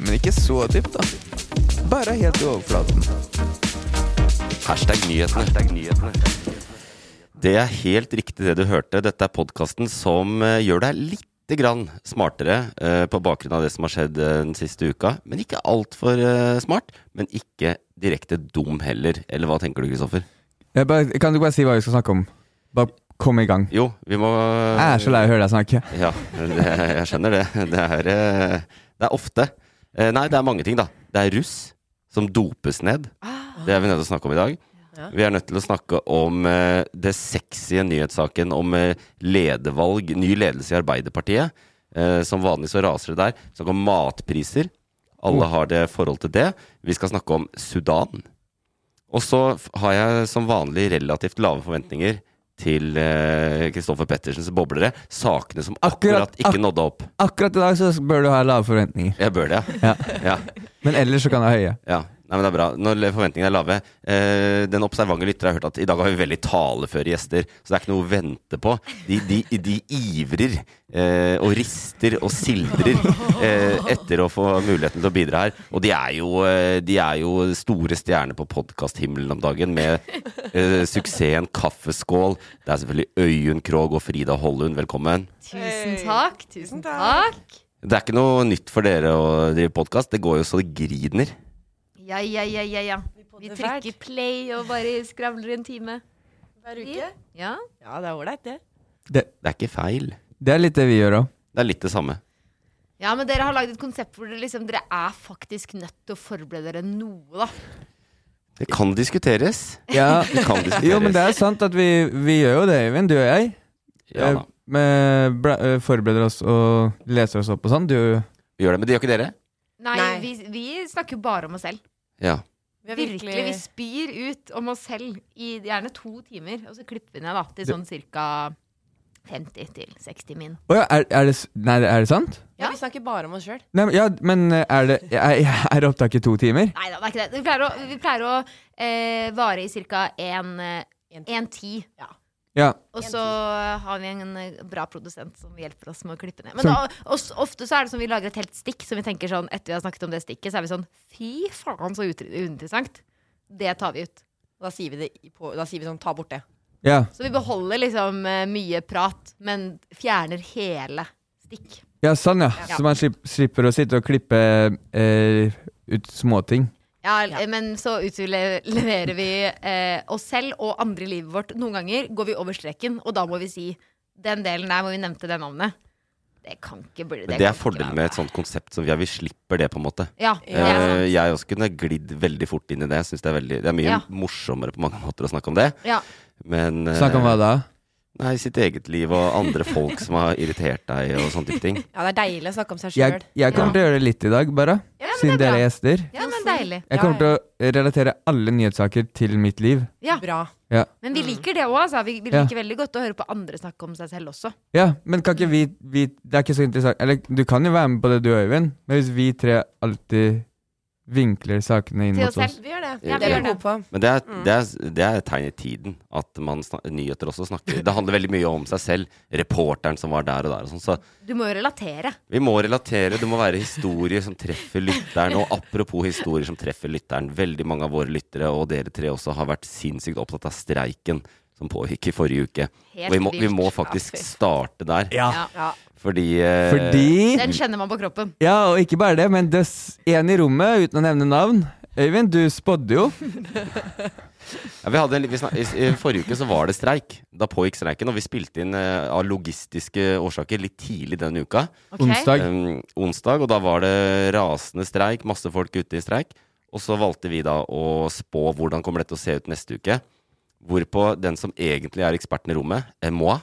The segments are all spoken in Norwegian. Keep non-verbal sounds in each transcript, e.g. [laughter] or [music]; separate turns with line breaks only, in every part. Men ikke så dypt, da. Bare helt i overflaten.
Hashtag nyhetene. Det er helt riktig det du hørte. Dette er podkasten som eh, gjør deg lite grann smartere eh, på bakgrunn av det som har skjedd eh, den siste uka. Men ikke altfor eh, smart. Men ikke direkte dum heller. Eller hva tenker du, Kristoffer?
Jeg bare, kan du bare si hva vi skal snakke om? Bare kom i gang.
Jo, vi må eh,
Jeg er så lei av å høre deg snakke.
Ja, det, jeg skjønner det. Det er, eh, det er ofte. Eh, Nei, det er mange ting, da. Det er russ som dopes ned. Det er vi nødt til å snakke om i dag. Vi er nødt til å snakke om eh, det sexy nyhetssaken om eh, ledervalg, ny ledelse i Arbeiderpartiet. Eh, Som vanlig så raser det der. Snakke om matpriser. Alle har det forhold til det. Vi skal snakke om Sudan. Og så f- har jeg som vanlig relativt lave forventninger til Kristoffer Pettersens boblere. Sakene som akkurat,
Akkurat-
ikke
ak-
nådde opp.
Akkurat i dag så bør du ha lave forventninger.
Jeg bør det, ja.
Ja.
ja,
Men ellers så kan du ha høye.
ja. Nei, men det er bra. Når forventningene er lave eh, Den observante lytter har hørt at i dag har vi veldig taleføre gjester, så det er ikke noe å vente på. De, de, de ivrer eh, og rister og sildrer eh, etter å få muligheten til å bidra her. Og de er jo, eh, de er jo store stjerner på podkasthimmelen om dagen med eh, suksessen Kaffeskål. Det er selvfølgelig Øyunn Krogh og Frida Hollund. Velkommen.
Tusen takk. Tusen takk.
Det er ikke noe nytt for dere å drive podkast. Det går jo så det griner.
Ja, ja, ja, ja, ja. Vi trykker play og bare skravler en time.
Hver uke?
Ja.
Ja, det er ålreit, det.
Det,
Det er ikke feil.
det er litt det vi gjør òg.
Det er litt det samme.
ja, men dere har lagd et konsept hvor dere, liksom, dere er faktisk nødt til å forberede dere noe, da.
Det kan diskuteres.
Ja.
Det kan diskuteres.
Jo, men det er sant at vi, vi gjør jo det, Øyvind. Du og jeg. Eh,
ja, da.
Vi eh, forbereder oss og leser oss opp og sånn. Du
Vi gjør det, men det gjør ikke dere.
Nei,
Nei.
Vi, vi snakker jo bare om oss selv.
Ja.
Vi er
Virkelig. Vi spyr ut om oss selv i gjerne to timer, og så klipper vi ned da, til sånn ca. 50 til 60 min.
Å ja, er, er det s- Nei, er det sant?
ja, vi snakker bare om oss sjøl.
Nei, men- ja, men eh, er det Er, er opptaket to timer?
Nei da, det er ikke det. Vi pleier å, vi pleier å eh, vare i eh, ca. 1.10.
Ja.
Og så har vi en eh, bra produsent som hjelper oss med å klippe ned. Men da, os- ofte så er det sånn vi lager et helt stikk som vi tenker sånn etter vi har snakket om det stikket, så er vi sånn fy faen så ut- uinteressant. Det tar vi ut.
Da sier vi det i- på, da sier vi sånn ta bort det.
Ja.
Så vi beholder liksom eh, mye prat, men fjerner hele stikk.
Ja, sånn ja.
Ja.
Så man slipp, slipper å sitte og klippe eh, ut småting.
Ja, eh, men så utleverer vi eh, oss selv og andre i livet vårt. Noen ganger går vi over streken, og da må vi si den delen der hvor vi nevnte det navnet. Det kan ikke bli
Men det
kan
er
ikke
fordelen
være
med
bra.
et sånt konsept som vi er. Vi slipper det, på en måte.
Ja, det er sant.
Eh, Jeg også kunne glidd veldig fort inn i det. Jeg synes det, er veldig, det er mye
Ja.
morsommere på mange måter å snakke om det.
Ja.
Men eh,
Snakk om hva da?
Nei, sitt eget liv og andre folk som har irritert deg og sånne type ting.
Ja, det er deilig å snakke om seg sjøl.
Jeg, jeg kommer til å gjøre det litt i dag, bare.
Ja, men
siden
det er
dere er
bra.
gjester.
Ja, men deilig.
Jeg kommer til å relatere alle nyhetssaker til mitt liv.
Ja.
Bra.
Ja,
Men
Mm.
vi liker det òg, altså. Vi, vi
Ja.
liker veldig godt å høre på andre snakke om seg selv
Mm,
også.
ja men kan ikke vi, vi Det er ikke så interessant Eller du kan jo være med på det, du Øyvind, men hvis vi tre alltid vinkler sakene inn
Til
mot
oss selv.
oss
Vi gjør det.
Ja,
det
vi
er
gjør
vi gode på.
Men det er,
Mm.
det, er, det er et tegn i tiden at man snak, nyheter også snakker Det handler veldig mye om seg selv. Reporteren som var der og der og sånn. Så
Du må jo relatere.
Vi må relatere. Det må være historier som treffer lytteren. Og apropos historier som treffer lytteren. Veldig mange av våre lyttere og dere tre også har vært sinnssykt opptatt av streiken som pågikk i forrige uke.
Helt
Og vi må, vi
vilt.
må faktisk
Ja, fy.
starte der,
Ja.
Ja.
fordi eh,
Fordi
Den kjenner man på kroppen.
Ja, og ikke bare det, men det s- en i rommet, uten å nevne navn. Øyvind, du spådde jo.
ja, vi hadde en, li- vi snak, i, I forrige uke så var det streik. Da pågikk streiken, og vi spilte inn eh, av logistiske årsaker litt tidlig den uka.
Ok?
Onsdag.
um, onsdag, og da var det rasende streik, masse folk ute i streik. Og så valgte vi da å spå hvordan kommer dette å se ut neste uke. Hvorpå den som egentlig er eksperten i rommet, eh, moi,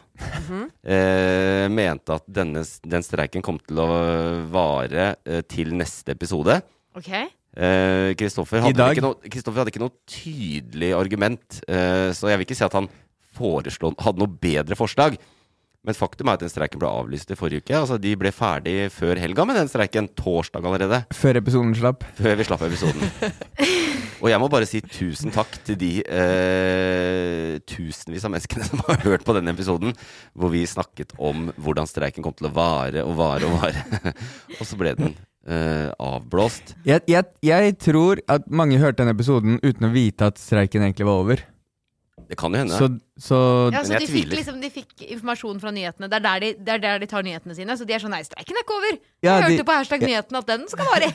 eh, mente at denne, s- den streiken kom til å vare eh, til neste episode.
Ok?
Eh, Kristoffer hadde,
dag?
vel ikke noe- Kristoffer hadde ikke noe tydelig argument, eh, så jeg vil ikke si at han foreslå, hadde noe bedre forslag. Men faktum er at den streiken ble avlyst i forrige uke. Altså, De ble ferdig før helga med den streiken, torsdag allerede,
Før episoden slapp.
før vi slapp episoden. [laughs] Og jeg må bare si tusen takk til de eh, tusenvis av menneskene som har hørt på denne episoden, hvor vi snakket om hvordan streiken kom til å vare og vare og vare. [laughs] Og så ble den eh, avblåst.
Jeg, jeg, jeg tror at mange hørte den episoden uten å vite at streiken egentlig var over.
Det kan jo hende.
Så, så
Ja,
Men
så de
jeg
fikk,
tviler.
liksom, de fikk informasjon fra nyhetene. Det er der de, det er der de tar nyhetene sine. Så de er sånn Nei, streiken er ikke over!
Ja,
jeg
de-
hørte på hashtag nyheten at den skal
[laughs]
vare!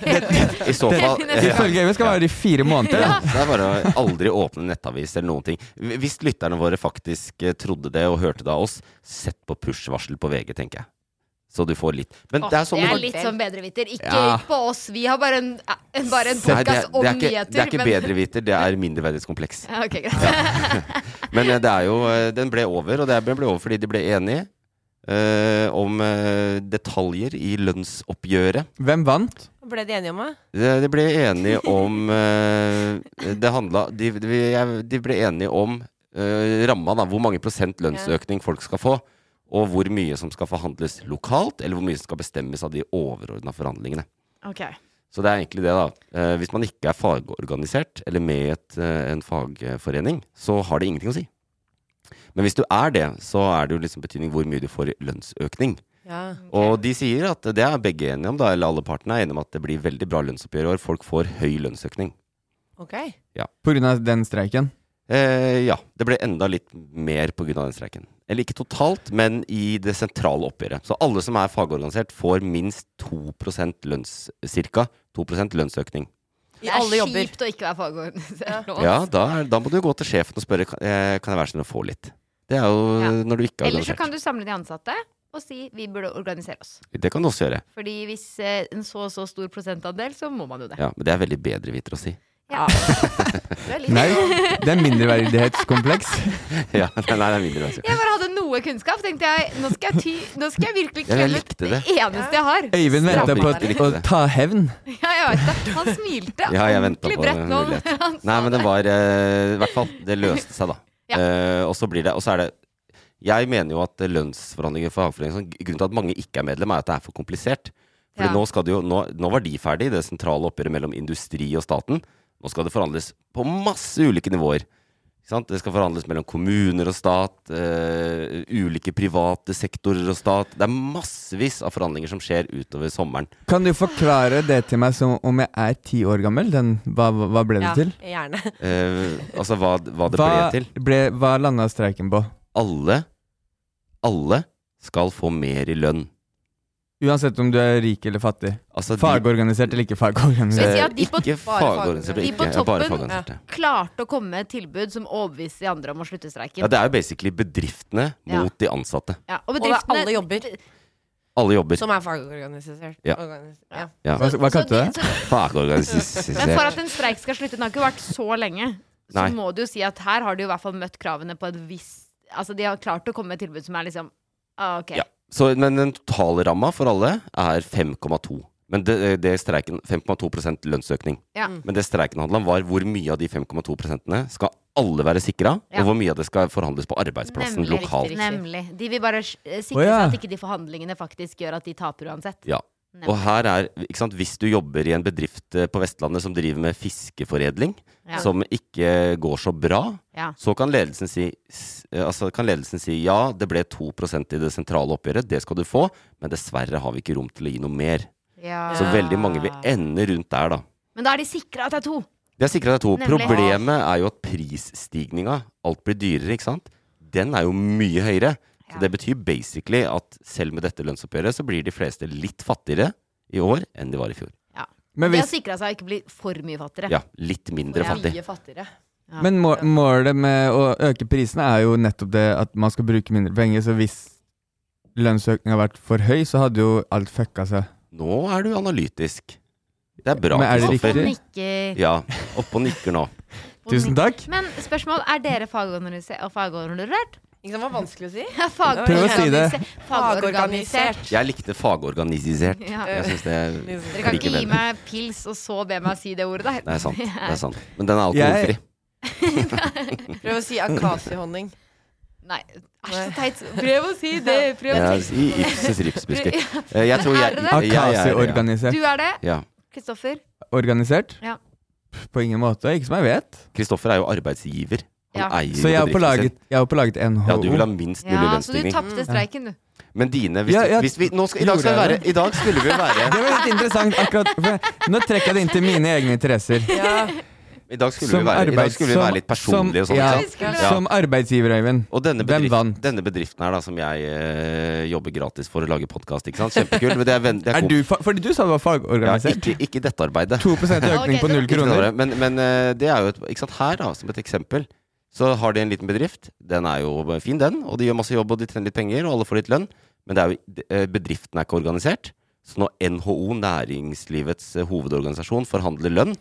I så fall
Ifølge Øyvind skal [laughs] det være i fire måneder.
ja,
Da.
Det er bare å aldri åpne nettavis eller noen ting. Hvis lytterne våre faktisk eh, trodde det og hørte det av oss, sett på push-varsel på VG, tenker jeg. Så du får litt. Men det er sånn det var-
litt som bedreviter. Ikke
Ja.
på oss. Vi har bare en, en, bare en
Nei, det,
podkast
er- det
om
er ikke,
nyheter.
det er ikke
men-
bedreviter, det er mindreverdighetskompleks.
Ja, ok, greit.
Men eh, det er jo, eh, den ble over, og det ble over fordi de ble enige eh, om eh, detaljer i lønnsoppgjøret.
Hvem vant?
Ble de enige om det?
De, de ble enige om eh, Det handla de, de, jeg- de ble enige om eh, ramma, da. Hvor mange prosent lønnsøkning folk skal få. Og hvor mye som skal forhandles lokalt, eller hvor mye som skal bestemmes av de overordna forhandlingene.
[laughs] Ok.
Så det er egentlig det, da. Eh, hvis man ikke er fagorganisert, eller med i et, eh, en fagforening, så har det ingenting å si. Men hvis du er det, så er det jo liksom betydning hvor mye du får i lønnsøkning.
Ja.
Og de sier at det er begge enige om, da, eller alle partene er enige om at det blir veldig bra lønnsoppgjør i år. Folk får høy lønnsøkning.
Ok.
På grunn av den streiken.
Eh, ja, det ble enda litt mer pga. den streiken. Eller ikke totalt, men i det sentrale oppgjøret. Så alle som er fagorganisert, får minst 2 lønns, cirka 2 lønnsøkning.
I
Det
alle
er
jobber.
kjipt å ikke være [laughs] fagorganisert nå.
Ja, da, er- da må du gå til sjefen og spørre kan, eh, kan jeg være snill å få litt. Det er jo
Ja.
når du ikke er
Eller så
organisert.
kan du samle de ansatte og si vi burde organisere oss.
Det kan du også gjøre.
Fordi hvis eh, en så så stor prosentandel, så må man jo det.
Ja, men det er veldig bedreviter å si. [laughs]
Ja. Du er litt
Nei, det er mindreverdighetskompleks.
ja, nei, nei, det er mindre altså. å si.
Jeg bare hadde noe kunnskap, tenkte jeg. Nå skal jeg, ty nå skal jeg virkelig
Ja, jeg
klemme ut
likte
det,
det.
eneste jeg har.
Øyvind venta på
Straffing.
å ta hevn.
Ja, jeg vet det. Han smilte
Ja, jeg ventet
ordentlig
på
bredt
en
nå.
mulighet.
[laughs] Han sa
Nei, men den
det.
var eh, I hvert fall, det løste seg, da.
Ja.
Eh, og så blir det Og så er det Jeg mener jo at lønnsforhandlinger for fagforeninger sånn, Grunnen til at mange ikke er medlem, er at det er for komplisert. Fordi
Ja.
nå, skal det jo, nå, nå var de ferdig, det sentrale oppgjøret mellom industri og staten. Nå skal det forhandles på masse ulike nivåer. Ikke sant? Det skal forhandles mellom kommuner og stat, eh, ulike private sektorer og stat. Det er massevis av forhandlinger som skjer utover sommeren.
Kan du forklare det til meg som om jeg er ti år gammel? Den, hva, hva ble det
Ja,
til?
gjerne.
Eh, altså hva, hva det
Hva,
ble til.
ble, hva landa streiken på?
alle Alle skal få mer i lønn.
Uansett om du er rik eller fattig.
Altså, de-
Fagorganisert eller ikke
Skal
fagorganisert.
jeg si at de på,
ikke
bare
fagorganiserte. Ikke,
fagorganiserte.
De på
ja, bare
toppen,
fagorganiserte.
klarte å komme med et tilbud som overbeviste de andre om å slutte streiken.
Ja, det er jo basically bedriftene
Ja.
mot de ansatte.
Ja, og
Og det
bedriftene
er alle jobber
Alle jobber.
som er fagorganisert.
Ja.
Organis- Ja.
Ja.
Hva, hva kalte du det?
Så, men for
Fagorganiserte.
at en streik skal slutte, den har ikke vært så lenge, så
Nei.
må du jo si at her har de jo i hvert fall møtt kravene på et visst Altså, de har klart å komme med et tilbud som er liksom ah, OK.
Ja. Så, men den totale ramma for alle er 5,2. Men det, det streiken 5,2 lønnsøkning.
Ja.
Men det streiken handla om, var hvor mye av de 5,2 prosentene skal alle være sikra,
Ja.
og hvor mye av det skal forhandles på arbeidsplassen
Nemlig.
lokalt.
Riktig.
Nemlig. De vil bare s- eh, sikre
Å, ja.
seg at ikke de forhandlingene faktisk gjør at de taper uansett.
Ja.
Nemlig.
Og her er, ikke sant, Hvis du jobber i en bedrift eh, på Vestlandet som driver med fiskeforedling,
Ja.
som ikke går så bra,
Ja.
så kan ledelsen, si, s- eh, altså kan ledelsen si ja, det ble 2 i det sentrale oppgjøret, det skal du få, men dessverre har vi ikke rom til å gi noe mer.
Ja.
Så veldig mange vil ende rundt der, da.
Men da er de sikra at det er to.
Det er sikra det er to.
Nemlig.
Problemet er jo at prisstigninga, alt blir dyrere, ikke sant. den er jo mye høyere.
Ja.
Så det betyr basically at selv med dette lønnsoppgjøret, så blir de fleste litt fattigere i år enn de var i fjor.
Men,
De har
hvis,
sikra seg å ikke bli for mye fattigere.
Ja, litt mindre
Ja.
fattig.
Mye fattigere.
Ja.
men må- målet med å øke prisene er jo nettopp det at man skal bruke mindre penger, så hvis lønnsøkningen har vært for høy, så hadde jo alt fucka seg.
Nå er du analytisk. Det er bra.
Men er det
Kristoffer.
riktig?
Nikker-
Ja. Oppe og nikker nå.
Tusen takk.
Men spørsmål, er dere fagorganise- og fagorganisert?
Ikke sant, det var vanskelig å si.
Ja, fagorganisert.
Prøv å si det.
Fagorganisert.
Fagorganisert.
Jeg likte fagorganisert.
Ja.
Jeg synes det
Dere kan
Like
ikke gi
bedre.
meg pils og så be meg si det ordet der.
Det er
[laughs]
sant. det er sant Men den er
Jeg-
alkoholfri.
Prøv å si akasiehonning.
Nei, æsj, så teit. Prøv å
[laughs]
si det. Prøv å
Jeg er
si
i Ibsens
[laughs]
ripsbusker.
Prøv-
Eh, Jeg tror jeg,
Er det det?
jeg, jeg, er det,
ja.
Akasi-organisert.
Du er det,
ja. Ja.
Kristoffer.
Organisert?
Ja.
Pff, På ingen måte. Ikke som jeg vet.
Kristoffer er jo arbeidsgiver. Han
Ja.
eier
Så jeg har
bedriften
pålaget,
sin.
jeg har pålaget NHO.
Ja, du vil ha minst mulig
Ja, så du
lønnsstigning.
tapte streiken, du.
Men dine hvis,
Ja, ja,
hvis vi, nå skal, i, dag skal vi
gjorde
være,
jeg
I dag skulle vi være
Det var litt interessant. akkurat for Nå trekker jeg det inn til mine egne interesser.
Ja.
I dag skulle vi være, i dag
arbeids-
skulle vi være litt personlige og
som,
sånn.
ja,
ikke sant?
sant?
som arbeidsgiver, Øyvind.
Og denne,
Hvem
bedrift,
vant?
denne bedriften her da som jeg eh, jobber gratis for å lage podkast, ikke sant. Kjempekult. Men det er, venn- det er,
Er
kom-
du fa fordi du sa du var
ja,
fagorganisert.
ikke, ikke dette arbeidet.
2 økning på null
Ikke noe
kroner.
dårligere, Men, men eh, det er jo et, ikke sant, her, da, som et eksempel, så har de en liten bedrift. Den er jo fin, den, og de gjør masse jobb, og de tjener litt penger, og alle får litt lønn. Men det er jo, de- eh, bedriften er ikke organisert. Så når NHO, næringslivets eh, hovedorganisasjon, forhandler lønn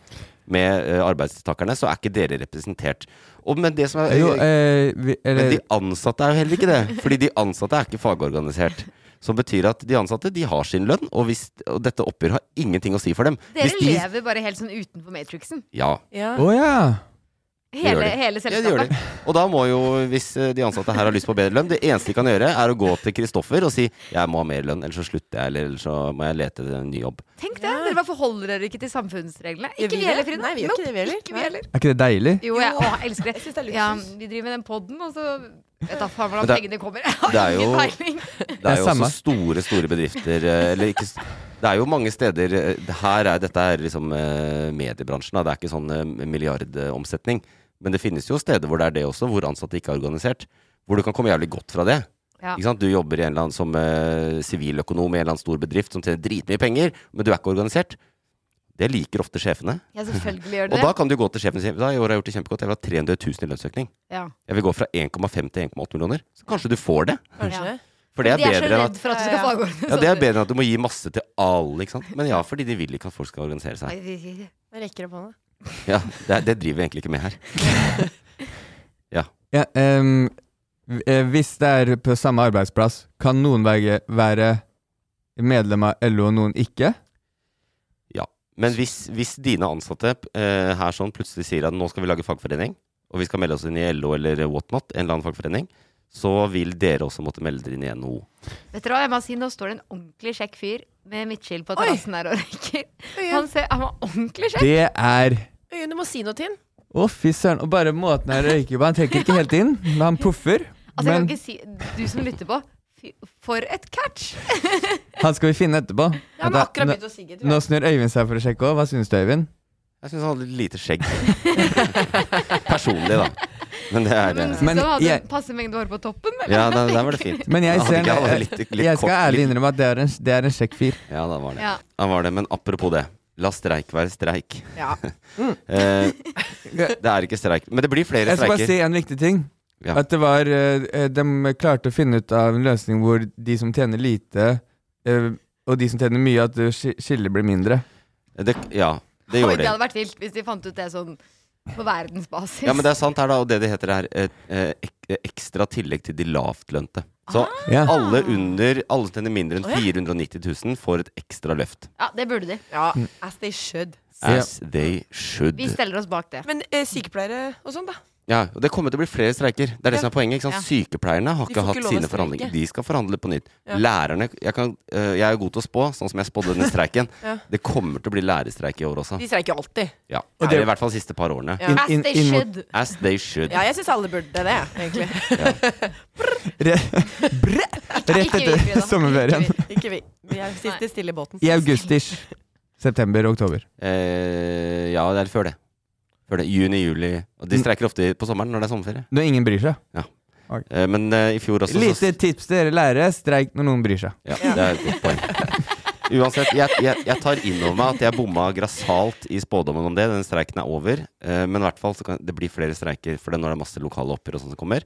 med eh, arbeidstakerne, så er ikke dere representert. Og, men det som er
Jo, eh, vi,
men
eller,
de ansatte er jo heller ikke det. Fordi de ansatte er ikke fagorganisert. Som betyr at de ansatte de har sin lønn, og, hvis, og dette oppgjøret har ingenting å si for dem.
Dere
Hvis de,
lever bare helt sånn utenfor matrixen.
Ja,
Ja.
Å ja.
gjør
Hele,
de.
hele
Ja, det gjør
selskapet.
de. Og da må jo, hvis eh, de ansatte her har lyst på bedre lønn, det eneste de kan gjøre, er å gå til Kristoffer og si 'jeg må ha mer lønn, ellers så slutter jeg', eller 'ellers så må jeg lete etter en ny jobb'.
Tenk det, dere bare forholder dere ikke til samfunnsreglene.
Gjør
Ikke
vi
vi
det?
heller, Frida.
Nei, vi gjør
Nope,
ikke det, vi heller.
Ikke
Nei.
vi heller.
Er ikke det deilig?
Jo, jeg å, jeg elsker det.
[laughs] Jeg synes det er
Ja,
luksus.
vi driver med den podden, og så vet da
Men
faen hvordan
det-
pengene kommer. [laughs] Jeg har
det er
ingen
jo-
peiling.
Det er jo
samme.
også store, store bedrifter eh, Eller ikke s- Det er jo mange steder eh, det Her er dette er liksom eh, mediebransjen, da. Det er ikke sånn eh, milliardomsetning. Men det finnes jo steder hvor det er det også, hvor ansatte ikke er organisert. Hvor du kan komme jævlig godt fra det.
Ja.
Ikke sant? Du jobber i en eller annen som eh, siviløkonom i en eller annen stor bedrift som tjener dritmye penger, men du er ikke organisert. Det liker ofte sjefene.
Ja, selvfølgelig gjør
Og
det
da
det.
kan du gå til sjefen og si Da i år har jeg gjort det kjempegodt, jeg vil ha 300 000 i lønnsøkning.
Ja.
Jeg vil gå fra 1,5 til 1,8 millioner. Så kanskje du får det.
Kanskje.
Ja.
For det er
de er så
bedre enn
redd
at
for at du skal
Ja, ja.
fagorganisere.
ja, det er bedre enn at du må gi masse til alle, ikke sant. Men ja, fordi de vil ikke at folk skal organisere seg.
Jeg rekker opp hånda.
Ja, Det, er- det driver vi egentlig ikke med her.
Ja, ehm, v- eh, hvis det er på samme arbeidsplass, kan noen være, være medlem av LO og noen ikke?
Men hvis, hvis dine ansatte eh, her sånn plutselig sier at nå skal vi lage fagforening, og vi skal melde oss inn i LO eller whatnot, en eller annen fagforening, så vil dere også måtte melde dere inn i NHO.
Vet dere hva, jeg må si, nå står det en ordentlig kjekk fyr med midtskill på
Oi.
terrassen her og røyker. Han,
Øyunn,
ser, han var ordentlig kjekk.
Det er
Øyunn, du må si noe til den.
Å, fy søren. Og bare måten han røyker på. Han trekker ikke helt inn, men han puffer.
Altså, jeg
Men
kan ikke si, du som lytter på, fy- for et catch!
han skal vi finne etterpå.
Ja, men
Da-
akkurat
nå-
begynt å sigge. tror
Nå
jeg.
snur Øyvind seg for å sjekke òg. Hva syns du, Øyvind?
Jeg syns han hadde litt lite skjegg.
[laughs]
Personlig, da. Men det er eh,
Men,
Men
men han hadde
jeg-
en passe mengde hår på toppen. Eller?
Ja, der, der var det fint.
Men jeg
Han
ser
hadde ikke- han hadde litt, litt
Jeg skal
kort-
ærlig
litt-
innrømme at det er en, det er en kjekk fyr.
Ja, da var det.
[laughs] Ja.
Da var det. Men apropos det. La streik være streik. [laughs]
Ja.
Eh, det er ikke streik. Men det blir flere
Mm. Jeg skal bare
streiker.
si en viktig ting.
Ja.
At det var eh, eh, De klarte å finne ut av en løsning hvor de som tjener lite, eh, og de som tjener mye, at eh, sk- skillet blir mindre.
Det, ja, det
Oi,
gjorde
det
det.
hadde vært vilt hvis de fant ut det sånn på verdensbasis.
Ja, men det er sant her, da. Og det det heter er eh, eh, ek- ekstra tillegg til de lavtlønte. Så
Ja.
alle under Alle tjener mindre enn
Ah. Å, ja.
490 000 får et ekstra løft.
Ja, det burde de.
ja. As they should.
As they should.
Vi steller oss bak det.
Men eh, sykepleiere og sånn, da?
Ja, og Det kommer til å bli flere streiker. Det er det
Ja.
som er poenget. ikke sant?
Ja.
Sykepleierne har
De
ikke
får ikke
hatt
lov å
sine
streike.
forhandlinger. De skal forhandle på nytt.
Ja.
Lærerne jeg, kan, øh, jeg er god til å spå, sånn som jeg spådde
[laughs]
denne streiken.
Ja.
Det kommer til å bli lærerstreik i år også.
De streiker jo alltid.
Ja,
Og
Eller
det-
I hvert fall de siste par årene.
Ja.
Inn-
As
inn-
they
inn mot-
should.
As they should.
Ja, jeg syns alle burde det, egentlig.
Re Bre! Rett
ikke vi,
etter
Frida.
sommerferien.
Ikke
Ikke vi. Vi er siste stille i båten.
I august-ish. September, oktober.
Eh, ja, det er før det. Før det. Juni, juli. Og de streiker ofte på sommeren når det er sommerferie.
Når ingen bryr seg. Oi.
Eh, Men eh, i fjor også så-
Lite tips til dere lærere. Streik når noen bryr seg.
Ja, det er et godt poeng. Uansett, jeg, jeg, jeg tar inn over meg at jeg bomma grassat i spådommen om det. Den streiken er over. Eh, men i hvert fall så kan det bli flere streiker, for det er når det er masse lokale oppgjør og sånt som kommer.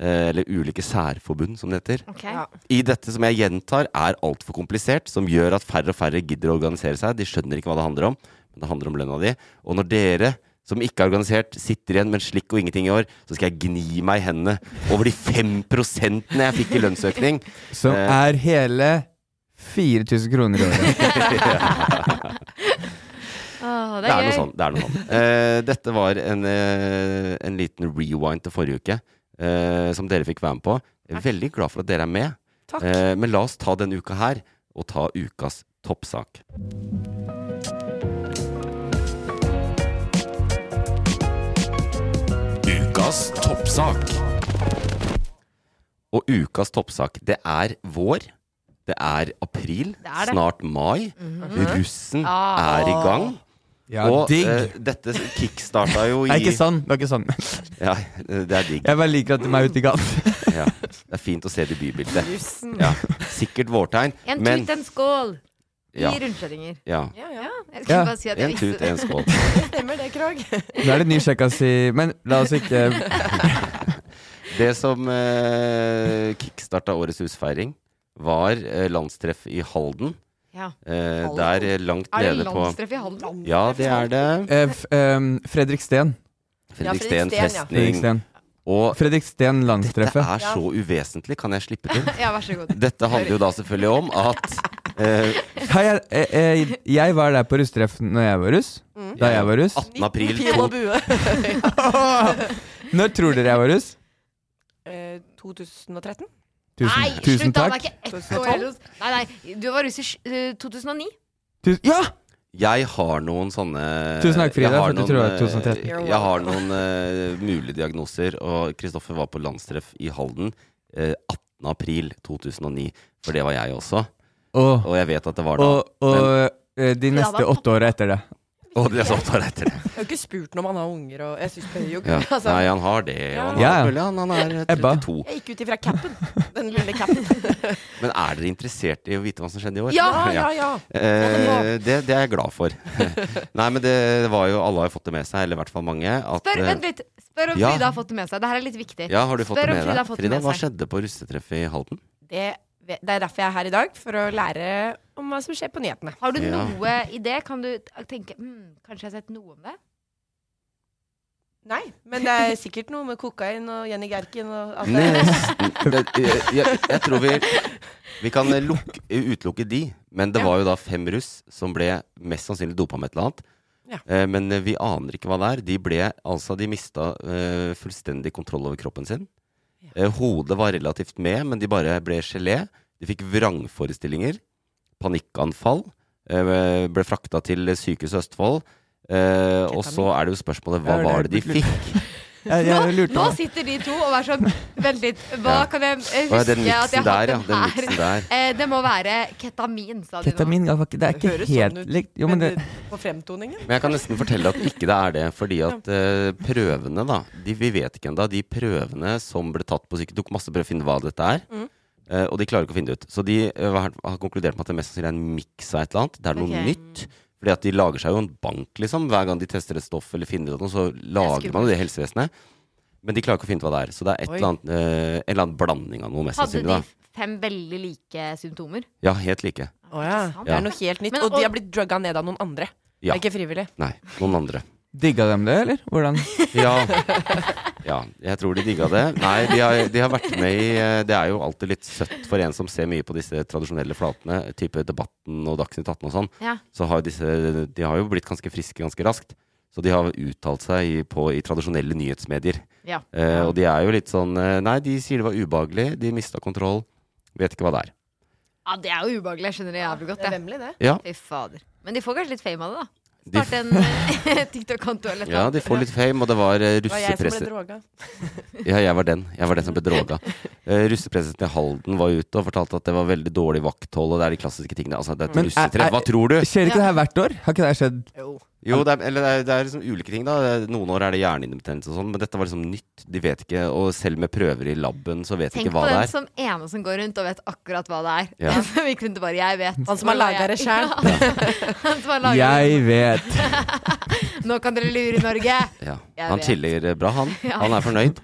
Eh, eller ulike særforbund, som det heter.
Ok.
Ja.
I dette som jeg gjentar er altfor komplisert, som gjør at færre og færre gidder å organisere seg. De skjønner ikke hva det handler om, men det handler om lønna di. Og når dere som ikke er organisert, sitter igjen med en slikk og ingenting i år, så skal jeg gni meg i hendene over de fem prosentene jeg fikk i lønnsøkning. [laughs]
Som
Eh.
er hele 4000 kroner i året.
Åh, det
Det
er
er
gøy.
noe sånn. Det er noe sånn.
[laughs]
Eh, dette var en, eh, en liten rewind til forrige uke, eh, som dere fikk være med på. Jeg er veldig glad for at dere er med.
Takk.
Eh, men la oss ta denne uka her, og ta ukas toppsak.
Ukas toppsak.
Og ukas toppsak, det er vår. Det er april.
Det er det.
Snart mai. Russen
Ah.
er i gang.
[laughs] Ja,
og
digg!
eh, dette kickstarta jo i
[laughs] Nei, ikke sånn. Det var ikke sånn.
Ja, eh, det er digg.
[laughs] Jeg bare liker at de er ute i gaten.
Ja. Det er fint å se det i bybildet.
Russen.
Ja. Sikkert vårtegn,
En
men
tut, en skål! I
ja,
rundkjøringer.
ja.
Ja, ja.
Jeg skulle
Ja.
bare si at jeg
En tut,
visste
en skål.
Det stemmer, det, Krog.
Nå er det ny sjekk å si Men la oss ikke
Det som eh, kickstarta årets husfeiring, var eh, landstreff i Halden.
Ja.
Eh, der eh, langt
Er det
nede på
landstreff i Halden?
Ja, det er det.
eh, f, ehm, Fredrik Steen.
Fredriksten
Fredriksten, ja.
festning.
Fredrik Steen,
Og
Fredrik Steen
dette
landstreffet.
er så uvesentlig, kan jeg slippe til?
Ja, vær så god.
Dette handler jo da selvfølgelig om at eh,
[laughs]
Hei, jeg, eh, eh, jeg var der på russtreff når jeg var russ. Da jeg var russ.
18. april
Pil og
to,
bue.
[laughs] Når tror dere jeg var russ?
[laughs] Eh, 2013?
Nei,
Tusen, tusen
slutt, da, han er
takk.
ikke ett år russ. Nei, nei, du var russ i sj- eh, 2009.
Tusen, ja!
Jeg har noen sånne
Tusen takk, Frida,
jeg har
for at du
noen,
tror det er
eh,
2013.
Jeg har noen eh, mulige diagnoser, og Kristoffer var på landstreff i Halden eh, 18. april 2009. For det var jeg også,
Og,
og jeg vet at det var da.
og, og eh, de neste åtte åra etter det.
Og det er sånt han
[laughs]
heter det.
Jeg har jo ikke spurt når man har unger, og jeg syns bøyer jo ikke
Ja.
altså,
Nei, han har det. Og han,
Ja,
har
ja.
selvfølgelig- han, han er eh,
Ebba.
32.
Jeg gikk ut ifra capen. Den lille capen.
Men er dere interessert i å vite hva som skjedde i år?
[laughs] Ja, ja, ja.
Eh, det, det er jeg glad
[laughs]
for. Nei, men det var jo Alle har jo fått det med seg, eller i hvert fall mange. At,
Spør,
eh,
vent litt. Spør om
ja.
Frida har fått det med seg. Det her er litt viktig.
ja, har du fått
Spør
det
om
med
Frida har
deg?
fått det
Frida,
med
hva
seg.
skjedde på russetreffet i Halden?
Det, det er derfor jeg er her i dag, for å lære om hva som skjer på nyhetene.
Har du
Ja.
noe idé? Kan du t- tenke hmm, Kanskje jeg har sett noe om det?
Nei, men det er sikkert noe med kokain og Jenny Gerken og alt det.
Nesten. Det, jeg, jeg, jeg tror vi Vi kan lukke, utelukke de, men det
Ja.
var jo da fem russ som ble mest sannsynlig dopa med et eller annet.
Ja.
Eh, men vi aner ikke hva det er. De ble altså De mista eh, fullstendig kontroll over kroppen sin. Eh, hodet var relativt med, men de bare ble gelé. De fikk vrangforestillinger. Panikkanfall. Eh, ble frakta til Sykehuset Østfold. Eh, og så er det jo spørsmålet hva
Ja, det er
var det de
blitt
fikk?
Jeg, jeg
Nå,
lurte
nå
på-
sitter de to og er sånn Vent litt. Hva
Ja.
kan jeg
Å,
eh,
ja,
huske
den
at jeg
miksen
har
der, ja.
hatt
Den
den
miksen
her?
der.
Eh, det må være ketamin, sa de nå.
Ketamin, ja, fuck, det er ikke
høres sånn
helt
ut.
likt. Jo, men det,
Men det- På fremtoningen.
Men jeg kan nesten fortelle at ikke det er det, fordi at eh, prøvene, da de, Vi vet ikke ennå. De prøvene som ble tatt på syke, tok masse prøver å finne hva dette er.
Mm.
eh, og de klarer ikke å finne det ut. Så de eh, har, har konkludert med at det mest sannsynlig er en miks av et eller annet. Det er noe
Ok.
nytt. Fordi at de lager seg jo en bank, liksom. Hver gang de tester et stoff eller finner ut noe, så lager man jo det i helsevesenet. Men de klarer ikke å finne ut hva det er. Så det er et
Oi.
eller annet, eh, en eller annen blanding av noe, mest
Hadde
sannsynlig.
de
da.
fem veldig like symptomer?
Ja, helt like.
Å ja. Det
Ja.
er noe helt nytt.
Men-
og
og-
de har blitt drugga ned av noen andre.
Ja.
Det er ikke frivillig.
Nei, noen andre.
digga dem det, eller? Hvordan?
Ja. ja, jeg tror de digga det. Nei, de har, de har vært med i eh, Det er jo alltid litt søtt for en som ser mye på disse tradisjonelle flatene, type Debatten og Dagsnytt 18 og sånn.
Ja.
Så har jo disse De har jo blitt ganske friske ganske raskt. Så de har uttalt seg i, på, i tradisjonelle nyhetsmedier.
ja.
Eh, og de er jo litt sånn eh, Nei, de sier det var ubehagelig, de mista kontroll. Vet ikke hva det er.
Ja, det er jo ubehagelig. Jeg skjønner det jævlig godt.
Det er
Det.
vemmelig, det.
Ja,
Fy fader. Men de får kanskje litt fame av det, da.
de,
Starte en eh,
[laughs]
TikTok-konto eller
ja,
noe.
de får litt fame, og det var eh,
Det var jeg som ble
russepresse
droga.
Ja, jeg var den. Jeg var den som ble droga. Uh, russepresidenten i Halden var ute og fortalte at det var veldig dårlig vakthold, og det er de klassiske tingene. Altså, det er et
Men er-
russetreff.
er-
Hva tror du?
Skjer ikke det her hvert år? Har ikke det her skjedd?
Jo.
Jo, det er, eller det er, det er liksom ulike ting, da. Noen år er det hjernehinnebetennelse og sånn, men dette var liksom nytt. De vet ikke, og selv med prøver i laben, så vet de
Tenk
ikke hva
på
det
den
er.
som ene som går rundt og vet akkurat hva det er.
Ja.
En [laughs] som gikk rundt og bare 'jeg vet'.
Han som har laget det [laughs] selv.
sjæl.
Jeg vet.
'Nå kan dere lure Norge'.
Ja.
Jeg
Han
vet.
chiller eh, bra, han.
[laughs] Ja.
Han er fornøyd.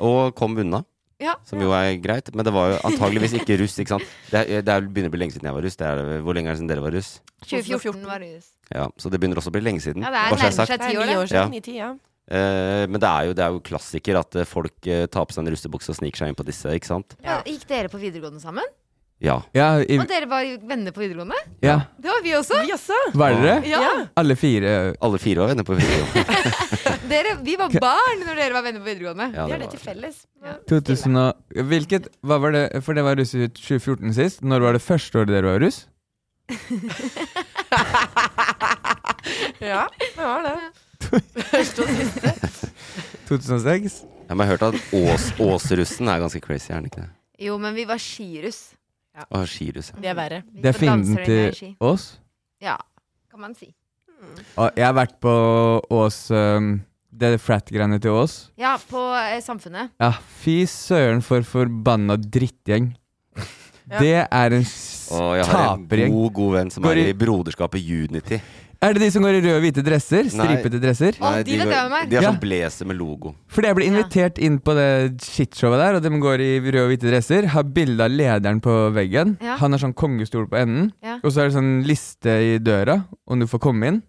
Og kom unna,
Ja.
som jo er greit. Men det var jo antageligvis ikke russ, ikke sant. Det, er, det er, begynner å bli lenge siden jeg var russ. Det er, det- hvor lenge er det siden dere var russ?
2014 var rus.
Ja, så det begynner også å bli lenge siden.
Ja, det er
bare så jeg har
nærmer
sagt.
seg
Det
ti
er
år,
ni
det.
år
Ja.
siden. Ni-ti, ja.
Eh, men det er, jo, det er jo klassiker at eh, folk eh, tar på seg en russebukse og sniker seg inn på disse, ikke sant?
Ja. Gikk dere på videregående sammen?
Ja.
Ja, i,
Og dere var venner på videregående?
ja.
Det var vi også.
Vi også.
Var dere?
Ja.
Alle fire?
Alle fire var venner på video.
Dere, vi var barn når dere var venner på videregående.
Ja, det
Vi har det
var-
til felles.
2000 og, hvilket, hva var det, for det var russ i 2014 sist. Når var det første året dere var russ?
Ja, det var det.
2006?
Ja, men jeg har hørt at Ås, Åsrussen er ganske crazy, er den ikke det?
Jo, men vi var skirus.
Å, skirus, ja.
Det er verre.
Vi
Det er
var dansere
fienden
med
til
ski.
oss.
Ja, kan man si.
Og jeg har vært på Ås um, Det frat-greiene til Ås.
Ja, på eh, Samfunnet.
Ja, fy søren for forbanna drittgjeng.
Ja.
Det er en
Og jeg har en
tapergjeng.
god, god venn som
Går
er
i-
i broderskapet Unity.
Er det de som går i røde og hvite dresser?
Nei.
Stripete dresser?
Å, de vet
går-
jeg hvem er.
de er
Ja.
sånn blazer med logo.
Fordi jeg ble invitert inn på det shitshowet der, og de går i røde og hvite dresser. Har bilde av lederen på veggen.
Ja.
Han har sånn kongestol på enden.
Ja.
Og så er det sånn liste i døra om du får komme inn.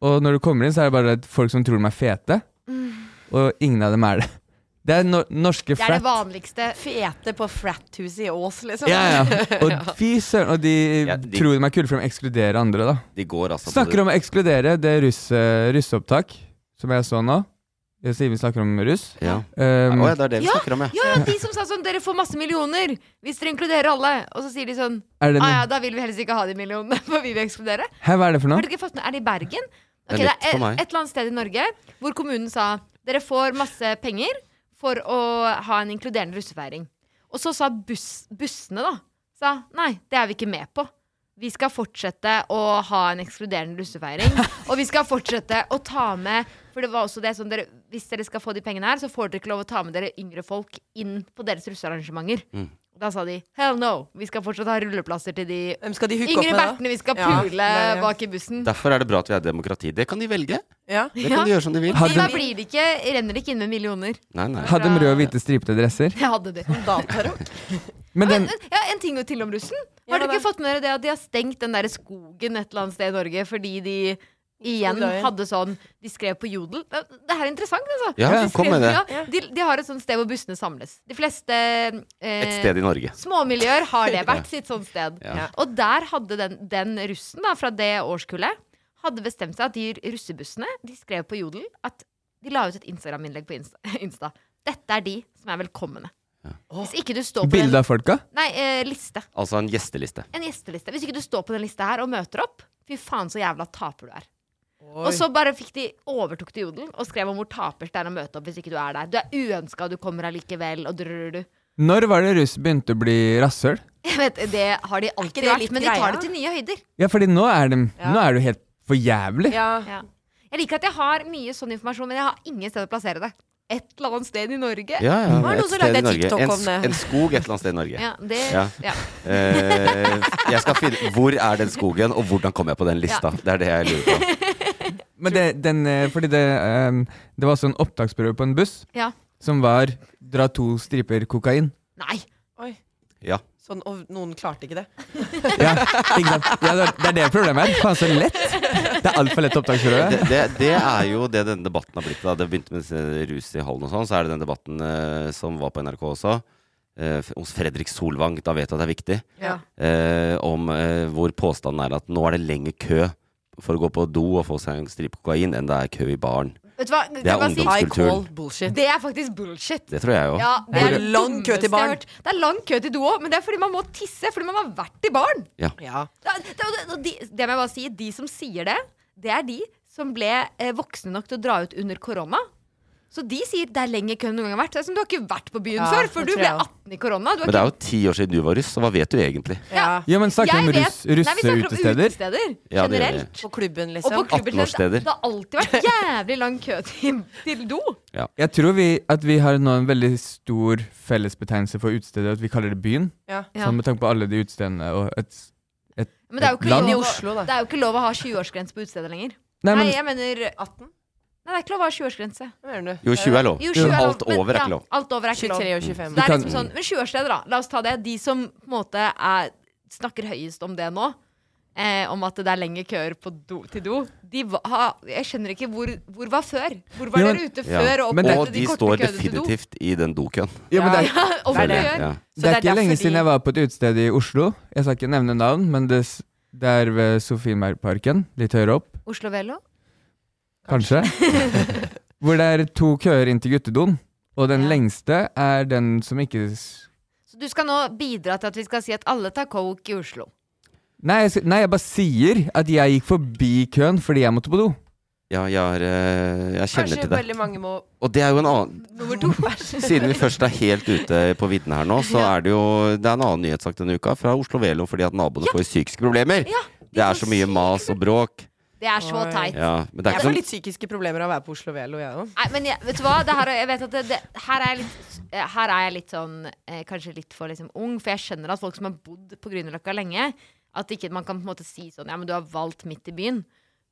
Og når du kommer inn, så er det bare folk som tror de er fete. Og ingen av dem er det. Det er no norske
Mm. Det er
frat.
det vanligste.
Fete på frat-huset i Ås, liksom.
Ja,
[laughs]
ja. Og fy søren, og de,
Ja, de-
tror de er kule for de ekskluderer andre, da.
De går altså
Snakker om å ekskludere det russe, russeopptak som jeg så nå. Jeg sier vi snakker om russ.
Ja.
Um,
Å ja, det er det vi
Ja,
snakker om, ja.
Ja, ja, de som sa sånn 'dere får masse millioner hvis dere inkluderer alle'. Og så sier de sånn
er det,
'ah ja, da vil vi helst ikke ha de millionene, [laughs] for vi vil ekskludere'.
Hæ, hva er det for
Har
noe?
dere ikke fått med Er det i Bergen?
Det er
Ok, det
nytt for
er et,
meg.
et eller annet sted i Norge hvor kommunen sa dere får masse penger for å ha en inkluderende russefeiring. Og så sa buss, bussene da sa, nei, det er vi ikke med på. Vi skal fortsette å ha en ekskluderende russefeiring.
[laughs]
Og vi skal fortsette å ta med For det var også det som dere Hvis dere skal få de pengene her, så får dere ikke lov å ta med dere yngre folk inn på deres russearrangementer.
Mm.
Da sa de hell no. Vi skal fortsatt ha rulleplasser til de
Hvem skal de hooke opp
Yngre
med, da?
bertene vi skal
Ja,
pule
det er det.
bak i bussen.
Derfor er det bra at vi er demokrati. Det kan de velge.
Ja.
Det kan
Ja.
de gjøre som de vil.
Har-
Da blir det ikke, renner det ikke inn med millioner.
Nei, nei.
Hadde de røde og hvite stripete dresser?
Det hadde de.
Datarokk.
Men den,
Ja, en ting til om russen.
Ja,
Har dere
hva da?
ikke fått med dere det at de har stengt den der skogen et eller annet sted i Norge fordi de igjen
Skogløyen.
hadde sånn De skrev på Jodel. Det det her er interessant, altså.
Ja,
De
kom
skrev-
med det.
Ja, de, de har et sånt sted hvor bussene samles. De fleste eh,
Et sted i Norge.
Småmiljøer har det vært sitt sånt sted.
Ja.
Og der hadde den, den russen da, fra det årskullet hadde bestemt seg at de russebussene de skrev på Jodel at de la ut et Instagram-innlegg på Insta, Insta. Dette er de som er velkomne. Hvis ikke du står på
bilde
den,
av folka?
nei, eh, liste,
Altså en gjesteliste.
en gjesteliste Hvis ikke du står på den lista her og møter opp, fy faen så jævla taper du er. Og så bare fikk de overtok til Jodel og skrev om hvor tapers det er å møte opp hvis ikke du er der. Du er uønska, du kommer allikevel, og drrrr.
Når var det russ begynte å bli rasshøl?
Jeg [laughs] vet, Det har de alltid
det
vært,
litt
men de tar
greia?
det til nye høyder.
Ja, fordi nå er de
Ja.
Nå er du helt for jævlig.
[laughs] Ja.
Ja. Jeg liker at jeg har mye sånn informasjon, men jeg har ingen sted å plassere det. Et eller annet sted i Norge.
Ja, ja.
Var det noen
et
som
sted i
lagde en
Norge.
TikTok
en,
om
s-
det?
En skog et eller annet sted i Norge.
Ja, det, ja.
Ja. Eh, jeg skal finne Hvor er den skogen, og hvordan kom jeg på den lista? Det er det jeg lurer på.
Men det, den, eh, fordi det, ehm, det var sånn opptaksprøve på en buss
Ja.
som var dra to striper kokain.
Nei.
Oi.
Ja.
Sånn, og noen klarte ikke det.
Ja, ikke sant? ja, det er- det er det problemet er. Faen, så lett! Det er altfor lett
Det,
opptaksprøve.
det, det er jo det denne debatten har blitt. Da. Det begynte med disse rus i hallen og sånn. Så er det den debatten eh, som var på NRK også, eh, f- hos Fredrik Solvang. Da vet du at det er viktig.
Ja.
Eh, om eh, hvor påstanden er at nå er det lengre kø for å gå på do og få seg en stripe kokain enn det er kø i baren.
Vet du hva?
Det er
Kan man si?
ungdom.
I
Kulturen.
call bullshit.
Det er faktisk bullshit.
Det tror jeg jo.
Ja, det er
Hvor- Lang kø til
dummeste jeg
barn.
har hørt. Det er lang kø til do òg, men det er fordi man må tisse. Fordi man har vært i baren.
Ja.
Det, det, det, det, de- det må jeg bare si. De som sier det, det er de som ble eh, voksne nok til å dra ut under korona. Så de sier det er lenger kø enn noen gang har vært. Det er som du har ikke vært på byen
Ja,
før,
det
for du
tror
ble
jeg også.
18 i korona. Du
Men
har
det er
ikke
jo ti år siden du var russ, så hva vet du egentlig?
Ja.
Ja, men snakker vi om
Jeg
russ,
vet- Nei, vi snakker om
russeutesteder?
utesteder
Ja, det gjør vi.
generelt.
På klubben,
Og på
liksom.
klubben, det,
18-årssteder.
det har alltid vært jævlig lang kø til, til do.
Jeg tror vi, at vi har nå en veldig stor fellesbetegnelse for utesteder, at vi kaller det byen.
Ja.
Ja.
Sånn med tanke på alle de utestedene og et
Men det er jo ikke,
Land
I
lov, å-
Oslo,
det
da.
er jo ikke lov å ha 20-årsgrense på utesteder lenger.
Nei, men
Nei, jeg mener Nei,
18?
det er ikke lov å ha 20-årsgrense.
Hva mener du?
Jo, 20 er lov.
Jo, 20 er lov,
alt
men-
over er ikke
ja,
lov.
Alt over er ikke lov.
23 og 25.
Det er
kan-
liksom sånn, men 20-årssteder, da. La oss ta det. De som på en måte er, snakker høyest om det nå, eh, om at det er lengre køer på do, til do, de va- ha, jeg skjønner ikke hvor, hvor var før? Hvor var
Ja, men-
dere ute
Ja.
før og
Men det-
opplevde
Og de
korte
står
køene til do? [laughs]
definitivt i den dokøen.
Ja, men det er,
Ja, og hvor
føler jeg.
køer.
Ja.
Så
det er ikke
derfor
lenge
de-
siden jeg var på et utested i Oslo. Jeg skal ikke nevne navn, men det, s- det er ved Sofienbergparken, litt høyere opp,
Oslo Velo? [laughs]
kanskje. Hvor det er to køer inn til guttedoen, og den
Ja.
lengste er den som ikke s-
Så du skal nå bidra til at vi skal si at alle tar coke i Oslo.
Nei jeg, s- nei, jeg bare sier at jeg gikk forbi køen fordi jeg måtte på do.
Ja, jeg, har, eh, jeg kjenner
Kanskje
til det.
veldig mange må
Og det er jo en annen
Nummer
[laughs]
to.
Siden vi først er helt ute på vidden her nå, så er det jo Det er en annen nyhetssak denne uka fra Oslo Velo fordi at naboene får psykiske problemer.
Ja,
det er
får
så mye mas og bråk.
Det er så
Oi.
teit.
Ja, men det er
Jeg
ikke
får
sånn
litt psykiske problemer av å være på Oslo Velo, jeg òg.
Nei, men jeg, vet du hva? Det her, jeg vet at det, det, her, er jeg litt, eh, her er jeg litt sånn eh, Kanskje litt for liksom, ung, for jeg skjønner at folk som har bodd på Grünerløkka lenge, at ikke man kan på en måte si sånn Ja, men du har valgt midt i byen.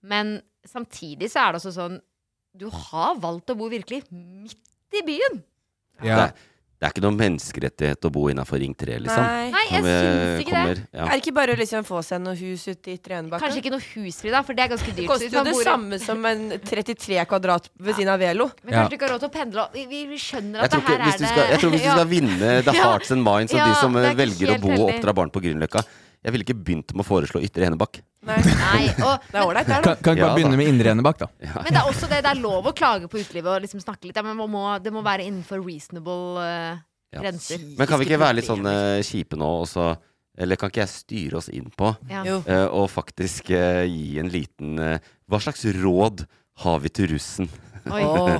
Men samtidig så er det også sånn Du har valgt å bo virkelig midt i byen.
Ja.
det, det er ikke noen menneskerettighet å bo innafor Ring 3, liksom.
Nei, jeg syns ikke det.
Ja.
Er det ikke bare å liksom få seg noe hus ute i Trenebakka?
Kanskje ikke noe husfri, da, for det er ganske dyrt. så
Det koster
hvis
jo
man
det
bor i-
samme som en 33 kvadrat ved siden av Velo.
Men
Ja.
kanskje du ikke har råd til å pendle. og Vi, vi, vi skjønner
Jeg
at
tror,
det
ikke,
her
hvis
er
du
det
skal, jeg tror hvis du skal vinne the
[laughs] Ja.
hearts and minds av
Ja,
de som eh,
det er ikke
velger å
helt
bo og
heldig.
oppdra barn på Grünerløkka Jeg ville ikke begynt med å foreslå Ytre Enebakk.
[laughs]
Nei.
Nei, og,
Det er ålreit, det er
Kan,
da.
kan ikke
Ja,
bare begynne
da.
med Indre Enebakk, da.
Men det er også det, det er lov å klage på utelivet og liksom snakke litt. Ja, men man må, det må være innenfor reasonable eh,
Ja.
grenser. liksom.
Men kan vi ikke være litt sånn eh, kjipe nå, og så Eller kan ikke jeg styre oss inn på
Ja.
Jo.
eh, og faktisk eh, gi en liten eh, Hva slags råd har vi til russen?
Oi.
Åh.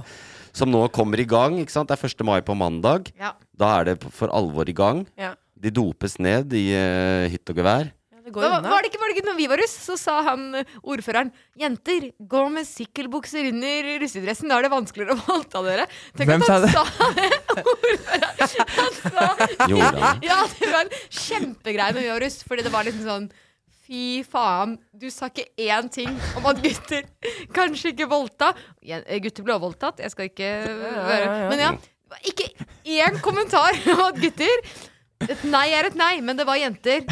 Som nå kommer i gang. ikke sant? Det er 1. mai på mandag.
Ja.
Da er det p- for alvor i gang.
Ja.
De dopes ned i eh, hytt og gevær.
Ja, Det går
Da, var-
unna.
var det ikke var det ikke når vi var russ, så sa han eh, ordføreren Jenter, gå med sykkelbukser under russedressen, da er det vanskeligere å voldta dere. Tenk
Hvem
at han
sa
sa det? [laughs] Ordføreren. Han
Gjorde
sa
han
[laughs] Ja, det var en kjempegreie når vi var russ, fordi det var liksom sånn Fy faen, du sa ikke én ting om at gutter kanskje ikke voldta. Jen- eh, Gutter ble også voldtatt, jeg skal ikke
ja, ja, ja.
Men ja, det var ikke én kommentar [laughs] om at gutter Et nei er et nei, men det var jenter.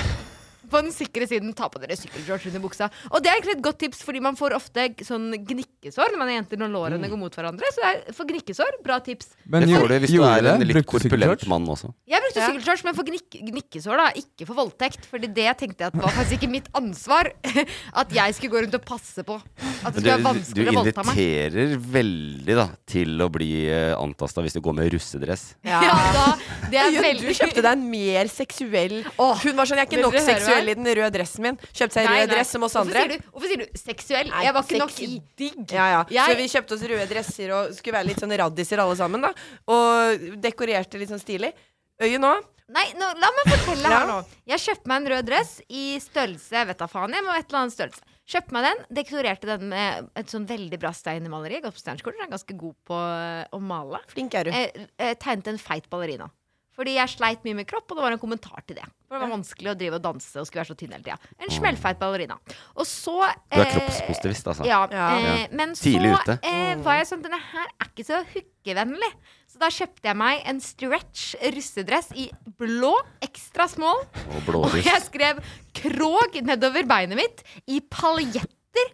På den sikre siden, ta på dere sykkelshorts under buksa. Og det er egentlig et godt tips, fordi man får ofte g- sånn gnikkesår når man er jenter, når lårene går mot hverandre. Så det er for gnikkesår, bra tips.
Men
det
gjorde-
får du hvis du
gjorde
er en
det?
litt
Brukte du
korpulent
sykkelshorts?
mann også.
Jeg brukte
Ja.
sykkelshorts, men for gnikk, gnikkesår, da. Ikke for voldtekt. Fordi det tenkte jeg at var faktisk ikke mitt ansvar. [laughs] At jeg skulle gå rundt og passe på. At det skulle
Men du,
være
du
vanskelig å voldta meg.
inviterer veldig da til å bli uh, antasta hvis du går med russedress.
Ja, da, det er
Jøss, Du
veldig
kjøpte deg en mer seksuell
Åh,
Hun var sånn 'Jeg er ikke
vil
nok
dere høre
seksuell
meg?
i den røde dressen min'. Kjøpte seg
Nei,
rød
nei.
dress som oss
Hvorfor
andre.
sier du, hvorfor sier du seksuell?
Nei,
Jeg var ikke nok
sexy.
digg.
Ja, ja. Så
Jeg-
vi kjøpte oss røde dresser og skulle være litt sånn raddiser alle sammen. da Og dekorerte litt sånn stilig. Øyet nå
Nei, nå, la meg fortelle her nå.
Ja.
Jeg kjøpte meg en rød dress i størrelse Jeg vet da faen, jeg må et eller annet størrelse. Kjøpte meg den, dekorerte den med et sånn veldig bra steinermaleri. Jeg har gått på Steinerskolen, er ganske god på eh, å male.
Flink er du.
Jeg, jeg tegnet en feit ballerina. Fordi jeg sleit mye med kropp, og det var en kommentar til det. For det var vanskelig å drive og danse og skulle være så tynn hele tida. En smellfeit ballerina. Og så
Du er
eh,
kroppspositivist, altså.
Ja.
Ja.
Eh, men så
Tidlig ute.
eh, var jeg sånn Denne her er ikke så hookevennlig. Så da kjøpte jeg meg en stretch russedress i blå, ekstra small.
Og
Og
blåruss.
jeg skrev krog nedover beinet mitt i paljetter.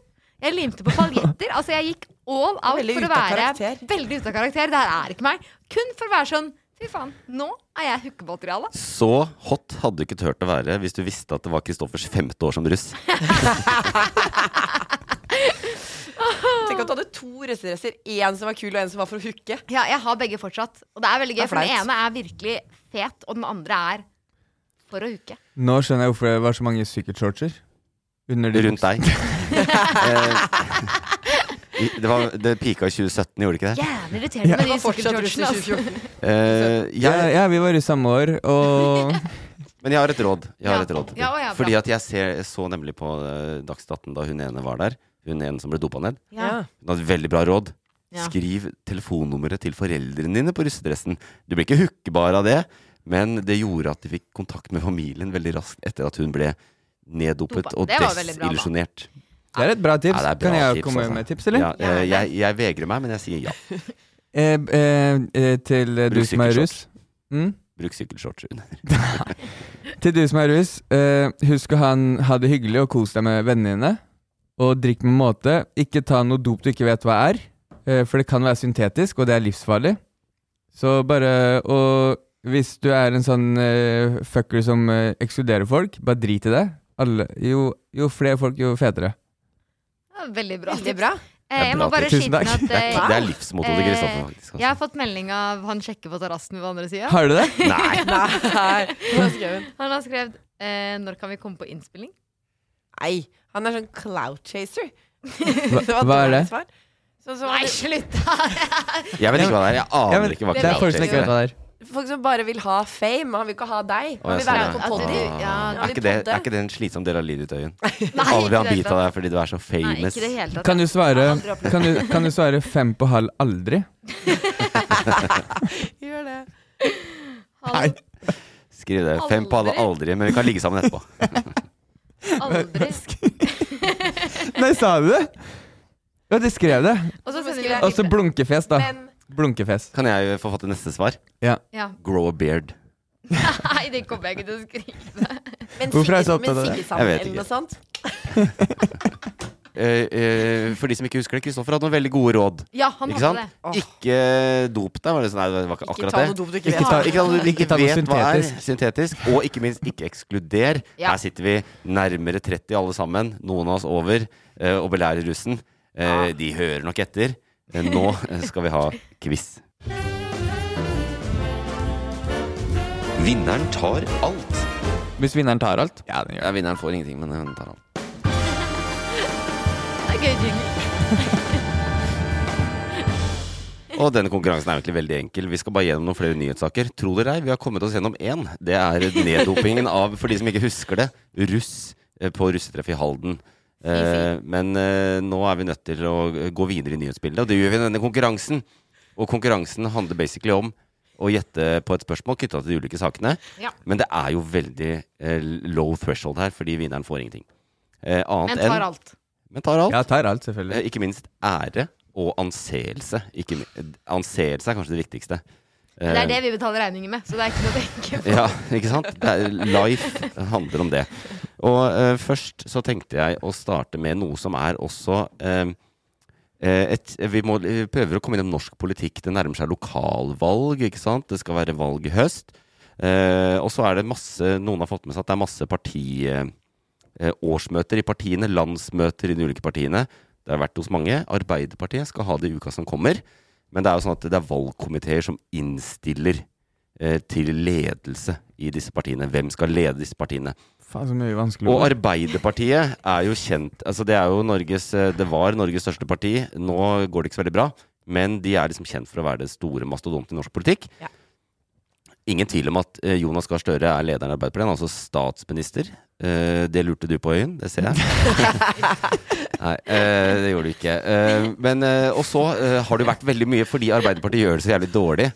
Jeg limte på paljetter. Altså, jeg gikk all out
Veldig
for å
ute av
være
karakter.
veldig ute av karakter. Det her er ikke meg. Kun for å være sånn Fy faen, nå er jeg hookemateriale.
Så hot hadde du ikke turt å være hvis du visste at det var Kristoffers femte år som
[laughs]
russ.
Tenk at du hadde to russedresser. Én som var kul, og én som var for å hooke.
Ja, jeg har begge fortsatt. Og det er veldig gøy,
Det er
for den
flaut.
ene er virkelig fet, og den andre er for å hooke.
Nå skjønner jeg hvorfor det var så mange sykkelshortser. Under de
Rundt
buksene.
deg. Eh, I, det, var, det pika i 2017, gjorde det ikke det?
Jævlig irriterende med
Det
de
var fortsatt russ i
sykkeltordene. Altså.
[laughs] 2014.
Eh,
Ja,
jeg,
ja, vi var i samme år,
[laughs]
og
men jeg har et råd. Jeg har
Ja.
et råd.
Ja, å ja, bra.
Fordi at jeg ser, jeg så nemlig på eh, Dagsnytt 18 da hun ene var der. Hun ene som ble dopa ned.
Ja.
Hun hadde et veldig bra råd.
Ja.
Skriv telefonnummeret til foreldrene dine på russedressen. Du ble ikke hookbar av det, men det gjorde at de fikk kontakt med familien veldig raskt etter at hun ble neddopet
Dopa.
og
Det var veldig bra, da.
desillusjonert.
det er et bra tips.
Ja, det er bra
kan jeg
tips,
komme
altså.
med tips, eller?
Ja, eh, jeg, jeg vegrer meg, men jeg sier ja.
Eh, eh, eh, til eh, du
Bruk
som er
sykkelshorts.
russ. Mm?
Bruk sykkelshorts under.
Til du som er russ, eh, husk å ha, en- ha det hyggelig og kos deg med vennene dine. Og drikk med måte. Ikke ta noe dop du ikke vet hva er, eh, for det kan være syntetisk, og det er livsfarlig. Så bare Og hvis du er en sånn eh, fucker som eh, ekskluderer folk, bare drit i det. Alle, jo, jo flere folk, jo fetere.
Ja, Veldig bra.
Veldig
tips.
bra.
Eh, Jeg
Det er
må
bra
bare
tips. Tusen
skyte inn
takk.
at
Det
eh,
er, [laughs] det er livsmottoet til Kristoffer,
eh,
faktisk.
Jeg
Altså.
har fått melding av han sjekker på terrassen ved andre sida.
Har du det?
[laughs]
Nei,
Nei. Hva skrev hun?
Han har skrevet eh, 'Når kan vi komme på innspilling?'
Nei, han er sånn cloud chaser. [laughs]
Hva, hva er det?
Sånn som
Nei, [laughs]
han-
slutt!
jeg vet ikke hva det er. Jeg
Ja,
aner
men
ikke hva
det er folk
crowdchasing
som ikke vet hva det er.
Folk som bare vil ha fame. Han vil ikke ha deg.
Å,
Han
jeg
vil være
ser
med
det.
på
At
podiet.
du- ja,
Ah.
han
er,
vil
ikke det,
podde.
er ikke det en slitsom del av livet ditt, Øyunn?
Nei,
Alle vil ha en
ikke i det
bit av
hele tatt.
deg fordi du er så
Nei, ikke
famous.
i det hele tatt.
Kan du svare,
Aldri opplevd
kan du, kan du svare fem på halv aldri?
Gjør det.
Al-
Skriv det. Fem på alle aldri, men vi kan ligge sammen etterpå.
[laughs]
Aldri.
Nei, sa du det? Ja, de skrev det.
Og så sender
Så skriver
vi
jeg-
Og så blunkefjes, da.
Men
Blunkefjes.
Kan jeg forfatte neste svar?
Ja.
Ja.
Grow a beard.
[laughs] Nei, det kommer jeg ikke til å skrive.
Men
Hvorfor er jeg så
Sigge- men
opptatt av det?
Jeg
Siggesand
vet
eller
ikke.
noe sånt?
Eh, eh, for de som ikke husker det, Kristoffer hadde noen veldig gode råd.
[laughs] Ja, han
Ikke
hadde
sant?
det.
Ikke dop deg, var det sånn. Nei, det var ikke
Ikke
akkurat
ta
det.
noe dop du ikke
Ikke
vet.
ta-
Ikke at du ikke
ta noe
vet hva er syntetisk, og ikke minst ikke ekskluder.
Ja.
Her sitter vi nærmere 30 alle sammen, noen av oss over, eh, og belærer russen. Eh, De hører nok etter. Eh, Nå eh, skal vi ha quiz. Vinneren tar alt.
Hvis vinneren tar alt?
Ja, vinneren får ingenting, men hun tar alt.
Det er gøy jingle.
Og denne konkurransen er egentlig veldig enkel. Vi skal bare gjennom noen flere nyhetssaker. Tro det eller ei, vi har kommet oss gjennom én. Det er neddopingen av, for de som ikke husker det, russ eh, på russetreff i Halden. Eh, men eh, nå er vi nødt til å gå videre i nyhetsbildet, og det gjør vi i denne konkurransen. Og konkurransen handler basically om å gjette på et spørsmål knytta til de ulike sakene.
Ja.
Men det er jo veldig eh, low threshold her, fordi vinneren får ingenting. Eh, annet
Men tar
enn
alt.
Men tar alt.
Ja, tar alt, selvfølgelig.
Eh, Ikke minst ære og anseelse. Ikke, mi- anseelse er kanskje det viktigste.
Men Det
Eh,
er det vi betaler regninger med, så det er ikke noe å tenke på.
[laughs] Ja, ikke sant? Det er, life handler om det. Og eh, først så tenkte jeg å starte med noe som er også eh, eh, et, Vi må, vi prøver å komme innom norsk politikk. Det nærmer seg lokalvalg, ikke sant? Det skal være valg i høst. Eh, og så er det masse Noen har fått med seg at det er masse partiårsmøter i partiene. Landsmøter i de ulike partiene. Det har vært hos mange. Arbeiderpartiet skal ha det i uka som kommer. Men det er jo sånn at det er valgkomiteer som innstiller eh, til ledelse i disse partiene. Hvem skal lede disse partiene?
Faen, så mye vanskelig.
Og Arbeiderpartiet er jo kjent altså Det er jo Norges eh, Det var Norges største parti. Nå går det ikke så veldig bra, men de er liksom kjent for å være det store mastodonten i norsk politikk.
Ja.
Ingen tvil om at eh, Jonas Gahr Støre er lederen i Arbeiderpartiet. Han er altså statsminister. Eh, det lurte du på, Øyen. Det ser jeg. Nei, eh, det gjorde du ikke. Eh, men eh, Og så eh, har det jo vært veldig mye, fordi Arbeiderpartiet gjør det så jævlig dårlig,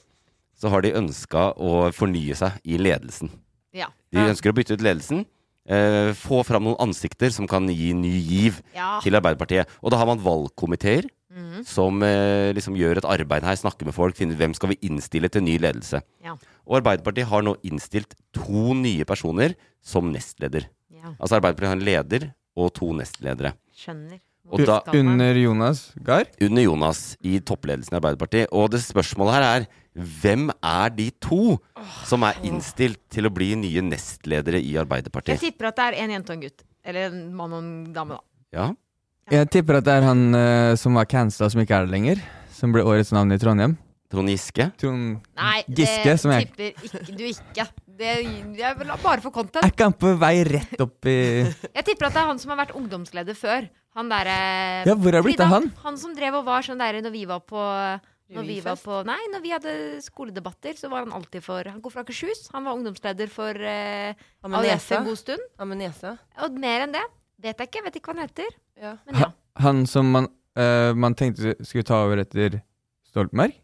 så har de ønska å fornye seg i ledelsen.
Ja.
De ønsker å bytte ut ledelsen. eh, få fram noen ansikter som kan gi ny giv
ja. Mm.
til Arbeiderpartiet. Og da har man valgkomiteer som eh, liksom gjør et arbeid her, snakker med folk, finner ut hvem skal vi innstille til ny ledelse.
Ja.
Og Arbeiderpartiet har nå innstilt to nye personer som nestleder.
ja.
Altså Arbeiderpartiet har en leder og to nestledere.
Skjønner.
Og da-
Skal man-
Under Jonas Gahr?
Under Jonas i toppledelsen i Arbeiderpartiet. Og det spørsmålet her er hvem er de to som er innstilt til å bli nye nestledere i
Jeg
Arbeiderpartiet?
tipper at det er en jente og en gutt. Eller en mann og en dame, da.
Ja.
Jeg tipper at det er han eh, som var cancela, som ikke er det lenger. Som ble årets navn i Trondheim.
Trond Giske?
Trond
Nei,
Giske,
det
som jeg
tipper ikke, du ikke. Det, jeg vil ha bare for content.
Er ikke han på vei rett opp i [laughs]
Jeg tipper at det er han som har vært ungdomsleder før. Han derre
Ja, hvor er det blitt av han?
Han som drev og var sånn derre når vi var på når vi var
Revyfest?
på, nei, når vi hadde skoledebatter, så var han alltid for Han går fra Akershus. Han var ungdomsleder for eh,
Han med
AUF en
nesa.
god stund.
Han med nesa.
Og mer enn det vet jeg ikke. Vet ikke hva han heter.
Ja.
Men ja.
Han som man, eh, man tenkte skulle ta over etter Stoltenberg?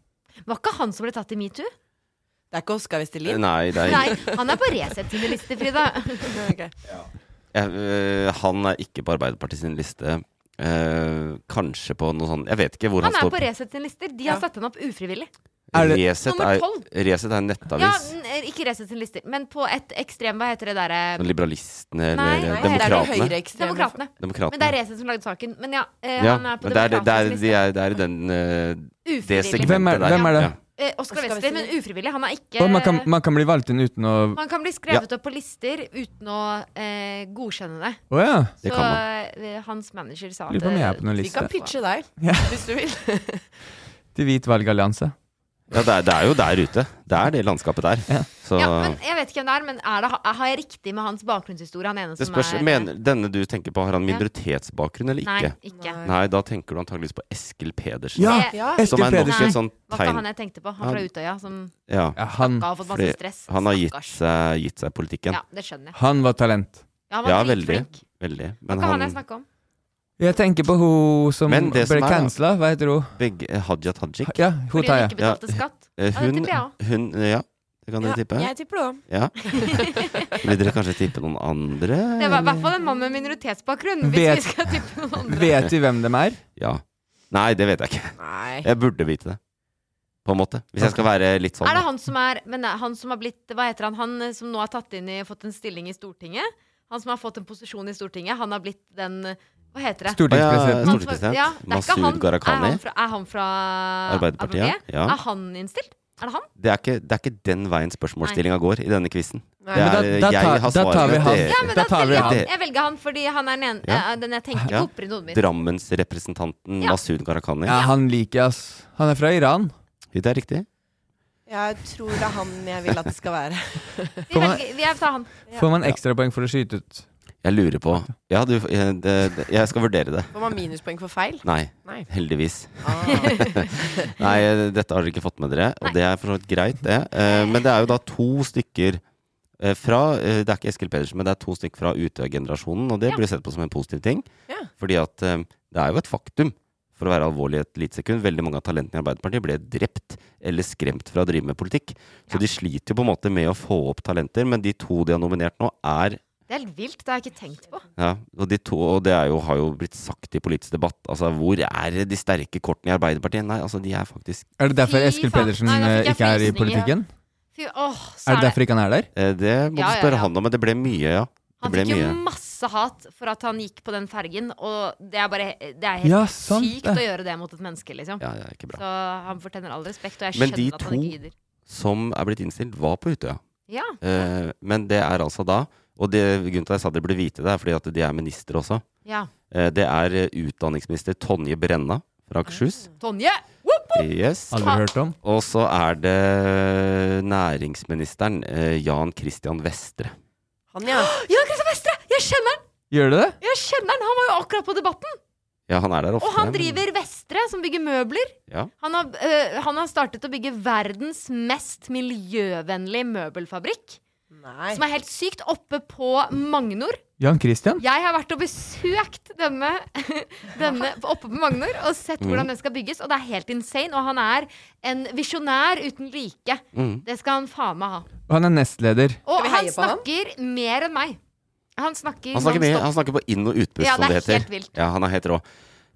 Var ikke han som ble tatt i metoo?
Det er ikke Oskar Vestelin.
Nei, det er
Nei, han er på Resett sine lister, Frida.
[laughs] Ok.
jeg, øh, Han er ikke på Arbeiderpartiet sin liste. Eh, kanskje på noe sånn Jeg vet ikke hvor han,
Han er på
står.
Resett sine lister. De har
Ja.
satt henne opp ufrivillig.
Er det-
Resett
Nummer
er,
tolv.
Resett er en
Ja,
nettavis.
n- eh, ikke Resett sine lister, men på et ekstrem Hva heter det derre
Sånn Liberalistene eller
Nei,
Nei,
nei,
det er jo
Demokratene.
høyreekstreme folk.
Demokratene. Men det
Demokratene.
er Resett som lagde saken. Men ja, eh,
Ja,
han er på
men det er, det er,
Demokratenes
de
liste.
er, det er i den, øh, det segmentet
Ufrivillig.
Hvem er-
der.
hvem er det?
Ja.
Eh, Oscar
Oscar
Westerlin, men
Westerlin.
ufrivillig. Han er ikke
Og man kan, man kan bli valgt inn uten å Å
Man kan bli skrevet opp på lister uten å eh, godkjenne det.
ja.
Det
så
kan
eh, hans manager sa
Lurer på om jeg er på noen
Vi
liste.
kan pitche deg,
[laughs] Ja.
hvis du vil.
Til Hvit valgallianse.
Ja, det er, det er jo der ute. Det er det landskapet der.
Ja.
Så
ja, men Jeg vet ikke hvem det er, men er det, ha- har jeg riktig med hans bakgrunnshistorie? Han ene
det
som
spørs,
er
mener, Denne du tenker på, har han
Ja.
minoritetsbakgrunn eller
Nei,
ikke?
ikke.
Nei, da tenker du antageligvis på Eskil Pedersen.
Ja!
Det
[laughs] Ja.
Eskil
Som er nok
Pedersen.
et sånt
var ikke
tegn.
han jeg tenkte på. Han fra Utøya som
Ja,
Ja, han,
ga og fått
Fordi
masse stress.
han har gitt
Stakkars.
seg, gitt seg politikken.
Ja, det skjønner jeg.
han var talent.
Ja, han var
Ja, veldig.
dritflink.
veldig.
Hva
Men
kan han jeg
han,
snakke om?
Jeg tenker på hun som
Men
ble
det som er, da-
cancela. Hva heter hun?
begge, eh, Hadia Tajik
Ja, hun
Fordi
tar
hun
jeg.
ikke betalte
Ja.
skatt?
Eh,
Ja, det
Hun,
tipper jeg også.
hun eh, Ja, det kan
Ja,
dere tippe.
jeg tipper det òg.
[laughs]
Ja. Vil dere kanskje tippe noen andre?
Det var i
Mm.
hvert fall en mann med minoritetsbakgrunn. Hvis
Vet-
vi skal tippe noen andre.
Vet vi hvem dem er?
Ja. Nei, det vet jeg ikke.
Nei.
Jeg burde vite det. På en måte. Hvis jeg skal være litt sånn.
Er det
da.
han som er Men det er han som har blitt Hva heter han? Han eh, som nå har tatt inn i fått en stilling i Stortinget? Han som har fått en posisjon i Stortinget? Han har blitt den eh, Hva heter det?
Å, ja,
Stortingspresidenten.
Han som-
stortingspresident.
Ja, det er ikke
Masud
han.
Gharahkhani.
Er han fra, er han fra
Arbeiderpartiet,
ABB?
ja.
Er han innstilt? Er det han?
Det er, ikke, det er ikke den veien spørsmålsstillinga går i denne quizen.
Nei.
Det
Men da,
er,
da,
jeg
tar,
har
da tar
svaret
vi han.
til dere.
men
Eh, Da
da
tar vi
velger
han.
jeg, jeg velger han fordi han er den, ene,
Ja.
eh, den jeg tenker
Ja.
på opprinnelig hodet mitt.
Drammensrepresentanten
Ja.
Masud Gharahkhani.
Ja, han liker jeg, ass. Han er fra Iran.
Det er riktig.
Jeg tror det er han jeg vil at det skal være.
Vi velger, vi jeg tar han.
Får man ekstrapoeng for å skyte ut?
Jeg lurer på Ja, du, eh, det, det, jeg skal vurdere det.
Får man minuspoeng for feil?
Nei.
Nei.
Heldigvis.
Ah.
[laughs] Nei, eh, dette har dere ikke fått med dere, og det er for så vidt greit, det. Eh, Men det er jo da to stykker eh, fra eh, Det er ikke Eskil Pedersen, men det er to stykker fra Utøya-generasjonen, og det blir sett på som en positiv ting.
Ja.
Fordi at eh, det er jo et faktum, for å være alvorlig i et lite sekund, veldig mange av talentene i Arbeiderpartiet ble drept eller skremt fra å drive med politikk. Så de sliter jo på en måte med å få opp talenter, men de to de har nominert nå, er
Det er helt vilt. Det har jeg ikke tenkt på.
ja, og, de to, og det er jo, har jo blitt sagt i politisk debatt. Altså, hvor er de sterke kortene i Arbeiderpartiet? Nei, altså, de er faktisk
Er det derfor
Fy
Eskil
faen.
Pedersen
Nei, nå
eh,
fikk jeg
ikke er i
frysninger.
politikken?
Fy, åh, så
Er det derfor ikke han er der?
eh, Det må
Ja, ja,
du spørre
ja.
han om, men det ble mye, ja. Det
Han
ble
fikk jo
mye.
masse hat for at han gikk på den fergen, og det er bare Det er helt
Ja, sant
sykt
det.
å gjøre det mot et menneske, liksom.
Ja, ja, ikke bra.
Så han fortjener all respekt, og jeg
Men
skjønner
de
at han ikke
to-
gidder.
Som er blitt innstilt, var på Utøya.
Ja.
Eh, men det er altså da Og det, grunnen til at jeg sa dere burde vite det, er fordi at de er ministre også.
ja.
Eh, det er eh, utdanningsminister Tonje Brenna fra Akershus.
Tonje! Woop!
Yes.
Aldri hørt om.
Og så er det næringsministeren eh, Jan Christian Vestre.
[gasps]
Han, ja.
Ja, Kristian Vestre! Jeg kjenner han!
Gjør du det?
Jeg kjenner Han Han var jo akkurat på Debatten!
Ja, han er der ofte.
Og han
men-
driver Vestre, som bygger møbler.
Ja.
Han har, øh, han har startet å bygge verdens mest miljøvennlige møbelfabrikk.
Nei.
Som er helt sykt oppe på Magnor.
Jan Christian?
Jeg har vært og besøkt denne, [laughs] denne oppe på Magnor og sett
Mm.
hvordan den skal bygges, og det er helt insane. Og han er en visjonær uten like.
Mm.
Det skal han faen meg ha.
Og han er nestleder.
Og
vi
han
heie på han?
snakker mer enn meg. Han snakker,
Han snakker, mye,
nonstop.
han snakker på inn- og utpust,
Ja,
som det
det er
heter.
helt vilt.
Ja, han er helt rå.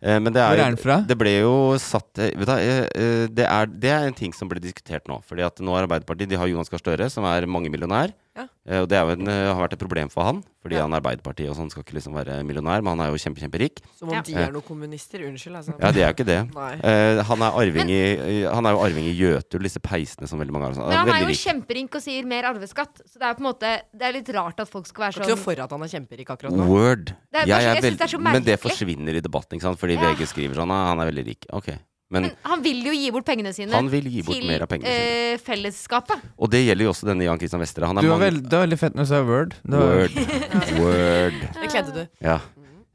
Eh, Men det er,
Hvor
jo-
er han fra?
Det ble jo satt eh, vet du, eh, eh, det, er, det er en ting som ble diskutert nå. Fordi at nå er Arbeiderpartiet De har Jonas Gahr Støre, som er mangemillionær.
Ja.
Eh, Og det er jo en, eh, har vært et problem for han, fordi
Ja.
han er Arbeiderpartiet og sånn skal ikke liksom være millionær, men han er jo kjempe, kjemperik.
Som om
Ja.
de er noen kommunister. Unnskyld, altså.
Ja, det er jo ikke
[laughs]
det.
Nei.
Eh, han, er arving i, han er jo arving i Jøtul, disse peisene som veldig mange har. og sånn.
Men han er
veldig
jo
rik.
kjemperink og sier mer arveskatt, så det er på en måte Det er litt rart at folk skal være
Kan ikke noe
sånn.
for at han er kjemperik akkurat nå.
Word.
Det
Jeg
er- jeg
er
synes
veld-
det er så
men det
merkelig.
forsvinner i debatten, ikke sant? Fordi
Ja.
VG skriver sånn «Ah, han er veldig rik. Ok. Men
Men han vil jo gi bort pengene sine
Han vil gi bort
til
mer av pengene
eh, fellesskapet.
Og det gjelder jo også denne Jan Christian Vestre. Han er
Du var
mange-
[laughs]
veld, det var veldig fett når du sa Word. Det var,
Word. Word.
Det kledde du.
Ja.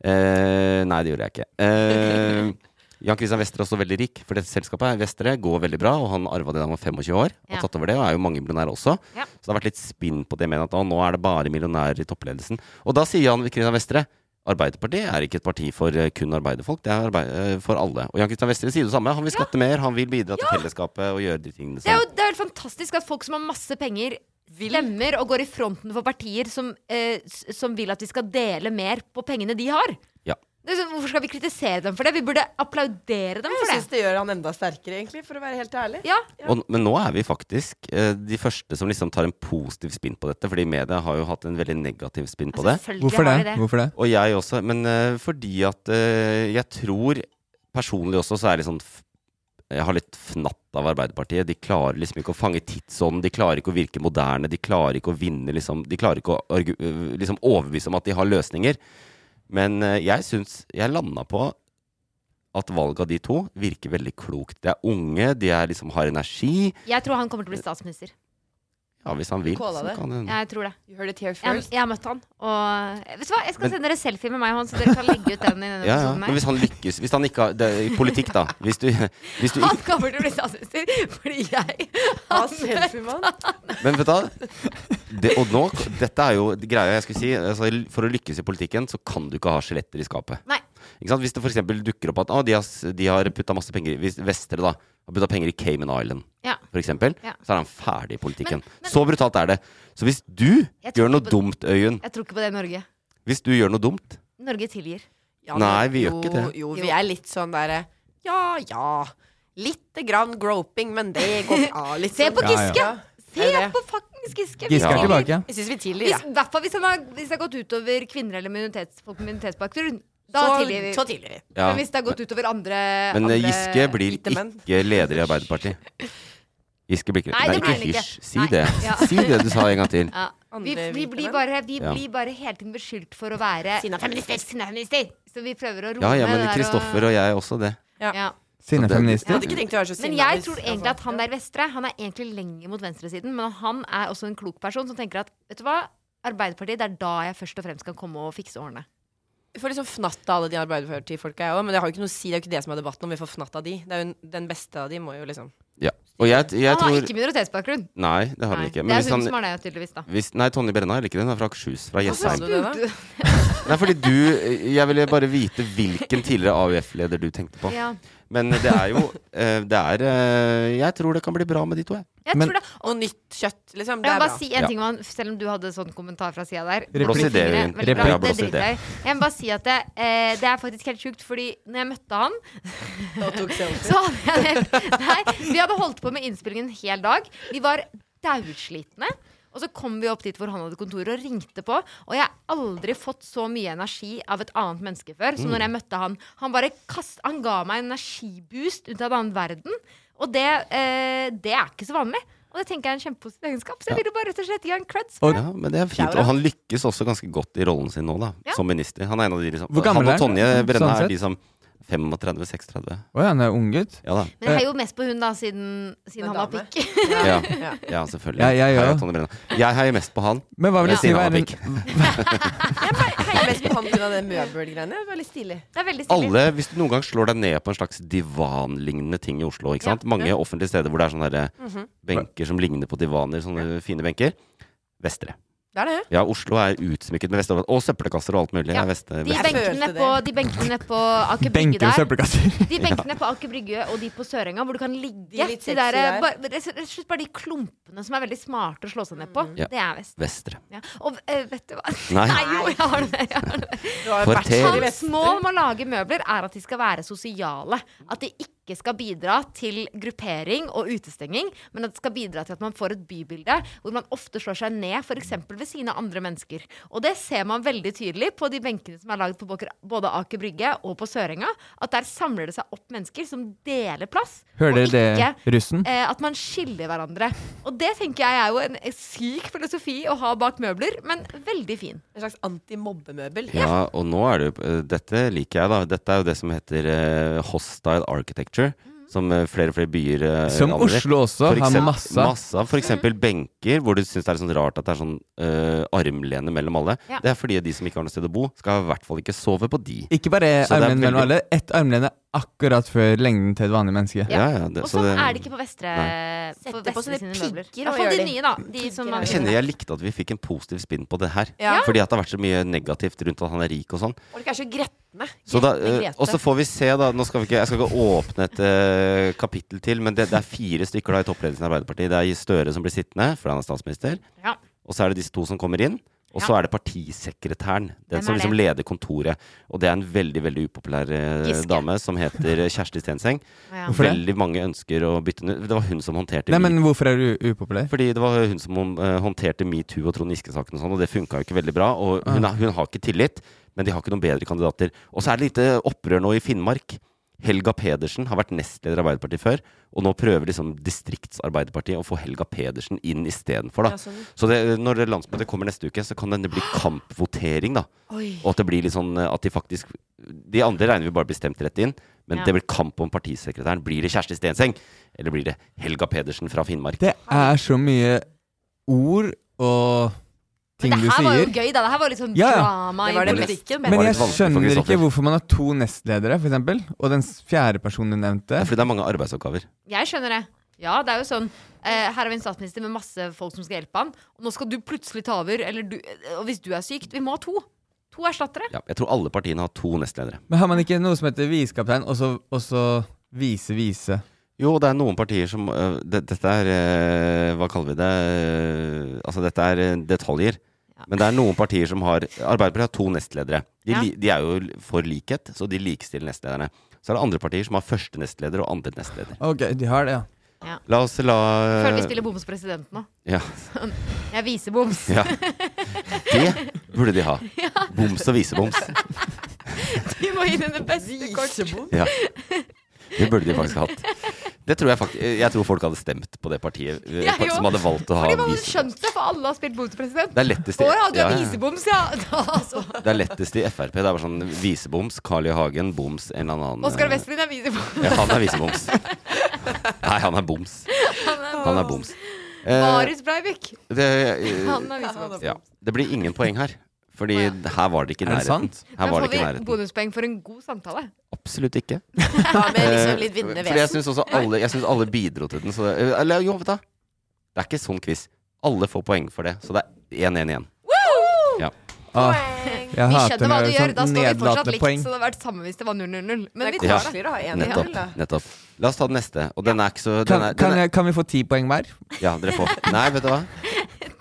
Eh, nei, det gjorde jeg ikke. Eh, Jan Christian Vestre er også veldig rik, for dette selskapet her, Vestre går veldig bra. Og han arva det da han var 25 år, og
Ja.
tatt over det, og er jo mangemillionær også.
Ja.
Så det har vært litt spinn på det, men at å, nå er det bare millionærer i toppledelsen. Og da sier Jan Christian Vestre Arbeiderpartiet er ikke et parti for eh, kun arbeiderfolk, det er arbeid, eh, for alle. Og Jan Christian Vestre sier det samme. Han vil skatte mer, han vil bidra til fellesskapet og gjøre de tingene
Det
som
er jo det er helt fantastisk at folk som har masse penger, stemmer og går i fronten for partier som, eh, s- som vil at vi skal dele mer på pengene de har.
Ja.
Det er sånn, hvorfor skal vi kritisere dem for det? Vi burde applaudere dem
Jeg
for
syns
det.
det gjør han enda sterkere, egentlig, for å være helt ærlig.
Ja,
Og, men nå er vi faktisk eh, de første som liksom tar en positiv spinn på dette, fordi media har jo hatt en veldig negativ spinn på det.
selvfølgelig
Hvorfor
har de
det? Hvorfor det?
Og jeg også, men eh, fordi at eh, jeg tror personlig også så er det sånn f- Jeg har litt fnatt av Arbeiderpartiet. De klarer liksom ikke å fange tidsånden, de klarer ikke å virke moderne, de klarer ikke å vinne, liksom. De klarer ikke å argu øh, liksom overbevise om at de har løsninger. Men eh, jeg syns Jeg landa på at valget av de to virker veldig klokt. De er unge, de er liksom har energi.
Jeg tror han kommer til å bli statsminister.
Ja, hvis han vil,
Kåla
så
det.
kan han
Jeg tror det.
You heard it here
Jeg,
first.
jeg har møtt han. Og vet du hva, jeg skal
Men-
sende dere selfie med meg og han, så dere kan legge ut den i denne
ja, ja.
episoden
Men
her.
hvis han lykkes Hvis han ikke har det, er I politikk, da. Hvis du, hvis du
Han kommer til å bli statsminister fordi jeg
Ha selfie med han.
Men vet du hva? det, Og nå, dette er jo greia jeg skulle si altså, For å lykkes i politikken Så kan du ikke ha skjeletter i skapet
Nei.
Ikke sant? Hvis det for eksempel dukker opp at ah, de, har, s- de har puttet masse penger i- Hvis Vestre da Har puttet penger i Cayman Island
Ja.
For eksempel
Ja.
Så er han ferdig i politikken
Men- men-
Så brutalt er det Så hvis du
Jeg tror
gjør noe
ikke på-
dumt, Øyunn
Jeg tror ikke på det i Norge.
Hvis du gjør noe dumt
Norge tilgir.
Ja,
[laughs] Nei,
men
vi gjør
jo,
ikke det.
Jo, vi er litt sånn derre Ja, ja. Lite grann groping, men det går bra.
[laughs]
Litt
Se på
sånn.
Ja, ja.
Giske! Se
Det er det.
på fuckings Giske!
Giske
Ja.
er tilbake.
Jeg syns vi tilgir,
Hvis,
ja.
i hvert fall hvis, han har, hvis det har gått utover kvinner eller minoritets, folk med minoritetsbakgrunn. Da
Så,
tilgir vi.
så tilgir vi.
ja.
Men hvis det har gått utover andre
Men eh,
andre...
Giske blir
hvite menn.
ikke leder i Arbeiderpartiet Giske blir ikke
Nei, det blir
ikke
han ikke.
hysj. Si
Nei.
det
Ja.
Si det du sa en gang til
[laughs] ja. vi,
Andre
vi,
hvite
blir
menn.
bare, vi
Ja.
blir bare hele tiden beskyldt for å være
Sinna feminister.
Sinna feminister. Så vi prøver å roe
Ja, ja,
ned
men
det der
Kristoffer
og
og jeg også det
ja.
Så
Sinne
det-
Jeg
feminister.
hadde ikke tenkt å være så
Men
sinna
jeg
hvis-
tror egentlig at han der Vestre Han er egentlig lenger mot venstresiden, men han er også en klok person som tenker at vet du hva, Arbeiderpartiet, det er da jeg først og fremst kan komme og fikse årene.
Jeg får litt sånn fnatt av alle de Arbeiderparti-folka, jeg òg. Men det har jo ikke noe å si. Det er jo ikke det som er debatten, om vi får fnatt av de. Det er jo Den beste av de må jo liksom
Ja. Og jeg, jeg
Han har
tror
ikke minoritetsbakgrunn.
Nei, det har han
Nei.
ikke.
Det
Men
er
hvis
hun
han,
som har det, tydeligvis. da
hvis, nei, Tonje Brenna er ikke det. Hun er fra Akershus. Fra
Hvorfor
Jessheim.
sa du det da?
Spurte-
Nei, fordi du eh, Jeg ville bare vite hvilken tidligere AUF-leder du tenkte på.
Ja.
Men det er jo eh, Det er eh, Jeg tror det kan bli bra med de to, jeg.
Jeg
Men-
tror det
Noe nytt kjøtt, liksom. Det
Jeg
er
må bare
bra.
si en
Ja.
ting, man, selv om du hadde sånn kommentar fra sida der.
Blås
Veldig
i
det,
fine,
Øyvind.
veldig bra,
Ja,
det
blås i det.
driter jeg i. Jeg må bare si at det, eh, det er faktisk helt sjukt, fordi når jeg møtte han
Da tok selfie.
så hadde jeg Nei, vi hadde holdt på med innspillingen en hel dag. Vi var daudslitne. Og så kom vi opp dit hvor han hadde kontor og ringte på. Og jeg har aldri fått så mye energi av et annet menneske før som når jeg møtte han. Han bare kast, han ga meg en energiboost ut av en annen verden. Og det, eh, det er ikke så vanlig. Og det tenker jeg er en kjempepositiv egenskap. Så jeg ville bare rett og slett gi han creds.
Og-
Ja, men det er fint. Og han lykkes også ganske godt i rollen sin nå, da.
Ja.
Som minister. Han er en av de liksom
Hvor gammel
Han
er
og Tonje
han?
Brenna
Sånn
er de som 35-36.
Å ja, han er ung gutt.
Ja da.
Men jeg heier jo mest på hun, da, siden, siden han
Men
var
dame.
pikk. [laughs]
Ja,
Ja.
ja selvfølgelig.
Ja,
Heia
jeg gjør.
Tonje Brenna. Jeg heier mest på han.
Men hva vil
Ja.
du si
Siden han er
være en
Jeg heier mest på han pga. det møbelgreiene. Det var litt stilig.
Det er veldig stilig.
Alle, hvis du noen gang slår deg ned på en slags divanlignende ting i Oslo ikke sant? Mange offentlige steder hvor det er sånne der, eh,
Mhm.
benker som ligner på divaner, sånne fine benker. Vestre.
Det er det.
Ja, Oslo er utsmykket med vestre og søppelkasser og alt mulig.
Ja,
er vestre,
De
vestre.
vet-
benkene
følte det.
nedpå- de benkene nede på Aker Brygge
benker og
der.
[laughs]
søppelkasser?
De benkene på Aker Brygge og de på Sørenga, hvor du kan ligge.
De
De,
litt
der, eh,
sexy der.
Bare, rett og slett bare de klumpene som er veldig smarte å slå seg ned på.
Ja.
Det er vest.
vestre.
Ja. Og eh, vet du hva? [laughs]
Nei.
jo, jeg har det med. Jeg har det med.
Du har jo
For
vært sånn.
TV.
i
Hans
Vest-
mål med å lage møbler er at de skal være sosiale. At de ikke skal bidra til gruppering og utestenging, men at det skal bidra til at man får et bybilde hvor man ofte slår seg ned f.eks. ved sine andre mennesker. Og det ser man veldig tydelig på de benkene som er lagd på boker- både Aker Brygge og på Sørenga, at der samler det seg opp mennesker som deler plass.
[laughs] Hører
og
dere
ikke
det, russen?
eh, at man skiller hverandre. Og det tenker jeg er jo en syk filosofi å ha bak møbler, men veldig fin.
En slags antimobbemøbel.
Ja, og nå er det jo eh, Dette liker jeg, da. Dette er jo det som heter eh, hostile architecture.
Mm.
Som eh, flere og flere byer eh,
Som
anvender.
Oslo også
For
har
eksempel-
masse. av.
masse av. For eksempel benker, hvor du syns det er sånn rart at det er sånn eh, armlene mellom alle.
Ja.
Det er fordi de som ikke har noe sted å bo, skal i hvert fall ikke sove på de.
Ikke bare
Så det er
armlen mellom
veldig-
alle. Ett armlene akkurat før lengden til et vanlig menneske.
Ja.
ja, det,
Og
så
sånn
det-
er det ikke på Vestre. På
Sette på
Vestre
sånne
sine møbler.
pigger
Ja,
og
for
gjør
de
de.
nye, da. De som man
Jeg kjenner jeg likte at vi fikk en positiv spinn på det her.
Ja.
Fordi at det har vært så mye negativt rundt at han er rik og sånn.
Folk er så gretne.
Så da,
Grete,
eh, og så får vi se, da. Nå skal vi ikke, jeg skal ikke åpne et eh, kapittel til, men det, det er fire stykker da i toppledelsen i Arbeiderpartiet. Det er Støre som blir sittende, fordi han er statsminister.
Ja.
Og så er det disse to som kommer inn. Og så
Ja.
er det partisekretæren, den
Hvem
som
er
liksom leder kontoret. Og det er en veldig veldig upopulær eh,
Giske.
dame som heter eh, Kjersti Stenseng.
Ja.
Hvorfor det?
Veldig mange ønsker å bytte den ut. Det var hun som håndterte
Nei, men hvorfor er du upopulær?
fordi det var hun som eh, håndterte metoo og Trond Giske-saken, og sånn, og det funka jo ikke veldig bra. Og hun, er- hun har ikke tillit, men de har ikke noen bedre kandidater. Og så er det lite opprør nå i Finnmark. Helga Pedersen har vært nestleder i Arbeiderpartiet før, og nå prøver liksom Distriktsarbeiderpartiet å få Helga Pedersen inn istedenfor. da.
sånn.
Så det, når landsmøtet kommer neste uke, så kan denne bli kampvotering, da. Og at det blir litt sånn eh, at de faktisk De andre regner vi bare blir stemt rett inn, men
Ja.
det blir kamp om partisekretæren. Blir det Kjersti Stenseng, eller blir det Helga Pedersen fra Finnmark?
Det er så mye ord og ting
Men
du
det her var jo
sier.
gøy, da. Det her var litt sånn
Ja, ja.
drama
Det var
i
det
politikken.
Det
Men
var
jeg
litt vanskelig for
skjønner ikke
Kristoffer.
hvorfor man har to nestledere, for eksempel. Og den s- fjerde personen du nevnte.
Det er fordi det er mange arbeidsoppgaver.
Jeg skjønner det. Ja, det er jo sånn eh, Her har vi en statsminister med masse folk som skal hjelpe han. Og nå skal du plutselig ta over. Eller du, og hvis du er syk Vi må ha to. To erstattere.
Ja, jeg tror alle partiene har to nestledere.
Men har man ikke noe som heter visekaptein, og så- og så vise, vise?
Jo, det er noen partier som øh, det, Dette er øh, Hva kaller vi det? Øh, altså, dette er øh, detaljer. Men det er noen partier som har Arbeiderpartiet har to nestledere. De,
Ja.
li, de er jo for likhet, så de likestiller nestlederne. Så er det andre partier som har første nestleder og andre nestleder.
Ok, de har det, ja.
La oss la
Føler
Eh.
vi spiller boms president nå.
ja,
Jeg
[laughs]
viser boms.
ja. Det burde de
[laughs]
ha. Boms og viseboms.
Vi må inn i det beste kort.
Ja. Det burde de faktisk hatt. Det tror jeg, faktisk, jeg tror folk hadde stemt på det partiet øh,
Ja, jo.
som hadde valgt å ha
Fordi man hadde
viseboms.
skjønt det, for alle har spilt boms president.
Det er lettest i,
Å ja, du
ja,
er
ja.
viseboms, ja! [laughs] Da, altså.
det er lettest i Frp. Det er bare sånn viseboms, Carl I. Hagen, boms, en eller annen eh,
Oskar Westlin er viseboms.
Ja, han er viseboms. Nei, han er boms. Han er boms. Eh,
Marius Breivik.
det, eh,
Han er viseboms.
ja. det blir ingen poeng her. Fordi her var det ikke i
Er det
nærheten.
sant?
Her
Men
var
får
det ikke i
vi
nærheten.
bonuspoeng for en god samtale?
Absolutt ikke.
Da med
Eh,
liksom litt vinnende
Fordi jeg
vesen.
[laughs]
syns også alle, jeg synes alle bidro til den. Så det, eller jo, vet du. hva? Det er ikke sånn quiz. Alle får poeng for det, så det er 1-1 igjen. Ja.
Ah, jeg
Vi
hater
skjønner hva
når
du
det er
gjør. Da
sånn
står vi fortsatt
nedlatende
likt.
poeng.
Så det hadde vært samme hvis det var 0-0-0. Men vi
Ja.
tar
Det er
det.
koseligere å ha én til,
Nettopp.
da.
nettopp La oss ta den neste. Og den er ikke så den
Kan,
er,
kan,
den er,
jeg, kan vi få ti poeng hver?
Ja, dere får
[laughs]
Nei, vet du hva?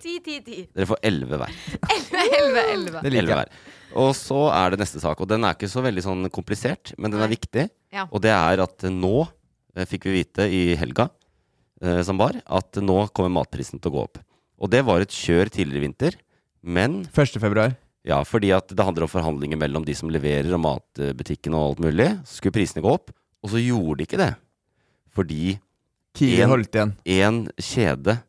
10-10-10.
Dere får 11 hver.
11-11.
11
Det liker jeg.
hver. Og så er det neste sak, og den er ikke så veldig sånn komplisert, men den er
Nei.
viktig.
Ja.
Og det er at nå eh, fikk vi vite i helga eh, som var, at nå kommer matprisen til å gå opp. Og det var et kjør tidligere i vinter, men
1. februar.
ja, fordi at det handler om forhandlinger mellom de som leverer og matbutikken og alt mulig. Så skulle prisene gå opp, og så gjorde de ikke det. Fordi
Kiwi
En-
holdt igjen.
én kjede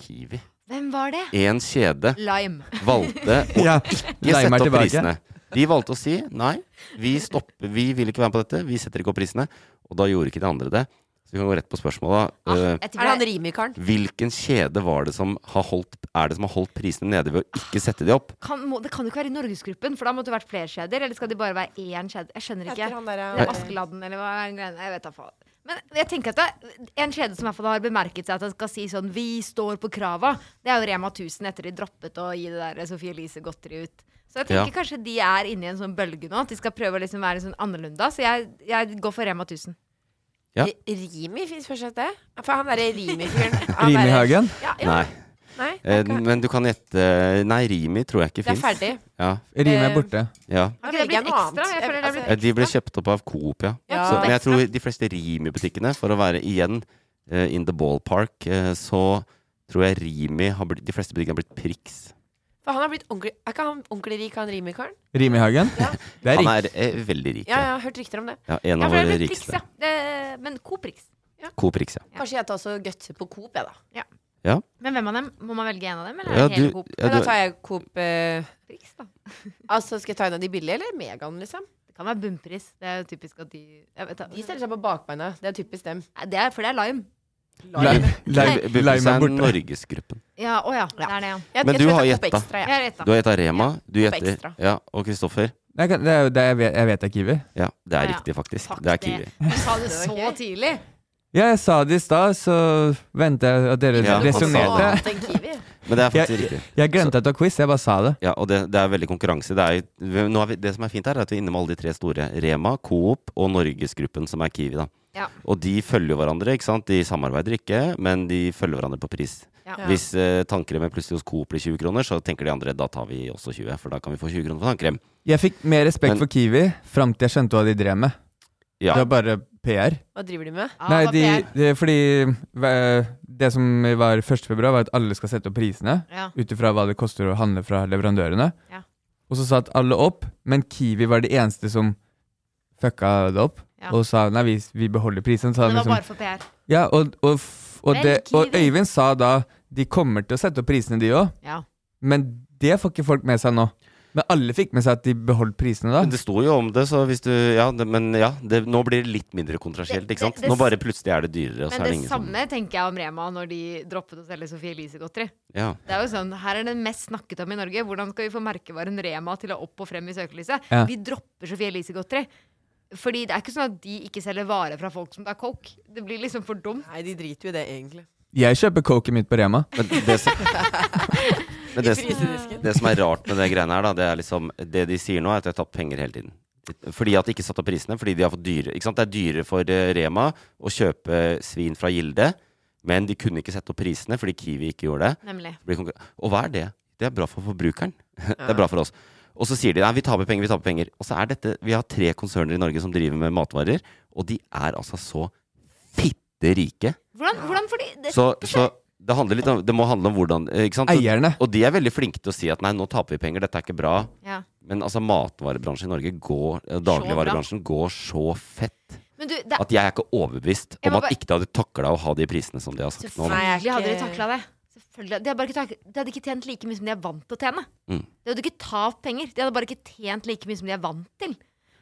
Kiwi.
Hvem var det?
Én kjede Eh,
Lime.
valgte å [laughs]
Ja.
ikke
Lei
sette
meg
opp
tilbake.
prisene. De valgte å si nei, vi, stopper, vi vil ikke være med på dette, vi setter ikke opp prisene. Og da gjorde ikke de andre det. Så vi kan gå rett på spørsmålet. da.
Ah,
Eh,
jeg
Er det
tror
han
jeg,
rimikaren?
hvilken kjede var det som har holdt, er det som har holdt prisene nede ved å
Ah.
ikke sette de opp?
kan, må, det kan jo ikke være i Norgesgruppen, for da måtte det vært flere kjeder. Eller skal de bare være én kjede? Jeg skjønner ikke.
Etter han der, eh,
Eller Askeladden, eller hva er den greia? Jeg vet da faen. Men jeg tenker at det, er en kjede som i hvert fall har bemerket seg at den skal si sånn Vi står på krava. Det er jo Rema 1000 etter de droppet å gi det der Sofie Elise Godteri ut. Så jeg
Ja.
tenker kanskje de er inne i en sånn bølge nå. At de skal prøve å liksom være sånn annerledes. Så jeg, jeg går for Rema 1000.
Ja.
R- Rimi fins fortsatt det?
For han derre Rimi-fyren. han
Rimi
derre-
Hagen.
Ah, Ja, ja.
Nei.
Nei,
Eh,
ok.
men du kan gjette Nei, Rimi tror jeg ikke
Det er
fins.
ferdig.
Ja,
Rimi
Eh,
er borte.
ja.
Ok,
Da
det
velger
blir
jeg noe
ekstra. Jeg
annet.
føler det blir
Altså,
Eh, De ble kjøpt opp av Coop, ja.
Ja.
Så, men jeg tror de fleste Rimi-butikkene, for å være igjen eh, in the ballpark, eh, så tror jeg Rimi har blitt, De fleste butikkene har blitt Prix.
For han har blitt ordentlig Er ikke han ordentlig rik, han Rimi-karen?
Rimi Hagen? Det er
Han
riktig.
er eh, veldig rik.
Ja, jeg har hørt rykter om det.
Ja, en
Ja,
av
for det
våre
blir Prix,
rikeste.
ja. Det- Men Coop Prix.
Coop Rix, ja.
Kanskje jeg tar også gutser på Coop, jeg, da.
Men hvem av dem? Må man velge en av dem, eller
Ja,
er det hele
du-
Coop altså,
ja,
Men da
du-
tar jeg Coop eh,
Prix, da?
Altså, Skal jeg ta en av de billige, eller Megaen, liksom?
Det Kan være bunnpris. Det er jo typisk at de jeg vet, da-
De stiller seg på bakbeina. Det er typisk dem.
Nei, det er, For det er lime.
Live,
Nei.
live, live
Bumpers
meg
er
borte.
Norgesgruppen.
Ja, å ja. Det er det, ja.
Jeg,
Men
jeg
du
tror
har
jeg tar Coop
gjetta.
Extra, jeg.
Jeg har
Du
rett, da.
har gjetta Rema, du
Coop
gjetter
Extra.
Ja, og Kristoffer.
Det er, det er, jo det jeg, vet, jeg vet det er Kiwi.
Ja, det er
Ja, ja.
riktig, faktisk.
Fuck
Det er
det.
Kiwi.
[laughs] Du sa det så
Ok.
tidlig.
Ja, jeg sa det i stad, så venter jeg at dere
Ja, han sa
sånn
det.
resonnerte.
Annet enn Kiwi.
Men det er faktisk
Jeg-
riktig.
Jeg glemte at det var quiz, jeg bare sa det.
Ja, og det, det er veldig konkurranse. Det, er, jo- nå er vi, det som er fint her, er at vi er inne med alle de tre store. Rema, Coop og Norgesgruppen, som er Kiwi, da.
Ja.
Og de følger jo hverandre, ikke sant? De samarbeider ikke, men de følger hverandre på pris.
Ja.
Hvis eh, tannkrem er plutselig hos Coop blir 20 kroner, så tenker de andre da tar vi også 20, for da kan vi få 20 kroner for tannkrem.
Jeg fikk mer respekt
Men-
for Kiwi fram til jeg skjønte hva de drev med.
Ja.
Det var bare PR.
Hva driver de med?
Ja,
Nei,
da
de,
ber jeg-
de, fordi eh, det som var 1. februar, var at alle skal sette opp prisene
ja.
ut ifra hva det koster å handle fra leverandørene.
Ja.
Og så satt alle opp, men Kiwi var de eneste som fucka det opp.
Ja.
Og sa nei, vi, vi beholder prisen. Så
Det
han
var
liksom,
bare for PR.
ja, og, og, f- og,
Vel,
det, og
Kiwi.
Øyvind sa da de kommer til å sette opp prisene, de òg.
Ja.
Men det får ikke folk med seg nå. Men alle fikk med seg at de beholdt prisene da.
Men det sto jo om det, så hvis du Ja, det, men ja, det, nå blir det litt mindre kontrasielt,
Det-
ikke sant?
det- det-
Nå bare plutselig er det dyrere, og så
Men
er det
det
ingen som
samme tenker jeg om Rema når de droppet å selge Sofie Elise-godteri.
Ja.
Det er jo sånn, Her er den mest snakket om i Norge. Hvordan skal vi få merkevaren Rema til å opp og frem i søkelyset?
Ja.
Vi dropper Sofie Elise-godteri. Fordi det er ikke sånn at de ikke selger varer fra folk som tar coke. Det blir liksom for dumt.
Nei, de driter jo i det, egentlig.
Jeg kjøper coken mitt på Rema.
Men det som men det, som- det som er rart med det greiene her, da, det er liksom Det de sier nå, er at de har tapt penger hele tiden. Fordi at de ikke satte opp prisene. Fordi de har fått dyre Ikke sant, det er dyrere for eh, Rema å kjøpe svin fra Gilde, men de kunne ikke sette opp prisene fordi Kiwi ikke gjorde det.
Nemlig.
blir konkurran- Og hva er det? Det er bra for forbrukeren. [laughs] det er bra for oss. Og så sier de nei, vi taper penger, vi taper penger. Og så er dette Vi har tre konserner i Norge som driver med matvarer, og de er altså så fitte rike.
Hvordan, hvordan fordi det,
Så, så det handler litt om Det må handle om hvordan eh, Ikke sant? Så,
Eierne.
og de er veldig flinke til å si at nei, nå taper vi penger, dette er ikke bra.
ja.
Men altså, matvarebransjen i Norge går eh, Dagligvarebransjen går så fett
Men du, det,
at jeg er ikke overbevist
Jeg
om
må
at
bare-
ikke de hadde takla å ha de prisene som de har sagt nå. da.
selvfølgelig hadde de takla det. Selvfølgelig. De hadde, bare ikke tak de hadde ikke tjent like mye som de er vant til å tjene.
Mm.
De hadde ikke tapt penger. De hadde bare ikke tjent like mye som de er vant til.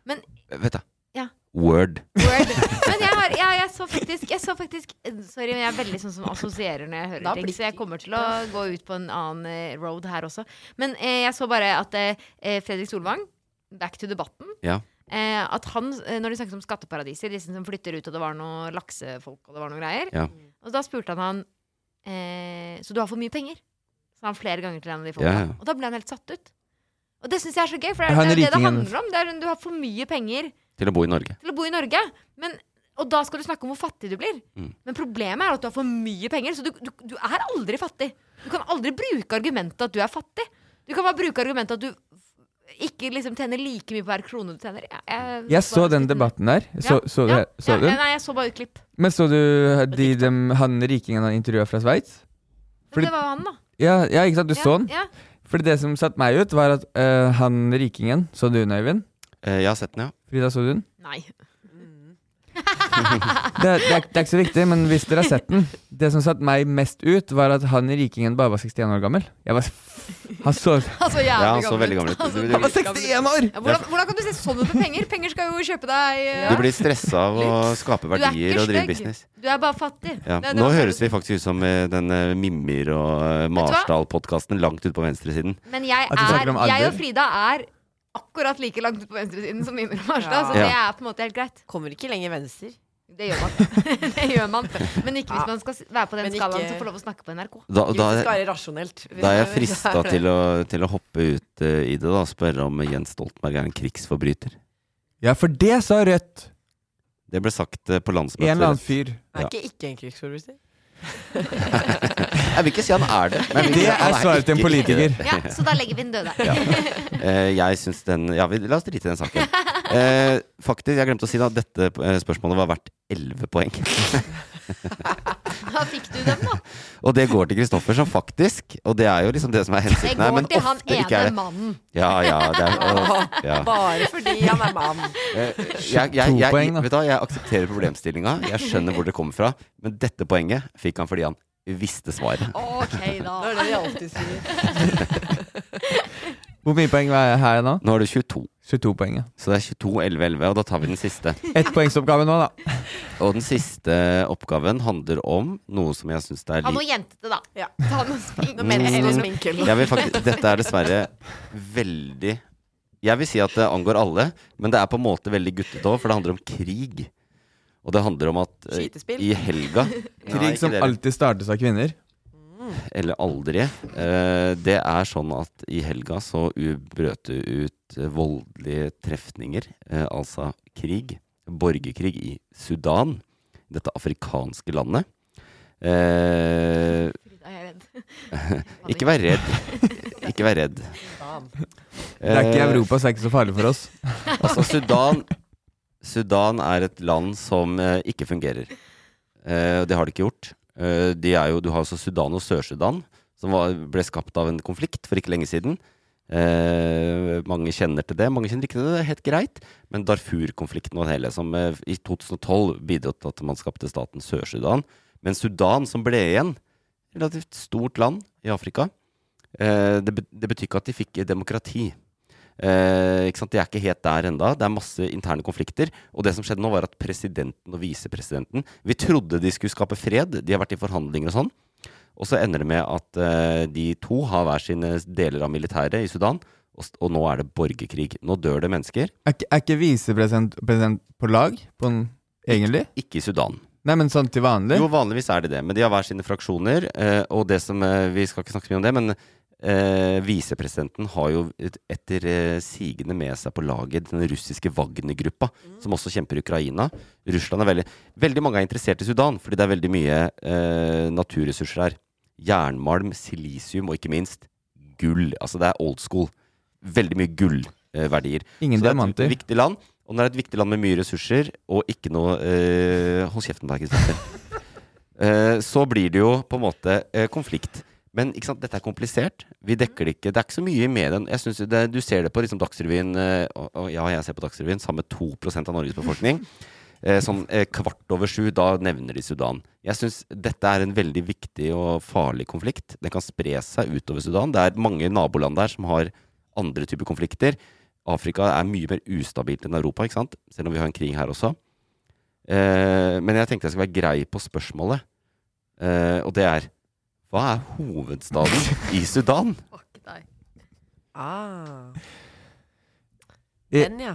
Men
Vet du.
Ja.
Word.
Word. Men jeg, har, jeg, jeg, så faktisk, jeg så faktisk Sorry, men jeg er veldig sånn som assosierer når jeg hører
Da
ting.
blir
Så jeg kommer til å gå ut på en annen eh, road her også. Men eh, jeg så bare at eh, eh, Fredrik Solvang, back to debatten
Ja.
eh, At han, eh, når de snakket om skatteparadiser, disse som flytter ut, og det var noe laksefolk og det var noe greier
Ja.
Og da spurte han han eh, Så du har for mye penger? Sa han flere ganger til en av de folka.
Ja, ja.
Og da ble han helt satt ut. Og det syns jeg er så gøy, for det
Han
er det, er jo det det
rikingen.
handler om. Det er, du har for mye penger
Til å bo i Norge.
til å bo i Norge. Men, og da skal du snakke om hvor fattig du blir.
Mm.
Men problemet er at du har for mye penger, så du, du, du er aldri fattig. Du kan aldri bruke argumentet at du er fattig. Du kan bare bruke argumentet at du ikke liksom tjener like mye på hver krone du tjener. Jeg, jeg-
Jeg så den debatten der. Så, så,
ja,
det, så
ja,
du den?
Nei, jeg så bare utklipp.
Men så du eh, de, dem, han rikingen han intervjua fra Sveits? Fordi-
Men det var jo han, da.
Ja, ja, ikke sant? Du så den?
Ja, ja.
Fordi det som satte meg ut, var at eh, han rikingen Så du den, Øyvind?
Eh, jeg har sett den, ja.
Frida, så du [laughs] den?
Nei. [laughs]
Det, er- det, er, det er ikke så viktig, men hvis dere har sett den Det som satte meg mest ut, var at han rikingen bare var 61 år gammel. Jeg var f- Han [laughs] så
Altså, jævlig
Ja, han så
gammel.
veldig gammel ut.
Altså,
Du-
Han var 61 år!
ja, hvordan, hvordan kan du se sånn ut med penger? Penger skal jo kjøpe deg eh,
Du blir stressa av å skape
Du er ikke
verdier og drive
stygg.
business.
Du er bare fattig.
Ja.
Det er- det
Nå
var-
høres vi faktisk ut som eh, den eh, Mimmer og eh,
hva?
Marsdal-podkasten langt ute på venstresiden.
Men jeg,
At du snakker
er,
om alder?
jeg og Frida er akkurat like langt ut på venstresiden som Mimir og Marstad, så
Ja.
det er på en måte helt greit.
Kommer ikke lenger venstre.
Det gjør man. [laughs] det gjør man. Men ikke hvis man skal s- være på den
Men
skalaen
ikke-
som får lov å snakke på NRK.
Da,
Jo,
da,
det skal være rasjonelt.
da er jeg frista til å, til å hoppe ut eh, i det da, og spørre om Jens Stoltenberg er en krigsforbryter.
Ja, for det sa Rødt.
Det ble sagt eh, på
En eller annen
landsmøtet.
fyr.
Er ikke ikke en krigsforbryter.
[laughs] Jeg vil ikke si han er det. men jeg vil
Det
si han
er svaret til en
ikke- ikke det.
politiker.
[laughs]
Ja, så da legger vi den døde.
Eh, jeg syns den Ja, vi, la oss drite i den saken. Eh, faktisk, jeg glemte å si da dette eh, spørsmålet var verdt 11 poeng.
[laughs] Da fikk du den, da.
Og det går til Kristoffer som faktisk, og det er jo liksom det som er
Det
hensikten her.
går
Men
til han
ofte ikke
ene
er det.
mannen.
Ja, ja, det
[laughs]
er, å, [laughs]
[laughs]
ja.
Bare fordi han er mann.
Eh, Jeg, jeg,
To
jeg,
poeng, da.
vet du, hva, jeg aksepterer problemstillinga, jeg skjønner hvor det kommer fra, men dette poenget fikk han fordi han visste svaret.
OK, da.
Det er det de alltid sier.
Hvor mye poeng var jeg her nå?
Nå er du 22.
22 poeng. ja.
Så det er 22, 11, 11, og da tar vi den siste.
Ettpoengsoppgave nå, da.
Og den siste oppgaven handler om noe som jeg syns er
Ha noe
litt
jentete, da.
Ja.
Ta noe smink.
Mm.
Eller sminke eller noe.
jeg vil faktisk, Dette er dessverre veldig Jeg vil si at det angår alle, men det er på en måte veldig guttete òg, for det handler om krig. Og det handler om at eh,
Skytespill.
i helga Nei,
Krig som
ikke dere.
alltid startes av kvinner.
eller aldri. Eh, det er sånn at i helga så u- brøt det ut eh, voldelige trefninger, eh, altså krig, borgerkrig i Sudan, dette afrikanske landet. Eh,
Da er jeg redd.
[laughs] ikke vær redd. Ikke vær redd.
Det er ikke i
Eh,
Europa, så det er ikke så farlig for oss.
[laughs] Altså, Sudan Sudan er et land som eh, ikke fungerer. Eh, det har det ikke gjort. Eh, de er jo, du har også Sudan og Sør-Sudan, som var, ble skapt av en konflikt for ikke lenge siden. Eh, mange kjenner til det, mange kjenner ikke til det. Det er helt greit. Men Darfur-konflikten og det hele, som eh, i 2012 bidro til at man skapte staten Sør-Sudan. Men Sudan, som ble igjen, relativt stort land i Afrika, eh, det, bet- det betyr ikke at de fikk demokrati. Eh, ikke sant? De er ikke helt der enda Det er masse interne konflikter. Og det som skjedde nå, var at presidenten og visepresidenten Vi trodde de skulle skape fred. De har vært i forhandlinger og sånn. Og så ender det med at eh, de to har hver sine deler av militæret i Sudan. Og, s- og nå er det borgerkrig. Nå dør det mennesker.
Er, ikke- er ikke visepresident president på lag? På en, egentlig?
Ikke i Sudan.
Nei, men sånn til vanlig?
Jo, vanligvis er det det. Men de har hver sine fraksjoner. eh, og det som eh, Vi skal ikke snakke så mye om det, men eh, visepresidenten har jo et- etter eh, sigende med seg på laget den russiske Wagner-gruppa, som også kjemper i Ukraina. Russland er veldig Veldig mange er interessert i Sudan, fordi det er veldig mye eh, naturressurser her. Jernmalm, silisium og ikke minst gull. Altså det er old school. Veldig mye gullverdier.
Ingen
Så Det er
diamanter.
et viktig land, og det er et viktig land med mye ressurser og ikke noe eh, Hold kjeften der,
[laughs]
Kristoffer. Eh, så blir det jo på en måte eh, konflikt. Men ikke sant, dette er komplisert. Vi dekker det ikke. Det er ikke så mye i medien. Jeg synes det, du ser det på liksom Dagsrevyen, eh, og, og ja, jeg ser på Dagsrevyen, sammen med 2 av Norges befolkning. Eh, sånn eh, kvart over sju, da nevner de Sudan. Jeg syns dette er en veldig viktig og farlig konflikt. Den kan spre seg utover Sudan. Det er mange naboland der som har andre typer konflikter. Afrika er mye mer ustabilt enn Europa, ikke sant? selv om vi har en krig her også. Eh, men jeg tenkte jeg skulle være grei på spørsmålet, eh, og det er Hva er hovedstaden i Sudan?
Fuck deg.
Ah.
I-
Den, ja.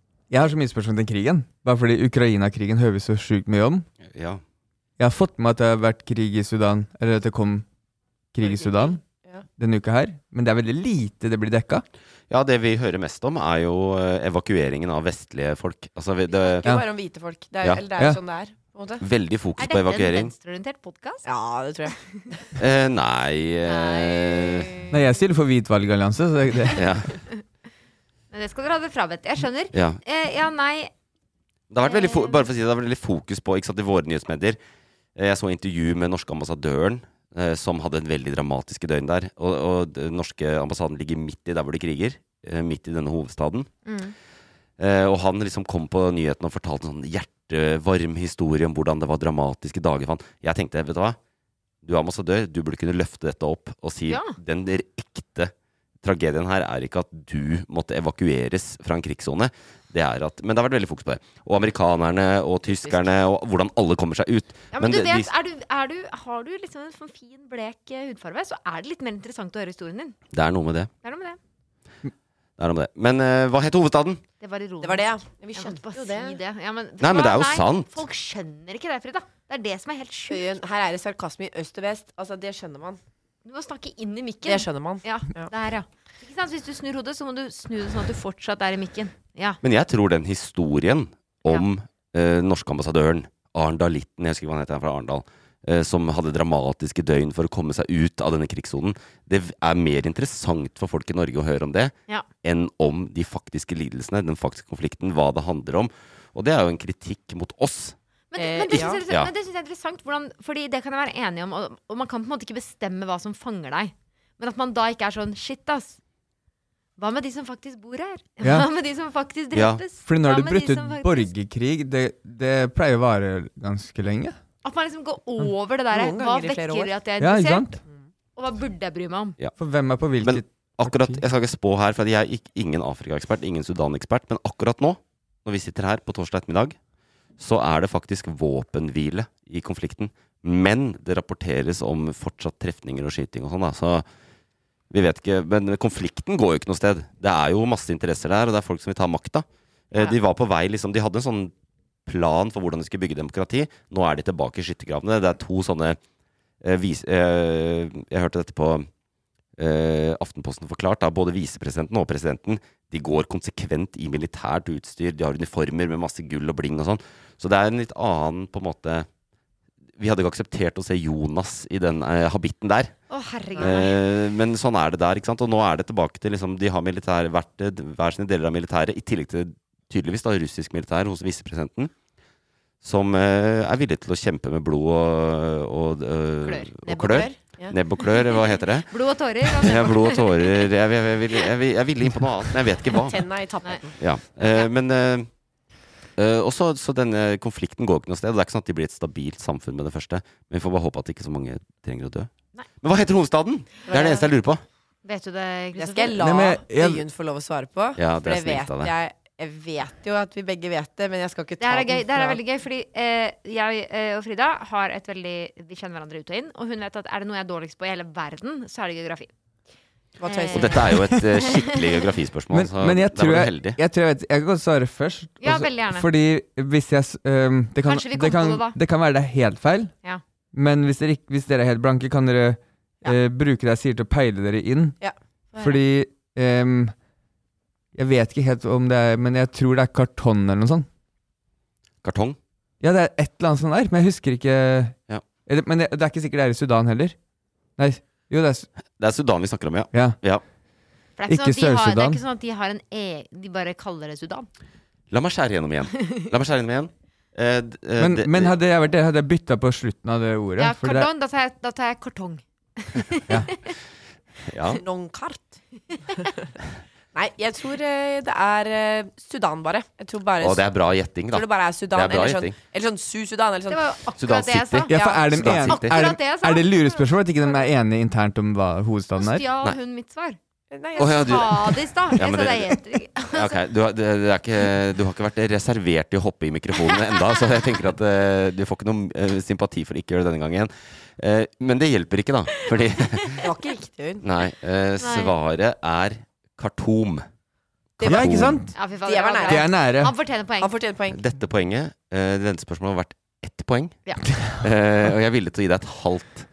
jeg har så mye spørsmål til krigen. Bare fordi Ukraina-krigen hører vi så sjukt mye om.
Ja.
Jeg har fått med at det har vært krig i Sudan, eller at det kom krig i Sudan denne uka her, men det er veldig lite det blir dekka.
Ja, det vi hører mest om, er jo eh, evakueringen av vestlige folk. Altså, vi- det,
Ikke bare om hvite folk. Det er,
Ja.
Eller det er jo
Ja.
sånn det er. På en måte.
Veldig fokus på evakuering.
venstreorientert podkast?
Ja, det tror jeg.
Eh, nei eh,
Nei, jeg stiller for hvit valgallianse, så det er ikke
[laughs]
det.
ja.
Men det skal dere ha det frabedt. Jeg skjønner.
Ja.
Eh, ja nei.
Det har vært veldig, fo bare for å si det, det har vært veldig fokus på ikke sant, i våre nyhetsmedier. Eh, Jeg så intervju med norske ambassadøren, eh, som hadde en veldig dramatiske døgn der. Og, og den norske ambassaden ligger midt i der hvor de kriger. eh, Midt i denne hovedstaden.
Mm.
Eh, og han liksom kom på nyhetene og fortalte en sånn hjertevarm historie om hvordan det var dramatiske dager for han. Jeg tenkte, vet du hva? Du er ambassadør, du burde kunne løfte dette opp og si
Ja.
den der ekte tragedien her er ikke at du måtte evakueres fra en krigssone. Det er at, men det har vært veldig fokus på det. Og amerikanerne og tyskerne og hvordan alle kommer seg ut.
Ja, men, du
det- de-
vet, er du, er du, har du liksom en sånn fin, blek eh, hudfarge, så er det litt mer interessant å høre historien din.
det er noe med det.
Det er noe med det.
det, er noe med det. Men eh, hva het hovedstaden?
Det var ironisk.
Det var det, ja.
Vi skjønte jo det. Si det. Ja, men,
Nei, men det er jo
Nei,
sant.
Folk skjønner ikke det, Frida. Det er det som er helt sjukt.
Her er det sarkasme i øst og vest. Altså, det skjønner man.
Du må snakke inn i mikken.
Det skjønner man.
Ja, der, ja. Ikke sant? Hvis du snur hodet, så må du snu det sånn at du fortsatt er i mikken. Ja.
Men jeg tror den historien om eh, norske ambassadøren, Arendal Litten, jeg husker ikke hva han heter, han er fra Arendal, eh, som hadde dramatiske døgn for å komme seg ut av denne krigssonen, det v- er mer interessant for folk i Norge å høre om det
Ja.
enn om de faktiske lidelsene, den faktiske konflikten, hva det handler om. Og det er jo en kritikk mot oss.
Men, men det
Eh,
syns jeg,
ja.
men det synes jeg er interessant, hvordan, Fordi det kan jeg være enig om. Og, og man kan på en måte ikke bestemme hva som fanger deg. Men at man da ikke er sånn Shit, ass. Hva med de som faktisk bor her? [laughs]
Ja.
Hva med de som faktisk
Ja.
drepes?
Fordi nå
Hva
har det
med
brutt
de
ut
som faktisk-
borgerkrig. Det, det pleier å vare ganske lenge.
At man liksom går over det der.
Noen
Hva
ganger i flere
vekker
år.
at jeg er
Ja, ikke
interessert?
sant?
og hva burde jeg bry meg om?
Ja.
For hvem er på hvilket
Men akkurat, Jeg skal ikke spå her, for jeg er ikk- ingen Afrika-ekspert, ingen Sudan-ekspert, men akkurat nå, når vi sitter her på torsdag ettermiddag, så er det faktisk våpenhvile i konflikten. Men det rapporteres om fortsatt trefninger og skyting og sånn, da. Så vi vet ikke Men konflikten går jo ikke noe sted. Det er jo masse interesser der, og det er folk som vil ta makta. Eh, De var på vei, liksom De hadde en sånn plan for hvordan de skulle bygge demokrati. Nå er de tilbake i skyttergravene. Det er to sånne eh, vis, eh, Jeg hørte dette på eh, Aftenposten forklart. Da. Både visepresidenten og presidenten De går konsekvent i militært utstyr. De har uniformer med masse gull og bling og sånn. Så det er en litt annen på en måte Vi hadde ikke akseptert å se Jonas i den eh, habitten der.
Å, herregud,
Eh, men sånn er det der. ikke sant? Og nå er det tilbake til liksom, De har militær, vært, eh, hver sine deler av militæret, i tillegg til tydeligvis da russisk militær hos visepresidenten. Som eh, er villig til å kjempe med blod og, og, eh,
Klør.
og
Nebb og
klør.
klør, ja.
Nebb og klør, hva heter det?
Blod og tårer. altså. og
Ja, blod og tårer. Jeg, jeg, jeg, ville- jeg, ville- jeg ville inn på noe annet, men jeg vet ikke hva.
Tenna i tappeten.
Ja. Eh, men eh, eh, også, Så denne konflikten går ikke noe sted. og Det er ikke sånn at de blir et stabilt samfunn med det første. Men vi får bare håpe at ikke så mange trenger å dø. Men hva heter hovedstaden? Det er det eneste jeg lurer på.
Vet du det,
Det skal jeg la
Nei, men jeg-
Øyunn få lov å svare på.
Ja, det
for
er
det
snilt
vet
av deg.
jeg. Jeg vet jo at vi begge vet det, men jeg skal ikke
Det
ta
her er gøy.
den
Det her er
fra-
veldig gøy, fordi eh, jeg eh, og Frida har et veldig Vi kjenner hverandre ut og inn, og hun vet at er det noe jeg er dårligst på i hele verden, så er det geografi.
Hva tøyser
Og dette er jo et eh, skikkelig geografispørsmål,
Men,
så
men jeg,
altså, der
tror
var du
jeg,
heldig.
jeg tror jeg vet Jeg kan godt svare først.
Ja,
også-
veldig gjerne.
Fordi hvis jeg s- øhm, det, kan,
Kanskje vi
det,
kommer på
kan,
det da.
det kan være det er helt feil.
Ja.
Men hvis dere, ikke- hvis dere er helt blanke, kan dere eh, bruke det jeg sier til å peile dere inn.
Ja.
Fordi ehm, Jeg vet ikke helt om det er Men jeg tror det er kartong eller noe sånt.
Kartong?
Ja, det er et eller annet sånt der, men jeg husker ikke
Ja.
eller, Men det, det er ikke sikkert det er i Sudan heller. Nei, jo, det er, s-
Det er Sudan vi snakker om, ja.
Ja.
For det er
Ikke
ikke, sånn at de har, det er
Sør-Sudan.
ikke sånn at de har en e... De bare kaller det Sudan.
La meg skjære gjennom igjen. La meg skjære gjennom igjen. Eh, d- eh,
men,
det-
men hadde jeg vært det, hadde jeg bytta på slutten av det ordet.
Ja,
for det er-
kartong. Da tar jeg, da tar jeg kartong.
ja.
Nonkart. [laughs] Nei, jeg tror eh, det er eh, Sudan, bare. Jeg tror bare
Å, det er bra gjetting, da.
Tror det bare er Sudan,
Det er bra
eller, sånn,
gjetting.
eller sånn Su-Sudan, eller sånn.
Det var jo
Sudan
akkurat det jeg sa.
City.
Ja, for er de
Sudan
enige,
City.
er,
Akkurat det jeg
de-
sa.
er det lurespørsmål at ikke de er enige internt om hva hovedstaden er?
Stjal
Nei.
hun mitt svar?
Nei,
Å, ja, du-
sa det i
[laughs]
stad.
Ja,
Jeg
men
sa det
det-
helt riktig.
Ja, Ok, du, har- det, det er ikke, du har ikke vært reservert til å hoppe i mikrofonen enda, så jeg tenker at eh, du får ikke noen eh, sympati for å ikke gjøre det denne gangen. Eh, men det hjelper ikke, da. Fordi [laughs]
Det var ikke riktig, Øyunn.
Nei. eh, svaret er Khartoum.
Ja, ikke sant?
Ja, fy faen,
Det
bra.
var nære.
De er nære.
Han fortjener poeng.
[laughs]
Han fortjener poeng.
Dette poenget, eh, dette spørsmålet har vært ett poeng.
Ja.
[laughs] Eh, og jeg er villig til å gi deg et halvt.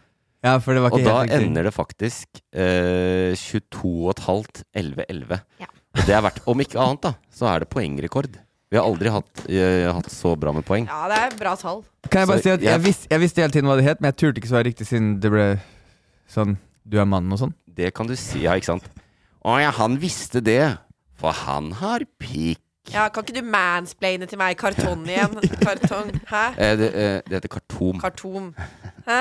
Ja, for det var ikke
og da
helt riktig.
ender det faktisk eh, 22,5 11-11.
Ja.
Og Det er verdt, om ikke annet, da, så er det poengrekord. Vi har aldri hatt, eh, hatt så bra med poeng.
Ja, det er bra tall.
Kan jeg bare
Så
si at
jeg-
jeg, vis, jeg visste hele tiden hva det het, men jeg turte ikke svare riktig siden det ble sånn Du er mannen og sånn.
Det kan du si, ja, ikke sant? Å ja, han visste det, for han har pikk.
Ja, kan ikke du mansplaine til meg? Kartong igjen. Kartong. Hæ?
Eh, det, eh, det heter kartom.
Kartom. Hæ?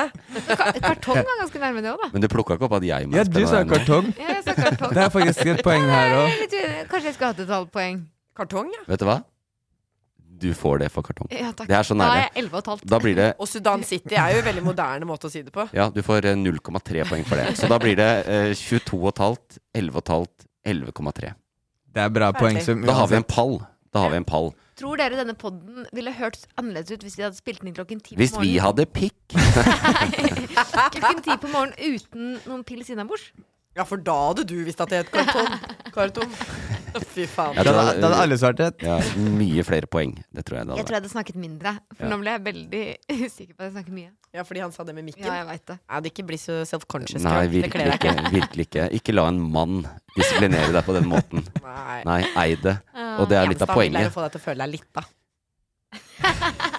Kartong var ganske nærme det òg, da.
Men du plukka ikke opp at jeg
Ja, du sa kartong.
Ja, jeg sa kartong.
Det er faktisk et poeng her
Jeg
òg.
er litt uenig. Kanskje jeg skulle hatt et halvt poeng.
Kartong, ja.
Vet du hva? Du får det for kartong.
Ja, takk.
Det er så
Da
nære.
er jeg 11,5.
Da blir det
Og Sudan City er jo en veldig moderne måte å si det på.
Ja, du får eh, 0,3 poeng for det. Så da blir det eh, 22,5, 11,5, 11,3.
Det er bra poeng. Som,
Da har vi en pall. Da har vi en pall.
Tror dere denne podden ville hørtes annerledes ut hvis vi hadde spilt den inn klokken ti på
Hvis vi
morgenen? [laughs]
hadde pikk
Klokken ti på morgenen uten noen pils innabords?
Ja, for da hadde du visst at det het kartong. Kartom. Fy faen.
Jeg
Da
tror
hadde- da hadde alle svart rett.
ja, Mye flere poeng. Det tror jeg det hadde
Jeg tror
vært.
jeg hadde snakket mindre, for
Ja.
nå ble jeg veldig [laughs] sikker på at jeg snakker mye.
Ja, fordi han sa det med mikken.
Ja, jeg vet det.
Ja, det ikke blir så self-conscious.
Nei,
Frank. det
virkelig
kler deg
ikke. Virkelig ikke. Ikke la en mann disiplinere deg på den måten.
Nei.
Nei, ei det. Og det er litt av
Eneste han vil
poenget.
er å få deg til å føle deg litt, da.
[laughs]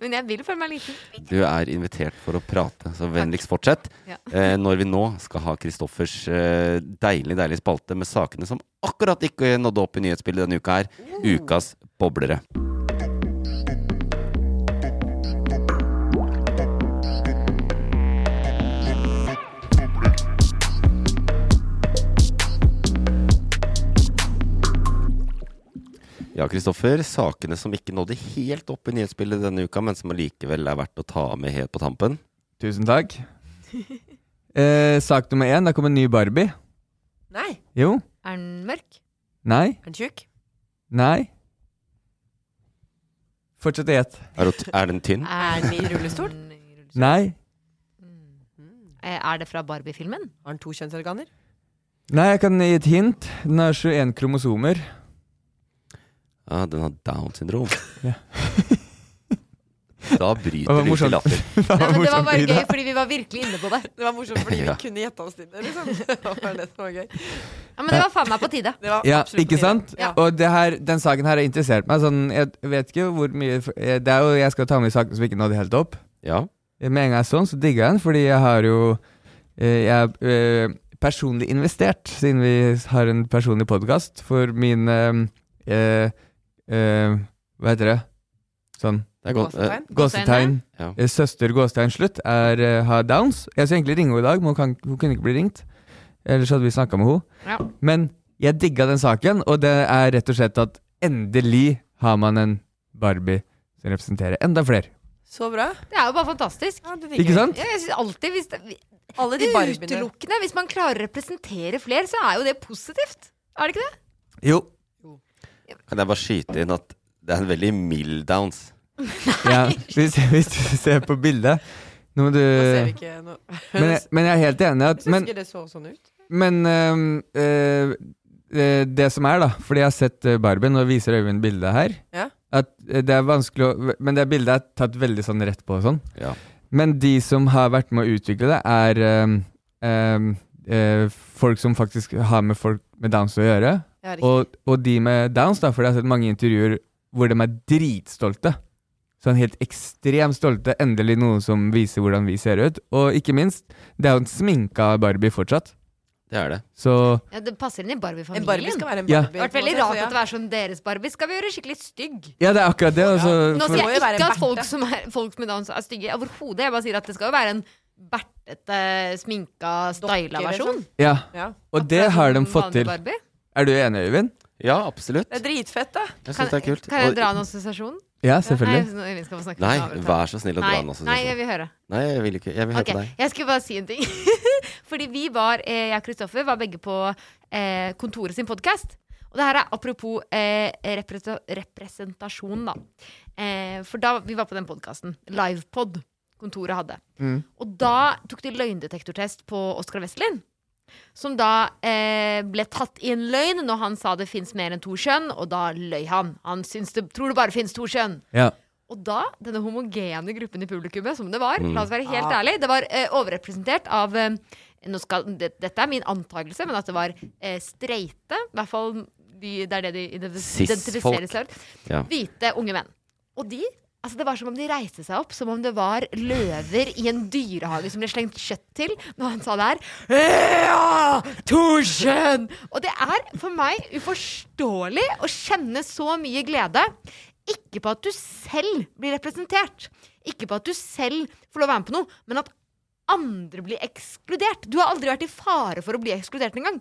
Men jeg vil føle meg liten.
Du er invitert for å prate, så vennligst fortsett.
Ja.
Eh, når vi nå skal ha Kristoffers eh, deilig, deilig spalte med sakene som akkurat ikke nådde opp i nyhetsbildet denne uka her. Ukas boblere. Ja, Kristoffer. Sakene som ikke nådde helt opp i nyhetsbildet denne uka, men som allikevel er verdt å ta med helt på tampen.
Tusen takk. Eh, sak nummer én. Der kom en ny Barbie.
Nei.
Jo.
Er den mørk?
Nei.
Er han tjukk?
Nei. Fortsett å gjette.
Er, det- er den tynn?
Er han i rullestol?
Nei.
Eh, Er det fra
[laughs]
Barbie-filmen?
Har han to kjønnsorganer?
Nei, jeg kan gi et hint. Den har 21 kromosomer.
Ja, den har Downs syndrom.
Ja.
da
Det var
bryter ut i
morsomt.
latter.
Det
[laughs] Nei, men det var bare
morsomt, Ida.
gøy, fordi vi var virkelig inne på det.
Det var morsomt fordi vi
Ja.
kunne gjette oss til det, liksom. [laughs] Det var det som var gøy.
Ja, Men det var faen meg på tide.
Det var
[laughs] Ja,
absolutt
ikke
på tide.
sant?
Ja.
Og det her, den saken her har interessert meg. Sånn, jeg vet ikke hvor mye eh, Det er jo, Jeg skal ta med de sakene som ikke nådde helt opp.
Ja.
Med en gang jeg så den, så digga jeg den, fordi jeg har jo eh, Jeg er eh, personlig investert, siden vi har en personlig podkast, for min eh, eh, eh, Hva heter det? Sånn
Det er godt. eh,
Gåsetegn.
Gåsetegn.
Ja.
Eh, Søster Gåstein Slutt er, eh, har downs. Jeg skulle egentlig ringe henne i dag, men hun, kan, hun kunne ikke bli ringt. Ellers hadde vi snakka med henne.
Ja.
Men jeg digga den saken, og det er rett og slett at endelig har man en Barbie som representerer enda flere.
Så bra.
Det er jo bare fantastisk.
Ja, det digger
Ikke
jeg.
sant?
Ja, Jeg synes alltid hvis det,
Alle de barbiene.
Utelukkende. Hvis man klarer å representere flere, så er jo det positivt. Er det ikke det?
Jo.
Kan jeg bare skyte inn at det er en veldig mild downs.
Ja, hvis, hvis du ser på bildet Nå må du
Nå ser vi ikke noe.
men, jeg- men jeg er helt enig. At,
Jeg syns
men
ikke det så sånn ut.
men øhm, øh, øh, det som er, da Fordi jeg har sett øh, Barbien, og viser Øyvind bildet her.
Ja.
At øh, det er vanskelig å Men det bildet er tatt veldig sånn rett på og sånn.
Ja.
Men de som har vært med å utvikle det, er øhm, øhm, øh, folk som faktisk har med folk med downs å gjøre.
Ja, riktig.
Og, og de med downs, da, for jeg har sett mange intervjuer hvor de er dritstolte. Sånn helt ekstremt stolte. Endelig noe som viser hvordan vi ser ut. Og ikke minst, det er jo en sminka Barbie fortsatt.
Det er det.
Så
Ja, det passer inn i Barbie-familien.
en Barbie skal være en
Ja.
Barbie.
Det har vært veldig rart at det er sånn deres Barbie. Skal vi gjøre skikkelig stygg?
Ja, det er akkurat det. Altså,
Nå
for,
sier
må
jeg
jo være en
ikke at folk,
berte.
som er, folk med Downs er stygge overhodet. Jeg bare sier at det skal jo være en bertete, sminka, styla
Dokker, liksom.
versjon.
ja.
Ja.
Og det
Akkurat
har de
som
fått
vanlig
til.
Barbie.
Er du enig, Øyvind?
Ja, absolutt.
Det er dritfett, da.
Jeg
Kan,
syns det er kult.
kan jeg
Og-
dra en assosiasjon?
Ja,
Nei,
selvfølgelig.
vi skal få snakke
Nei,
om det.
vær så snill å dra
Nei,
den også.
nei, jeg vil høre.
Nei, jeg vil ikke. Jeg vil høre
Ok,
på deg.
Jeg skulle bare si en ting. [laughs] Fordi vi var, eh, jeg og Kristoffer var begge på eh, kontoret sin podkast. Og det her er apropos eh, represe- representasjon, da. Eh, for da vi var på den podkasten, Livepod, kontoret hadde.
Mm.
Og da tok de løgndetektortest på Oskar Vestlin. Som da eh, ble tatt i en løgn når han sa det fins mer enn to kjønn, og da løy han. Han syns det, tror det bare fins to kjønn.
Ja.
Og da, denne homogene gruppen i publikummet, som det var,
Mm.
la oss være helt
Ah.
ærlig, det var eh, overrepresentert av eh, nå skal, det, Dette er min antakelse, men at det var eh, streite, i hvert fall de, det er det de identif-
Cis-folk.
identifiserer seg med,
Ja.
hvite unge menn. Og de Altså Det var som om de reiste seg opp, som om det var løver i en dyrehage som ble slengt kjøtt til. Når han sa det her «Ja, Torsen! Og det er for meg uforståelig å kjenne så mye glede. Ikke på at du selv blir representert, ikke på at du selv får lov å være med på noe, men at andre blir ekskludert. Du har aldri vært i fare for å bli ekskludert engang.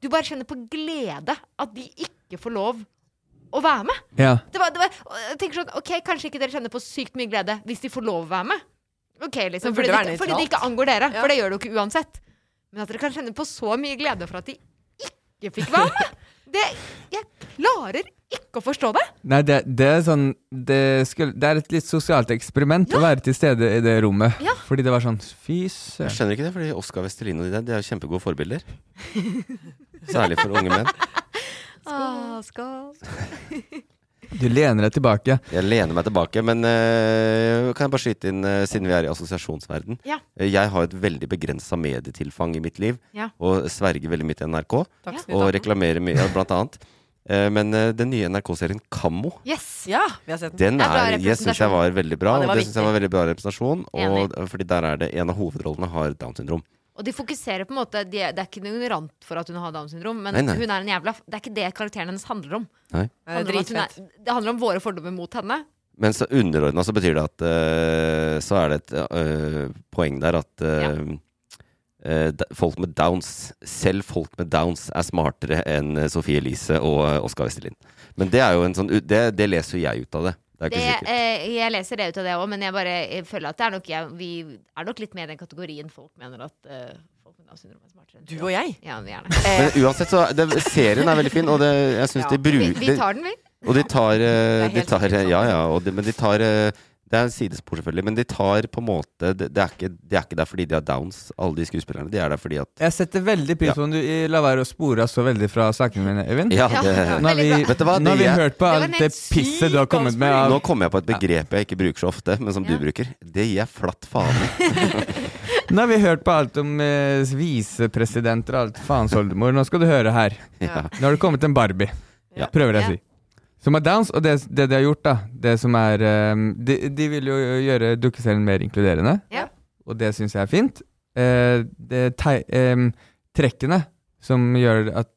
Du bare kjenner på glede at de ikke får lov å være med.
Ja.
Det var, det var, og jeg tenker sånn, ok, Kanskje ikke dere kjenner på sykt mye glede hvis de får lov å være med. Ok,
Det
liksom,
burde
fordi, det,
være
ikke- fordi det
nøytralt.
ikke angår dere. For det gjør det jo ikke uansett. Men at dere kan kjenne på så mye glede for at de ikke fikk være med, det, jeg klarer ikke å forstå det.
Nei, det, det er sånn det, skulle, det er et litt sosialt eksperiment å være til stede i det rommet.
Ja.
Fordi det var sånn Fy søren.
Jeg skjønner ikke det, fordi Oskar Vestelin og de der De er jo kjempegode
[laughs]
forbilder. Særlig for unge menn.
Åh, skål.
Du lener deg tilbake.
Jeg lener meg tilbake, men øh, kan jeg bare skyte inn, øh, siden vi er i assosiasjonsverden
Ja.
Øh, Jeg har et veldig begrensa medietilfang i mitt liv,
Ja.
og sverger veldig mye til NRK.
Dagsnytt
Og
18.
reklamerer mye, ja, blant annet. Eh, men øh, den nye NRK-serien Kammo
Yes.
Ja, vi har sett
Den er, jeg syns jeg var veldig bra.
Ja, det var
og det synes jeg var veldig bra representasjon og, Fordi der er det en av hovedrollene har Downs syndrom.
Og de fokuserer på en måte de, Det er ikke noe ignorant for at hun har Downs syndrom, men
Nei, nei.
hun er en jævla Det er ikke det karakteren hennes handler om.
Nei.
Det handler, om at hun er, det handler om våre fordommer mot henne.
Men så underordna så betyr det at eh, Så er det et eh, poeng der at eh, eh, d- folk med downs, selv folk med downs, er smartere enn eh, Sophie Elise og eh, Oskar Westerlin. Men det er jo en sånn u- Det, det leser jo jeg ut av det. Det er
Det,
ikke sikkert.
eh, jeg leser det ut av det òg, men jeg bare jeg føler at det er nok jeg, vi er nok litt med i den kategorien folk mener at eh, folk med Downs syndrom er smartere. enn
Du og jeg?
Ja, vi er det.
Men uansett, så det, serien er veldig fin, og det, jeg syns de
vi,
bruker
vi tar den, vi.
Og de tar, eh, de
helt
tar Ja, ja. Og de, men de tar eh, Det er en sidespor, selvfølgelig, men de tar på en måte Det, det, er, ikke, det er ikke der fordi de har downs, alle de skuespillerne. De er der fordi at
Jeg setter veldig pris på om du i- la være å spore av så veldig fra sakene mine, Øyvind.
[laughs] Ja, Ja, det- veldig
Nå har vi,
bra. Vet du hva,
nå har
det-
vi hørt på
Det var
alt
en
det
helt
pisset du har kommet med.
Nå
Av.
kom jeg på et begrep jeg ikke bruker så ofte, men som du bruker. Det gir jeg flatt faen i.
Nå har vi hørt på alt om eh, visepresidenter og alt faens oldemor. Nå skal du høre her.
[laughs] Ja.
Nå har det kommet en Barbie, prøver jeg å si. Som har downs, og det, det de har gjort, da Det som er eh, De, de vil jo gjøre dukkeserien mer inkluderende,
Ja.
og det syns jeg er fint. Eh, det tei, eh, trekkene som gjør at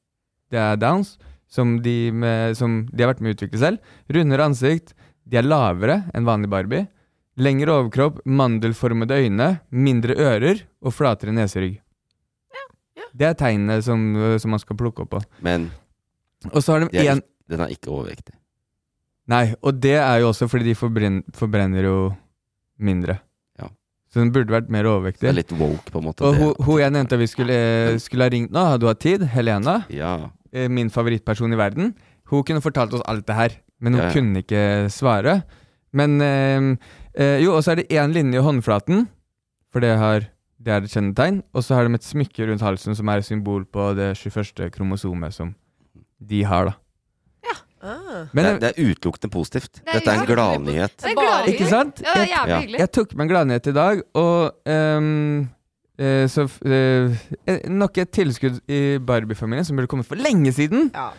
det er downs, som de, med, som de har vært med å utvikle selv. Rundere ansikt, de er lavere enn vanlig Barbie. Lengre overkropp, mandelformede øyne, mindre ører og flatere neserygg. Det er tegnene som, som man skal plukke opp på.
Men
Og så har de
de er
en-
ikke- den er ikke overvektig.
Nei, og det er jo også fordi de forbrenner, forbrenner jo mindre.
Ja.
Så den burde vært mer
Så Det
overvektig.
er litt woke, på en måte.
Og
Det.
hun, hun jeg nevnte vi skulle, eh, skulle ha ringt nå, hadde hun hatt tid, Helena,
Ja.
eh, min favorittperson i verden, hun kunne fortalt oss alt det her, men hun
Ja, ja.
kunne ikke svare. Men eh, eh, Jo, og så er det én linje i håndflaten, for det, har, det er et kjennetegn. Og så har de et smykke rundt halsen som er et symbol på det 21. kromosomet som de har, da.
Ah.
Men-
det, er, det er utelukkende positivt.
er
Dette er en
utelukkende
gladnyhet.
Det er gladnyhet.
Ikke sant?
Ja, det er jævlig
Ja.
hyggelig.
Jeg tok med en gladnyhet i dag, og ehm, eh, så f- eh, eh, Nok et tilskudd i Barbie-familien som burde kommet for lenge siden. Ja,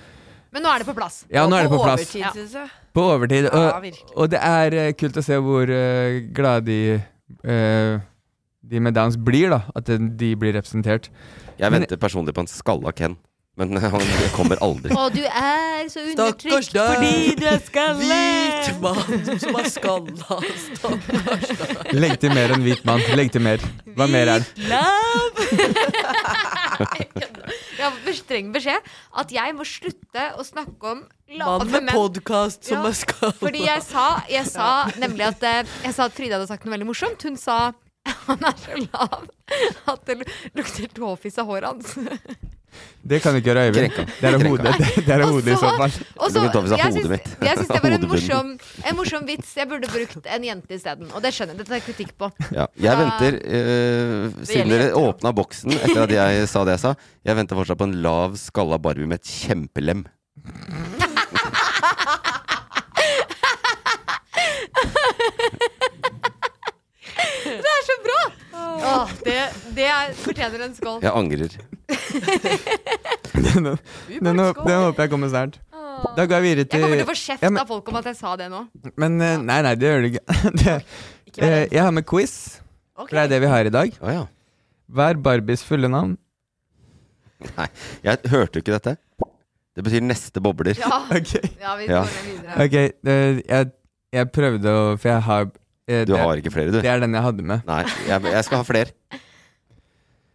Men nå er det på plass.
nå er det på plass. øh,
overtid, synes jeg.
På overtid.
Ja,
Og,
virkelig.
og det er eh, kult å se hvor eh, glade de eh, de med downs blir, da. At de- de blir representert.
Jeg venter personlig på en skalla Ken, men [laughs] han kommer aldri.
Og du er så
Stakkars
undertrykt
deg.
fordi du er
Hvit
skallet.
mann som er skalla, stakkars deg.
Legg til mer enn hvit mann. Legg til mer. Hva mer er det?
Love!
Jeg har fått streng beskjed at jeg må slutte å snakke om lave
Mann med
menn.
podkast som
Ja,
er skalla.
Fordi jeg sa, jeg sa nemlig at eh, Jeg sa at Frida hadde sagt noe veldig morsomt. Hun sa han er så lav at det lu- lukter tåfis av håret hans.
Det kan du ikke gjøre, Øyvind.
Krenka.
Det er av
Krenka.
hodet, det, det er av hodet i så fall.
Og så,
Det lukter tåfis av
jeg
hodet
syns-
mitt.
Jeg syns det var en
Hodebunnen.
morsom, en morsom vits. Jeg burde brukt en jente isteden. Og det skjønner jeg. Dette er kritikk på.
Ja. Jeg
Da-
venter, eh, siden
gjelder
dere
jenter, da.
åpna boksen etter at jeg sa det jeg sa, jeg venter fortsatt på en lav, skalla Barbie med et kjempelem.
er, fortjener en skål.
Jeg angrer.
den, den, håp- den håper jeg kommer snart. Da går jeg videre
Jeg
til
kommer til å få kjeft
Ja, men-
av folk om at jeg sa det nå.
Men eh, nei, nei, det gjør det ikke. [laughs] det, eh, jeg har med quiz, for det er det vi har i dag. Hva er Barbies fulle navn?
Nei, jeg hørte jo ikke dette. Det betyr neste bobler.
Ja.
[laughs] Ok.
Ja, vi
Ja.
går videre.
[laughs] Ok, eh, jeg, jeg prøvde å For jeg har eh,
Du
det-
har ikke flere, du.
Det er den jeg hadde med.
Nei, jeg, jeg skal ha flere.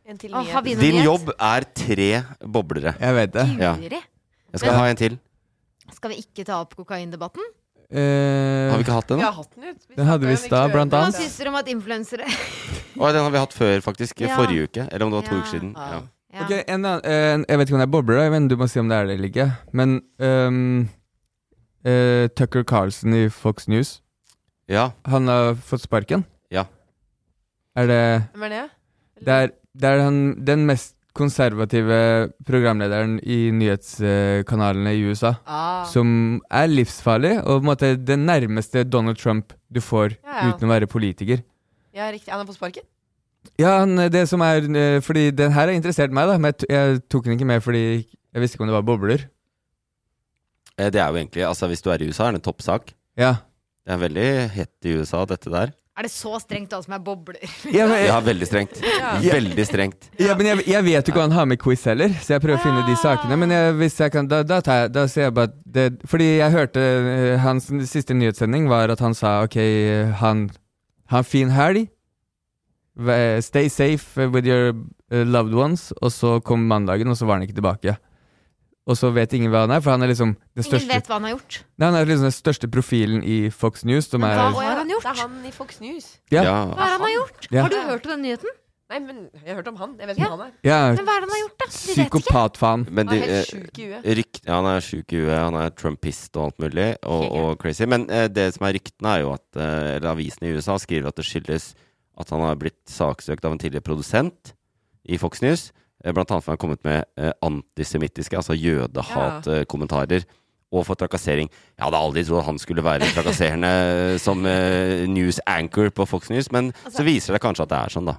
En til
Å, har vi noe
Din
nyhet?
jobb er tre boblere.
Jeg vet det.
Ja.
Guri.
Jeg skal ha en til.
Skal vi ikke ta opp kokaindebatten?
Eh,
Har vi ikke hatt den? da?
hatt den ut.
Den hadde vi i stad, blant
Hva
annet.
syns dere om at influensere
Å, den har vi hatt før, faktisk.
Ja.
Forrige uke. Eller om det var to
Ja.
uker siden. Ja.
Ja.
Ok, en annen, eh, Jeg vet ikke om det er bobler, da, men du må si om det er det eller ikke. Men ehm, eh, Tucker Carlson i Fox News,
ja.
han har fått sparken.
Ja.
Er det
Hvem er det?
Det er, det er han, den mest konservative programlederen i nyhetskanalene i USA.
Ah.
Som er livsfarlig, og på en måte den nærmeste Donald Trump du får
Ja, ja.
uten å være politiker.
Ja, riktig. Han er på sparken?
Ja, han, det som er eh, Fordi den her har interessert meg, da, men jeg, t- jeg tok den ikke med fordi jeg visste ikke om det var bobler.
Eh, Det er jo egentlig Altså, hvis du er i USA, er det en toppsak.
Ja.
Det er veldig hett i USA, dette der.
Er det så strengt hva som er bobler?
Ja, men,
Ja, veldig strengt. Veldig strengt.
ja, men jeg, jeg vet jo ikke hva han har med quiz heller, så jeg prøver å finne
Ah.
de sakene. Men jeg, hvis jeg kan, da, da, tar jeg, da ser jeg bare at det, Fordi jeg hørte eh, hans siste nyhetssending var at han sa OK, han ha en fin helg. Væ- Stay safe with your eh, loved ones. Og så kom mandagen, og så var han ikke tilbake. Og så vet ingen hva han er, for han er liksom den
Ingen
største,
vet hva han har gjort.
nei, han er liksom den største profilen i Fox News, som
hva-
er
Hva har han gjort?
Det er han i Fox News.
Ja,
Hva er det han har gjort?
Ja.
Har du hørt om den nyheten?
Nei, men jeg har hørt om han. Jeg vet
Ja.
ikke om han er.
ja
Men hva er det han har gjort, da? Vi vet ikke.
psykopatfan.
Men
Han
de,
er helt
eh,
sjuk i huet.
rykt, ja, han er sjuk i huet, han er trumpist og alt mulig, og, og crazy. Men eh, det som er ryktene, er jo at eh, Eller avisene i USA skriver at det skyldes at han har blitt saksøkt av en tidligere produsent i Fox News. eh, Blant annet for han har kommet med eh, antisemittiske, altså jødehat-kommentarer. Og for trakassering. Jeg hadde aldri trodd han skulle være trakasserende [laughs] eh, som eh, news anchor på Fox News, men
Altså
så viser det kanskje at det er sånn, da.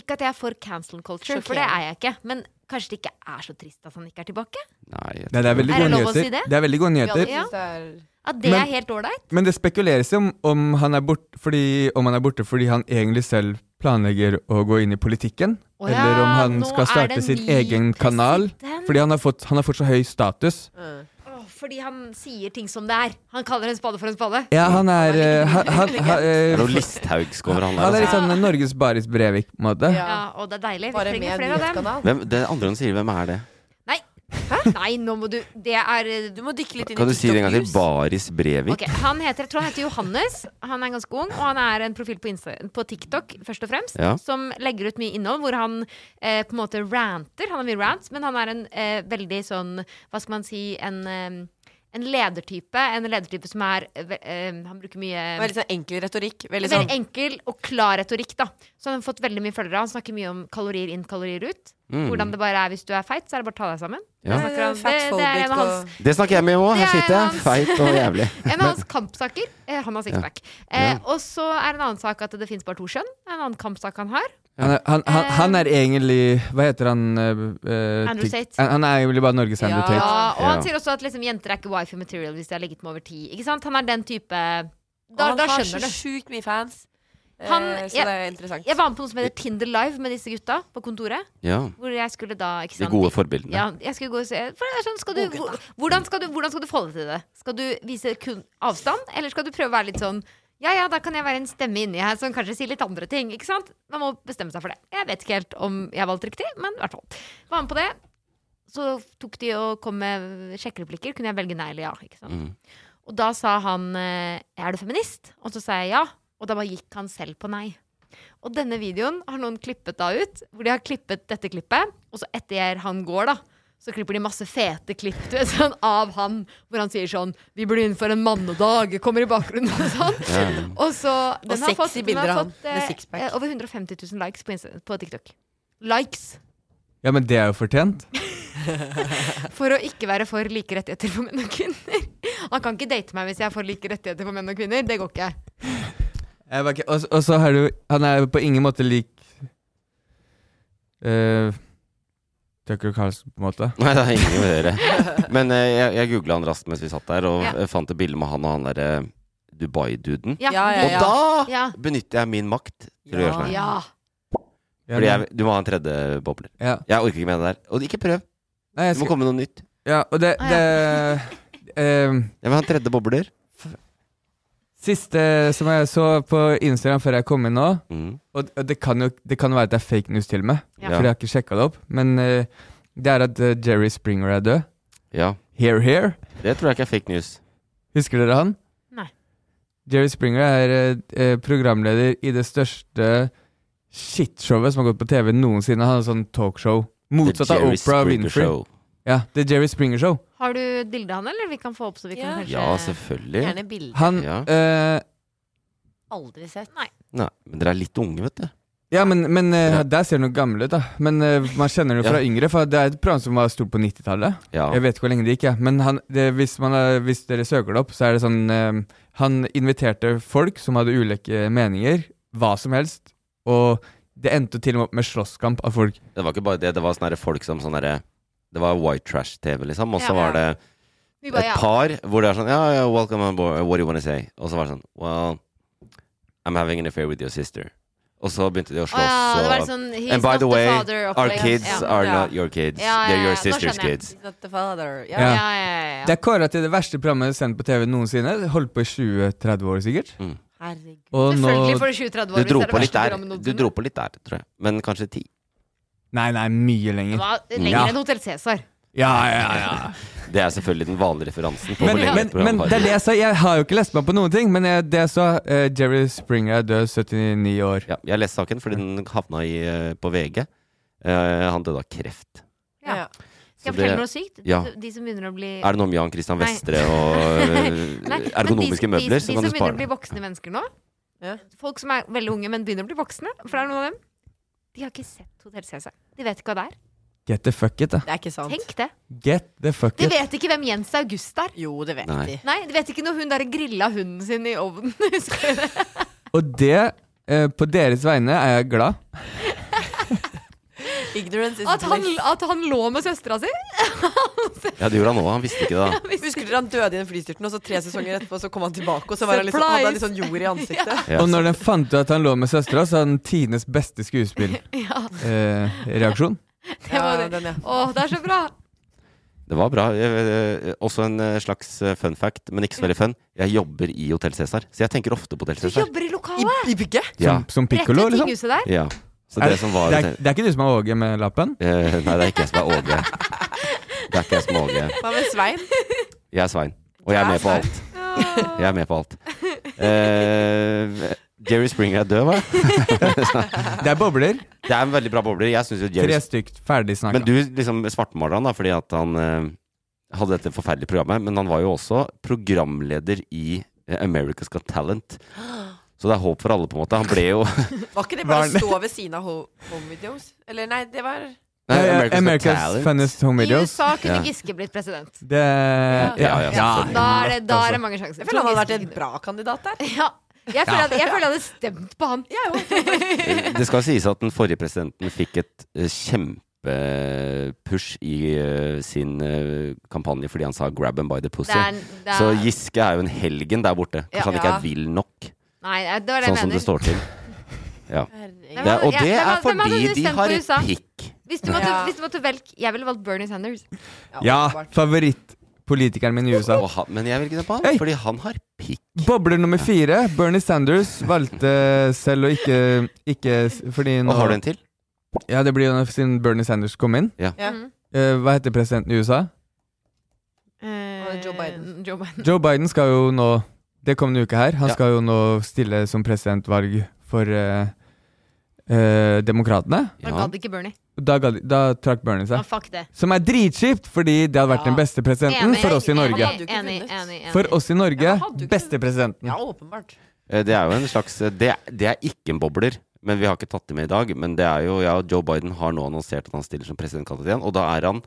Ikke at jeg er for cancel culture, for det er jeg ikke. Men kanskje det ikke er så trist at han ikke er tilbake?
Nei, jeg
Nei, det er veldig
Er det
gode
lov å si
nyheter.
det?
det er veldig gode
Vi alle
nyheter.
Ja.
synes det er
At det
Men-
er helt ålreit?
Men det spekuleres om, om, han er bort, fordi, om han er borte fordi han egentlig selv planlegger å gå inn i politikken.
Å ja,
eller om han
nå
skal
er det
starte sin
ny
egen kanal.
president.
Fordi han har, fått, han har fått så høy status.
Åh, fordi han sier ting som det er. Han kaller en spade for en spade.
Ja, han er eh, han, han, han,
Det er noe
eh,
Listhaugsk over han
han
der.
er litt
Altså.
sånn Norges Baris Brevik, på en måte.
Ja.
Ja, og det er deilig. Vi
bare med
trenger
en
flere av dem.
nyhetskanal.
Hvem, det andre han sier, hvem er det?
Nei. Nei, nå må du Det er
Du må dykke litt inn i
Kan du si det en gang til?
TikTok-news.
Baris Brevik.
Ok, han heter, jeg tror han heter Johannes. Han er ganske ung, og han er en profil på, Insta, på TikTok først og fremst,
Ja.
som legger ut mye innhold hvor han eh, på en måte ranter. Han har mye rants, men han er en eh, veldig sånn Hva skal man si En, eh, en ledertype. En ledertype som er eh, ve- eh, Han bruker mye eh,
Veldig sånn enkel retorikk. Veldig sånn
Veldig enkel og klar retorikk, da. Så han har fått veldig mye følgere. Han snakker mye om kalorier inn, kalorier ut.
Mm.
Hvordan det bare er hvis du er feit, så er det bare å ta deg sammen.
Ja.
Han snakker om- Det,
Fatphobic
det er en av hans
og-
Det snakker jeg med om òg. Her
Det er
sitter
en
jeg, feit og
[laughs]
jævlig.
en av hans kampsaker eh, Han har sixpack. Eh, og så er en annen sak at det fins bare to kjønn. En annen kampsak han har.
Han, er- han, han, han er egentlig Hva heter han? eh, eh,
Eh. Andrew
tig-
Tate.
Han er egentlig bare Norges Andrew
Ja.
Ja,
Tate.
og han
Ja.
sier også at liksom, jenter er ikke wifi material hvis de har ligget med over ti. Ikke sant? Han er den type
Og
Da,
Ah, han
da
har
skjønner
så
du.
sjukt mye fans. Eh,
Han-
så
jeg-
det er
[laughs]
interessant.
Jeg var med på noe som heter Tinder Live med disse gutta på kontoret.
Ja.
Hvor jeg skulle da ikke
De
sant,
gode forbildene.
Ja, jeg skulle gå og se for det er sånn, skal du, hvor- hvordan, skal du, hvordan skal du forholde deg til det? Skal du vise kun avstand, eller skal du prøve å være litt sånn Ja ja, da kan jeg være en stemme inni her som kanskje sier litt andre ting. Ikke sant? Man må bestemme seg for det. Jeg vet ikke helt om jeg valgte riktig, men i hvert fall. Var med på det. Så tok de og kom med sjekkereplikker. Kunne jeg velge nei eller ja? Ikke sant?
Mhm.
Og da sa han eh, Er du feminist? Og så sa jeg ja. Og da bare gikk han selv på nei. Og denne videoen har noen klippet da ut, hvor de har klippet dette klippet, og så etter han går, da, så klipper de masse fete klipp du vet, [laughs] sånn, av han, hvor han sier sånn 'Vi burde innføre en mannedag', kommer i bakgrunnen og sånn. Og så den
Og
har fått,
sexy
den har
bilder av han,
fått,
med
eh,
sixpack.
eh, over 150 000 likes på, Insta- på TikTok. Likes
Ja, men det er jo fortjent.
for å ikke være for like rettigheter for menn og kvinner. [laughs] Han kan ikke date meg hvis jeg er for like rettigheter for menn og kvinner. Det går ikke.
Jeg bare ikke- Og og så har du Han er på ingen måte lik eh, Tucker Carlson, på en måte.
Nei, det har ingenting å gjøre. Men eh, jeg, jeg googla han raskt mens vi satt der, og
Ja.
eh, fant et bilde med han og han derre Dubai-duden.
Ja, Ja, ja, ja.
Og da
Ja.
benytter jeg min makt til å gjøre sånn. her.
Ja.
Fordi jeg, du må ha en tredje bobler.
Ja.
Jeg orker ikke med det der. Og ikke prøv.
Nei, jeg
Det må komme noe nytt.
Ja, og det, eh, det
Jeg vil ha en tredje bobler.
[laughs]
Siste som jeg så på Instagram før jeg kom inn nå,
Mm.
og, og det kan jo det kan være at det er fake news til og med,
Ja.
for jeg har ikke sjekka det opp, men eh, det er at eh, Jerry Springer er død.
Ja.
Here, here.
Det tror jeg ikke er fake news.
Husker dere han?
Nei.
Jerry Springer er eh, eh, programleder i det største shitshowet som har gått på TV noensinne. Han har sånn talkshow. Motsatt av
Jerry
Oprah
Springer
Winfrey.
Show.
Ja, The Jerry Springer Show.
Har du dilda han, eller vi kan få opp så vi kan kanskje
Ja, selvfølgelig.
Gjerne bilder.
Han
Ja.
eh,
Aldri sett. Nei.
Nei, men dere er litt unge, vet du.
Ja, men, men eh, der ser han jo gammel ut, da. Men eh, man kjenner han jo fra
Ja.
yngre, for det er et program som var stort på 90-tallet.
Ja.
Jeg vet ikke hvor lenge det gikk, jeg. Men han, det, hvis, man, er- hvis dere søker det opp, så er det sånn eh, Han inviterte folk som hadde ulike meninger, hva som helst, og det endte jo til og med opp med slåsskamp av folk.
Det var ikke bare det, det var sånne der folk som sånn derre Det var white trash-TV, liksom. Og så
Ja.
var det
Vi
et
bare, ja.
par hvor det er sånn Ja, ja, welcome on board, what do you want to say? Og så var det sånn Well, I'm having an affair with your sister. Og så begynte de å slåss.
ja, det var
og-
sånn, he's
And by
not
the
the
way,
father
our
opplegg.
kids
Ja.
are
Ja.
not your kids.
Ja, ja,
They're
ja,
your
nå
sister's
skjønner jeg.
kids.
Not the father. Ja.
Ja.
Ja, ja, ja, ja.
Det er kåra til det verste programmet sendt på TV noensinne. Holdt på i 20-30 år, sikkert.
Mm.
Herregud.
Og nå
Selvfølgelig får du 20-30 år.
Du
hvis
dro
det er det
på litt
verste
der,
programmet
du
noensinne.
dro på litt der, tror jeg. Men kanskje ti.
Nei, nei, mye
Det
lenger.
var lenger
Ja.
enn Hotell Cæsar.
Ja, ja, ja.
Det er selvfølgelig den vanlige referansen. På
Men,
hvor lenge
men,
et program
men
varer.
det er det jeg sa. Jeg har jo ikke lest meg på noen ting. Men jeg, det jeg sa, eh, Jerry Springer er død, 79 år.
Ja, jeg leste saken fordi den havna i, eh, på VG. Eh, han døde av kreft.
Ja. Skal jeg
Så
fortelle
det-
noe sykt?
Ja.
De som begynner å bli
Er det noe om Jan Christian
Nei.
Vestre
[laughs]
og
Nei,
eh,
men
ergonomiske
de,
møbler,
de,
så
de
kan du
som begynner
spare
å bli
det.
voksne mennesker nå, folk som er veldig unge, men begynner å bli voksne, for det er noen av dem, de har ikke sett Hotell Cæsar. De vet ikke hva det er.
Get the fuck it, da.
Det er ikke sant.
Tenk det.
Get the fuck
De
it.
vet ikke hvem Jens August er.
Jo, det vet
Nei.
de.
Nei, de vet ikke når hun der grilla hunden sin i ovnen. [laughs] Husker du det?
Og det, eh, på deres vegne, er jeg glad.
Ignorance is
At han, [laughs]
bliss.
at han lå med søstera [laughs] si?
Ja, det gjorde han òg. Han visste ikke det. da.
Husker dere han døde i den flystyrten, og så tre sesonger etterpå så kom han tilbake, og så var han liksom,
Surprise!
hadde han litt sånn jord i
[laughs]
ansiktet.
Og når den fant ut at han lå med søstera, så hadde han tidenes beste
[laughs]
eh,
Ja.
skuespillreaksjon.
Det var det. Å, det er så bra!
Det var bra. Eh, eh, Også en eh, slags eh, fun fact, men ikke så veldig fun. Jeg jobber i Hotell Cæsar, så jeg tenker ofte på Hotell
Du
Cæsar.
jobber i lokalet!
I bygget?
Ja.
Som, som
Rett
pikkolo,
ved
liksom.
tinghuset der.
Ja. Så
Er-
det som var
det, er, det er ikke du som er Åge med lappen?
Eh, Nei, det er ikke jeg som er Åge. Det er ikke jeg som er Åge.
Hva med Svein?
Jeg er Svein, og jeg er med på alt. Jeg er med på alt. Eh, Jerry Springer er død, hva?
Det er
[laughs]
bobler.
Det er en veldig bra bobler. Jeg synes jo Jerry
Tre stykt, ferdig snakka.
Men du liksom svartmaler han da fordi at han eh, hadde dette forferdelige programmet, men han var jo også programleder i eh, America's Got Talent. Så det er håp for alle, på en måte. Han ble
[laughs]
jo
Var ikke det
Var
bare
han-
å stå ved siden av ho home videos? Eller nei, det var
Nei,
America's, Funniest Home
I
Videos.
USA kunne
Ja.
Giske blitt president.
Det
Ja,
ja,
ja, selvfølgelig.
Da er det, da er det
altså.
mange sjanser.
Jeg føler han hadde vært
Tror Giske
en bra kandidat der.
kunne- [laughs] ja. Jeg føler, at, jeg føler jeg hadde stemt på han.
Ja, jo.
Eh, Det skal sies at den forrige presidenten fikk et eh, kjempepush i eh, sin eh, kampanje fordi han sa 'grab him by the
Det
pussy'.
er, det er,
Så Giske er jo en helgen der borte. Kanskje
Ja.
han ikke
Ja.
er vill nok,
Nei, det var det jeg
sånn som
mener.
det står til. Ja.
Nei,
Herregud.
men
Det er, og
jeg-
det
hvem
er
hadde- hvem hadde
fordi
du
de
stemt
har
på i USA?
pikk.
Hvis du måtte,
Ja.
hvis du måtte velge Jeg ville valgt Bernie Sanders.
altså.
Ja,
åpenbart.
favorittpolitikeren min i USA.
Og han, men jeg vil ikke det på han,
Hei.
fordi han har pikk.
Bobler nummer fire. Bernie Sanders valgte selv å ikke, ikke s- fordi nå,
Og har du en til?
Ja, det blir jo nå siden Bernie Sanders kom inn.
Ja.
Mhm.
Eh, hva heter presidenten i USA?
Eh,
Joe Biden.
Joe Biden.
Joe Biden skal jo nå Det kom denne uka her. Han
Ja.
skal jo nå stille som presidentvalg for uh, Demokratene.
Han
Ja.
gadd ikke Bernie.
Da, gadd- da trakk Bernie
Ja,
seg.
fuck det.
Som er dritkjipt, fordi det hadde vært
Ja.
den beste presidenten
Enig,
for oss i
enig,
Norge.
hadde jo ikke
Enig,
vunnet.
enig, enig.
For oss i Norge,
Ja, han hadde jo ikke-
beste presidenten.
Ja, åpenbart.
Eh, Det er jo en slags eh, Det, det er ikke en bobler, men vi har ikke tatt det med i dag. Men det er jo ja, Joe Biden har nå annonsert at han stiller som presidentkandidat igjen, og da er han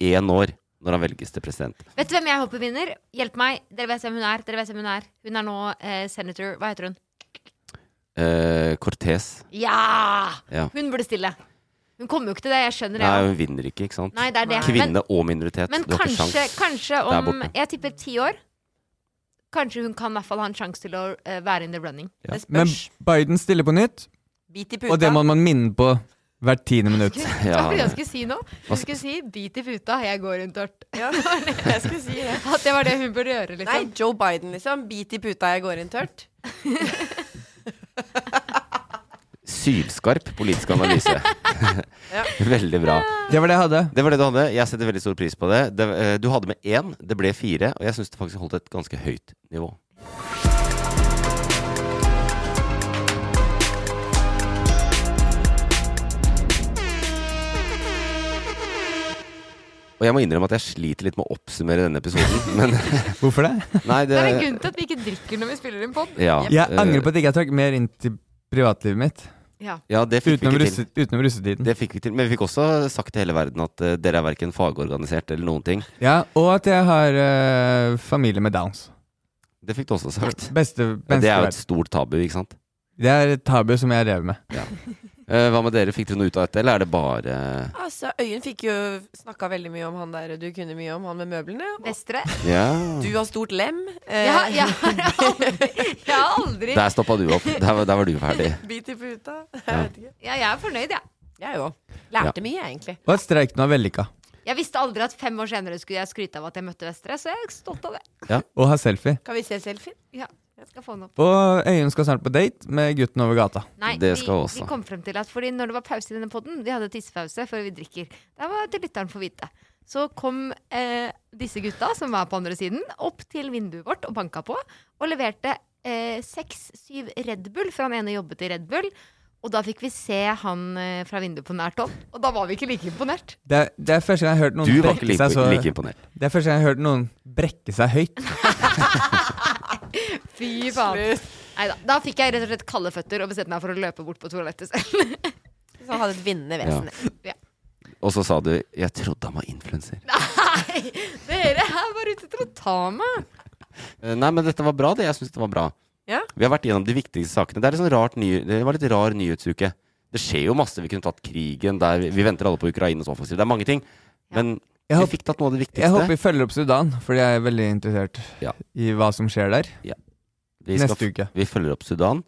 81 år når han velges til president.
Vet du hvem jeg håper vinner? Hjelp meg. Dere vet hvem hun er. Dere vet hvem Hun er Hun er nå eh, senator Hva heter hun?
Eh, Cortez.
Ja!
Ja.
Hun burde stille. Hun kommer jo ikke til det, jeg skjønner det.
Nei, hun vinner ikke, ikke sant?
Nei, det er det.
Kvinne
Men-
og minoritet.
Men
du har ikke
kanskje,
sjans
kanskje
der
om
borte.
Jeg tipper ti år. Kanskje hun kan i hvert fall ha en sjanse til å eh, være in the running.
Men Biden stiller på nytt,
Bit i
og det må man minne på hvert tiende minutt.
[laughs] Hva var det jeg skulle si nå? Hun skulle si 'bit i puta, jeg går rundt [laughs] tørt'. Det var det jeg skulle si. At det var det hun burde gjøre,
Nei,
liksom.
Joe Biden, liksom. Bit i puta, jeg går inn tørt.
Sylskarp politisk
[laughs]
analyse. [laughs] veldig bra.
Det var det jeg hadde.
Det var det du hadde. Jeg setter veldig stor pris på det. det eh, du hadde med én, det ble fire, og jeg syns det faktisk holdt et ganske høyt nivå. Og jeg må innrømme at jeg sliter litt med å oppsummere denne episoden, [laughs] men
Hvorfor det?
Nei,
Det er en grunn til at vi ikke drikker når vi spiller en pod.
Ja.
Jeg
Eh.
angrer på at jeg ikke jeg trakk mer inn til privatlivet mitt.
Ja.
Ja, det fikk
utenom
vi ikke
russe, Utenom russetiden.
Det fikk vi til. Men vi fikk også sagt til hele verden at eh, dere er verken fagorganisert eller noen ting.
Ja, og at jeg har eh, familie med downs.
Det fikk du også sagt.
Beste,
Ja,
beste
det er jo
verden.
et stort tabu, ikke sant?
det er et tabu som jeg rev med.
Eh, Hva med dere, fikk dere noe ut av dette, eller er det bare
Altså, Øyen fikk jo snakka veldig mye om han der du kunne mye om, han med møblene. og-
Vestre.
Ja.
Du har stort lem. eh,
Ja, ja, jeg har aldri, jeg har aldri
Der stoppa du opp. Der, var- der var du ferdig.
Bit i puta.
Ja.
Jeg vet ikke.
Ja, jeg er fornøyd, jeg.
[laughs] Jeg òg. Lærte mye, jeg, egentlig.
Og at streiken var vellykka.
Jeg visste aldri at fem år senere skulle jeg skryte av at jeg møtte Vestre, så jeg er stolt av det.
Og ha selfie.
Kan vi se selfien?
Ja, jeg skal få den opp.
Og Øyunn skal snart på date med gutten over gata.
Nei,
Det
vi,
skal også.
vi kom frem til at fordi når det var pause i denne podden, vi hadde tissepause før vi drikker, da var til lytteren få vite. Så kom eh, disse gutta, som var på andre siden, opp til vinduet vårt og banka på, og leverte seks-syv Red Bull, for han ene jobbet i Red Bull. Og da fikk vi se han eh, fra vinduet på nært hold, og da var vi ikke like imponert.
Det er, det er første gang jeg har hørt noen
Du var
brekke
ikke like,
seg så
like imponert.
Det er første gang jeg har hørt noen brekke seg høyt.
Fy faen. Neida, Da fikk jeg rett og slett kalde føtter og bestemte meg for å løpe bort på toalettet selv. [laughs]
Så han hadde et vinnende
vesen.
Ja.
Og så sa du 'jeg trodde han var influenser'.
Nei, dere er bare ute etter å ta meg.
Eh, Nei, men dette var bra, det. Jeg syns det var bra.
Ja.
Vi har vært gjennom de viktigste sakene. Det, er litt sånn rart ny, det var litt rar nyhetsuke. Det skjer jo masse. Vi kunne tatt krigen der Vi, vi venter alle på Ukrainas offensiv. Det er mange ting. Men vi fikk tatt noe av det viktigste.
Jeg håper vi følger opp Sudan, fordi jeg er veldig interessert
Ja.
i hva som skjer der.
Vi skal-
Neste uke.
Vi følger opp Sudan.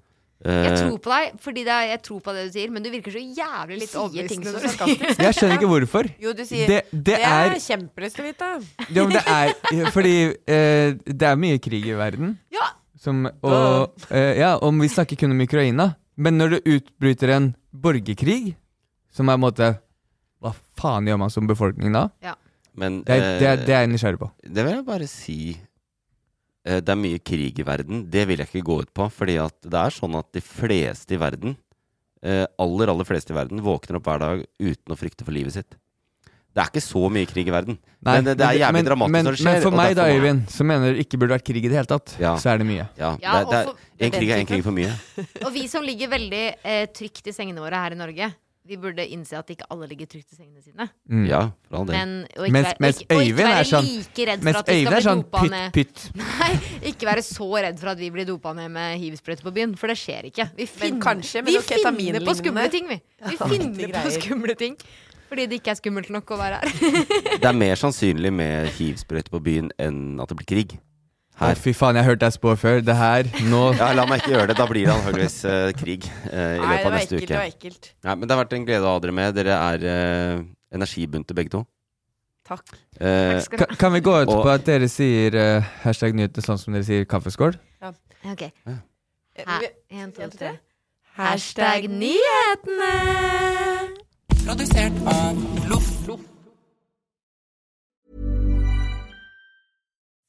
Jeg
Eh,
tror på deg, fordi det er, jeg tror på det du sier, men du virker så jævlig litt
Sier ting
overbevisende.
som
når du-
sarkastisk.
Jeg skjønner ikke hvorfor.
[laughs] Jo, du sier
Det- det er-
kjempelyst til å vite.
Jo, men det er Fordi eh, det er mye krig i verden.
[laughs] Ja.
Som, og, eh, ja, om vi snakker kun om Ukraina. Men når det utbryter en borgerkrig, som er en måte Hva faen gjør man som befolkning da?
Ja.
Men,
det, er- det, er-
eh,
det er jeg nysgjerrig på.
Det vil jeg bare si eh, Det er mye krig i verden. Det vil jeg ikke gå ut på. Fordi at det er sånn at de fleste i verden, eh, aller, aller fleste i verden, våkner opp hver dag uten å frykte for livet sitt. Det er ikke så mye krig i verden.
Nei,
men det, det er jævlig
men,
dramatisk
men,
når det skjer.
Men for
og
meg, da,
derfor-
Øyvind, som mener det ikke burde vært krig i det hele tatt,
Ja.
så er det mye.
Ja,
Ja,
det, det
og for-
er, en krig er en krig for mye.
Og vi som ligger veldig eh, trygt i sengene våre her i Norge, vi burde innse at ikke alle ligger trygt i sengene sine.
Mm.
Ja, for all del.
Men, og ikke
Mens-
være,
mens
ikke, og ikke
Øyvind
være
er sånn-
like redd
mens
for at vi
Øyvind
skal
er
bli
sånn,
dopa
pytt,
ned.
pytt.
[laughs] Nei, ikke være så redd for at vi blir dopa ned med hivsprøyte på byen, for det skjer ikke. Vi finner,
kanskje med
vi
noe
finner på
ketaminlignende.
skumle ting, vi.
[laughs]
Vi
Ja,
finner
riktige
på
greier.
skumle ting. Fordi det ikke er skummelt nok å være her.
Det er mer sannsynlig med hivsprøyte på byen enn at det blir krig.
Å, fy faen, jeg har hørt deg spå før. Det her, nå
Ja, La meg ikke gjøre det. Da blir det antakeligvis eh, krig eh, i
Nei,
løpet
det
av
var
neste
ekkelt.
uke.
Det var ekkelt.
Nei, men det har vært en glede å ha dere med. Dere er eh, energibunte begge to.
Takk.
Eh,
Takk skal
Ka- Kan vi gå ut
Og-
på at dere sier eh, hashtag nyheter sånn som dere sier kaffeskål?
Ok.
Eh, vi-
En, to, tre.
Hashtag
nyhetene!
Produsert av Loff.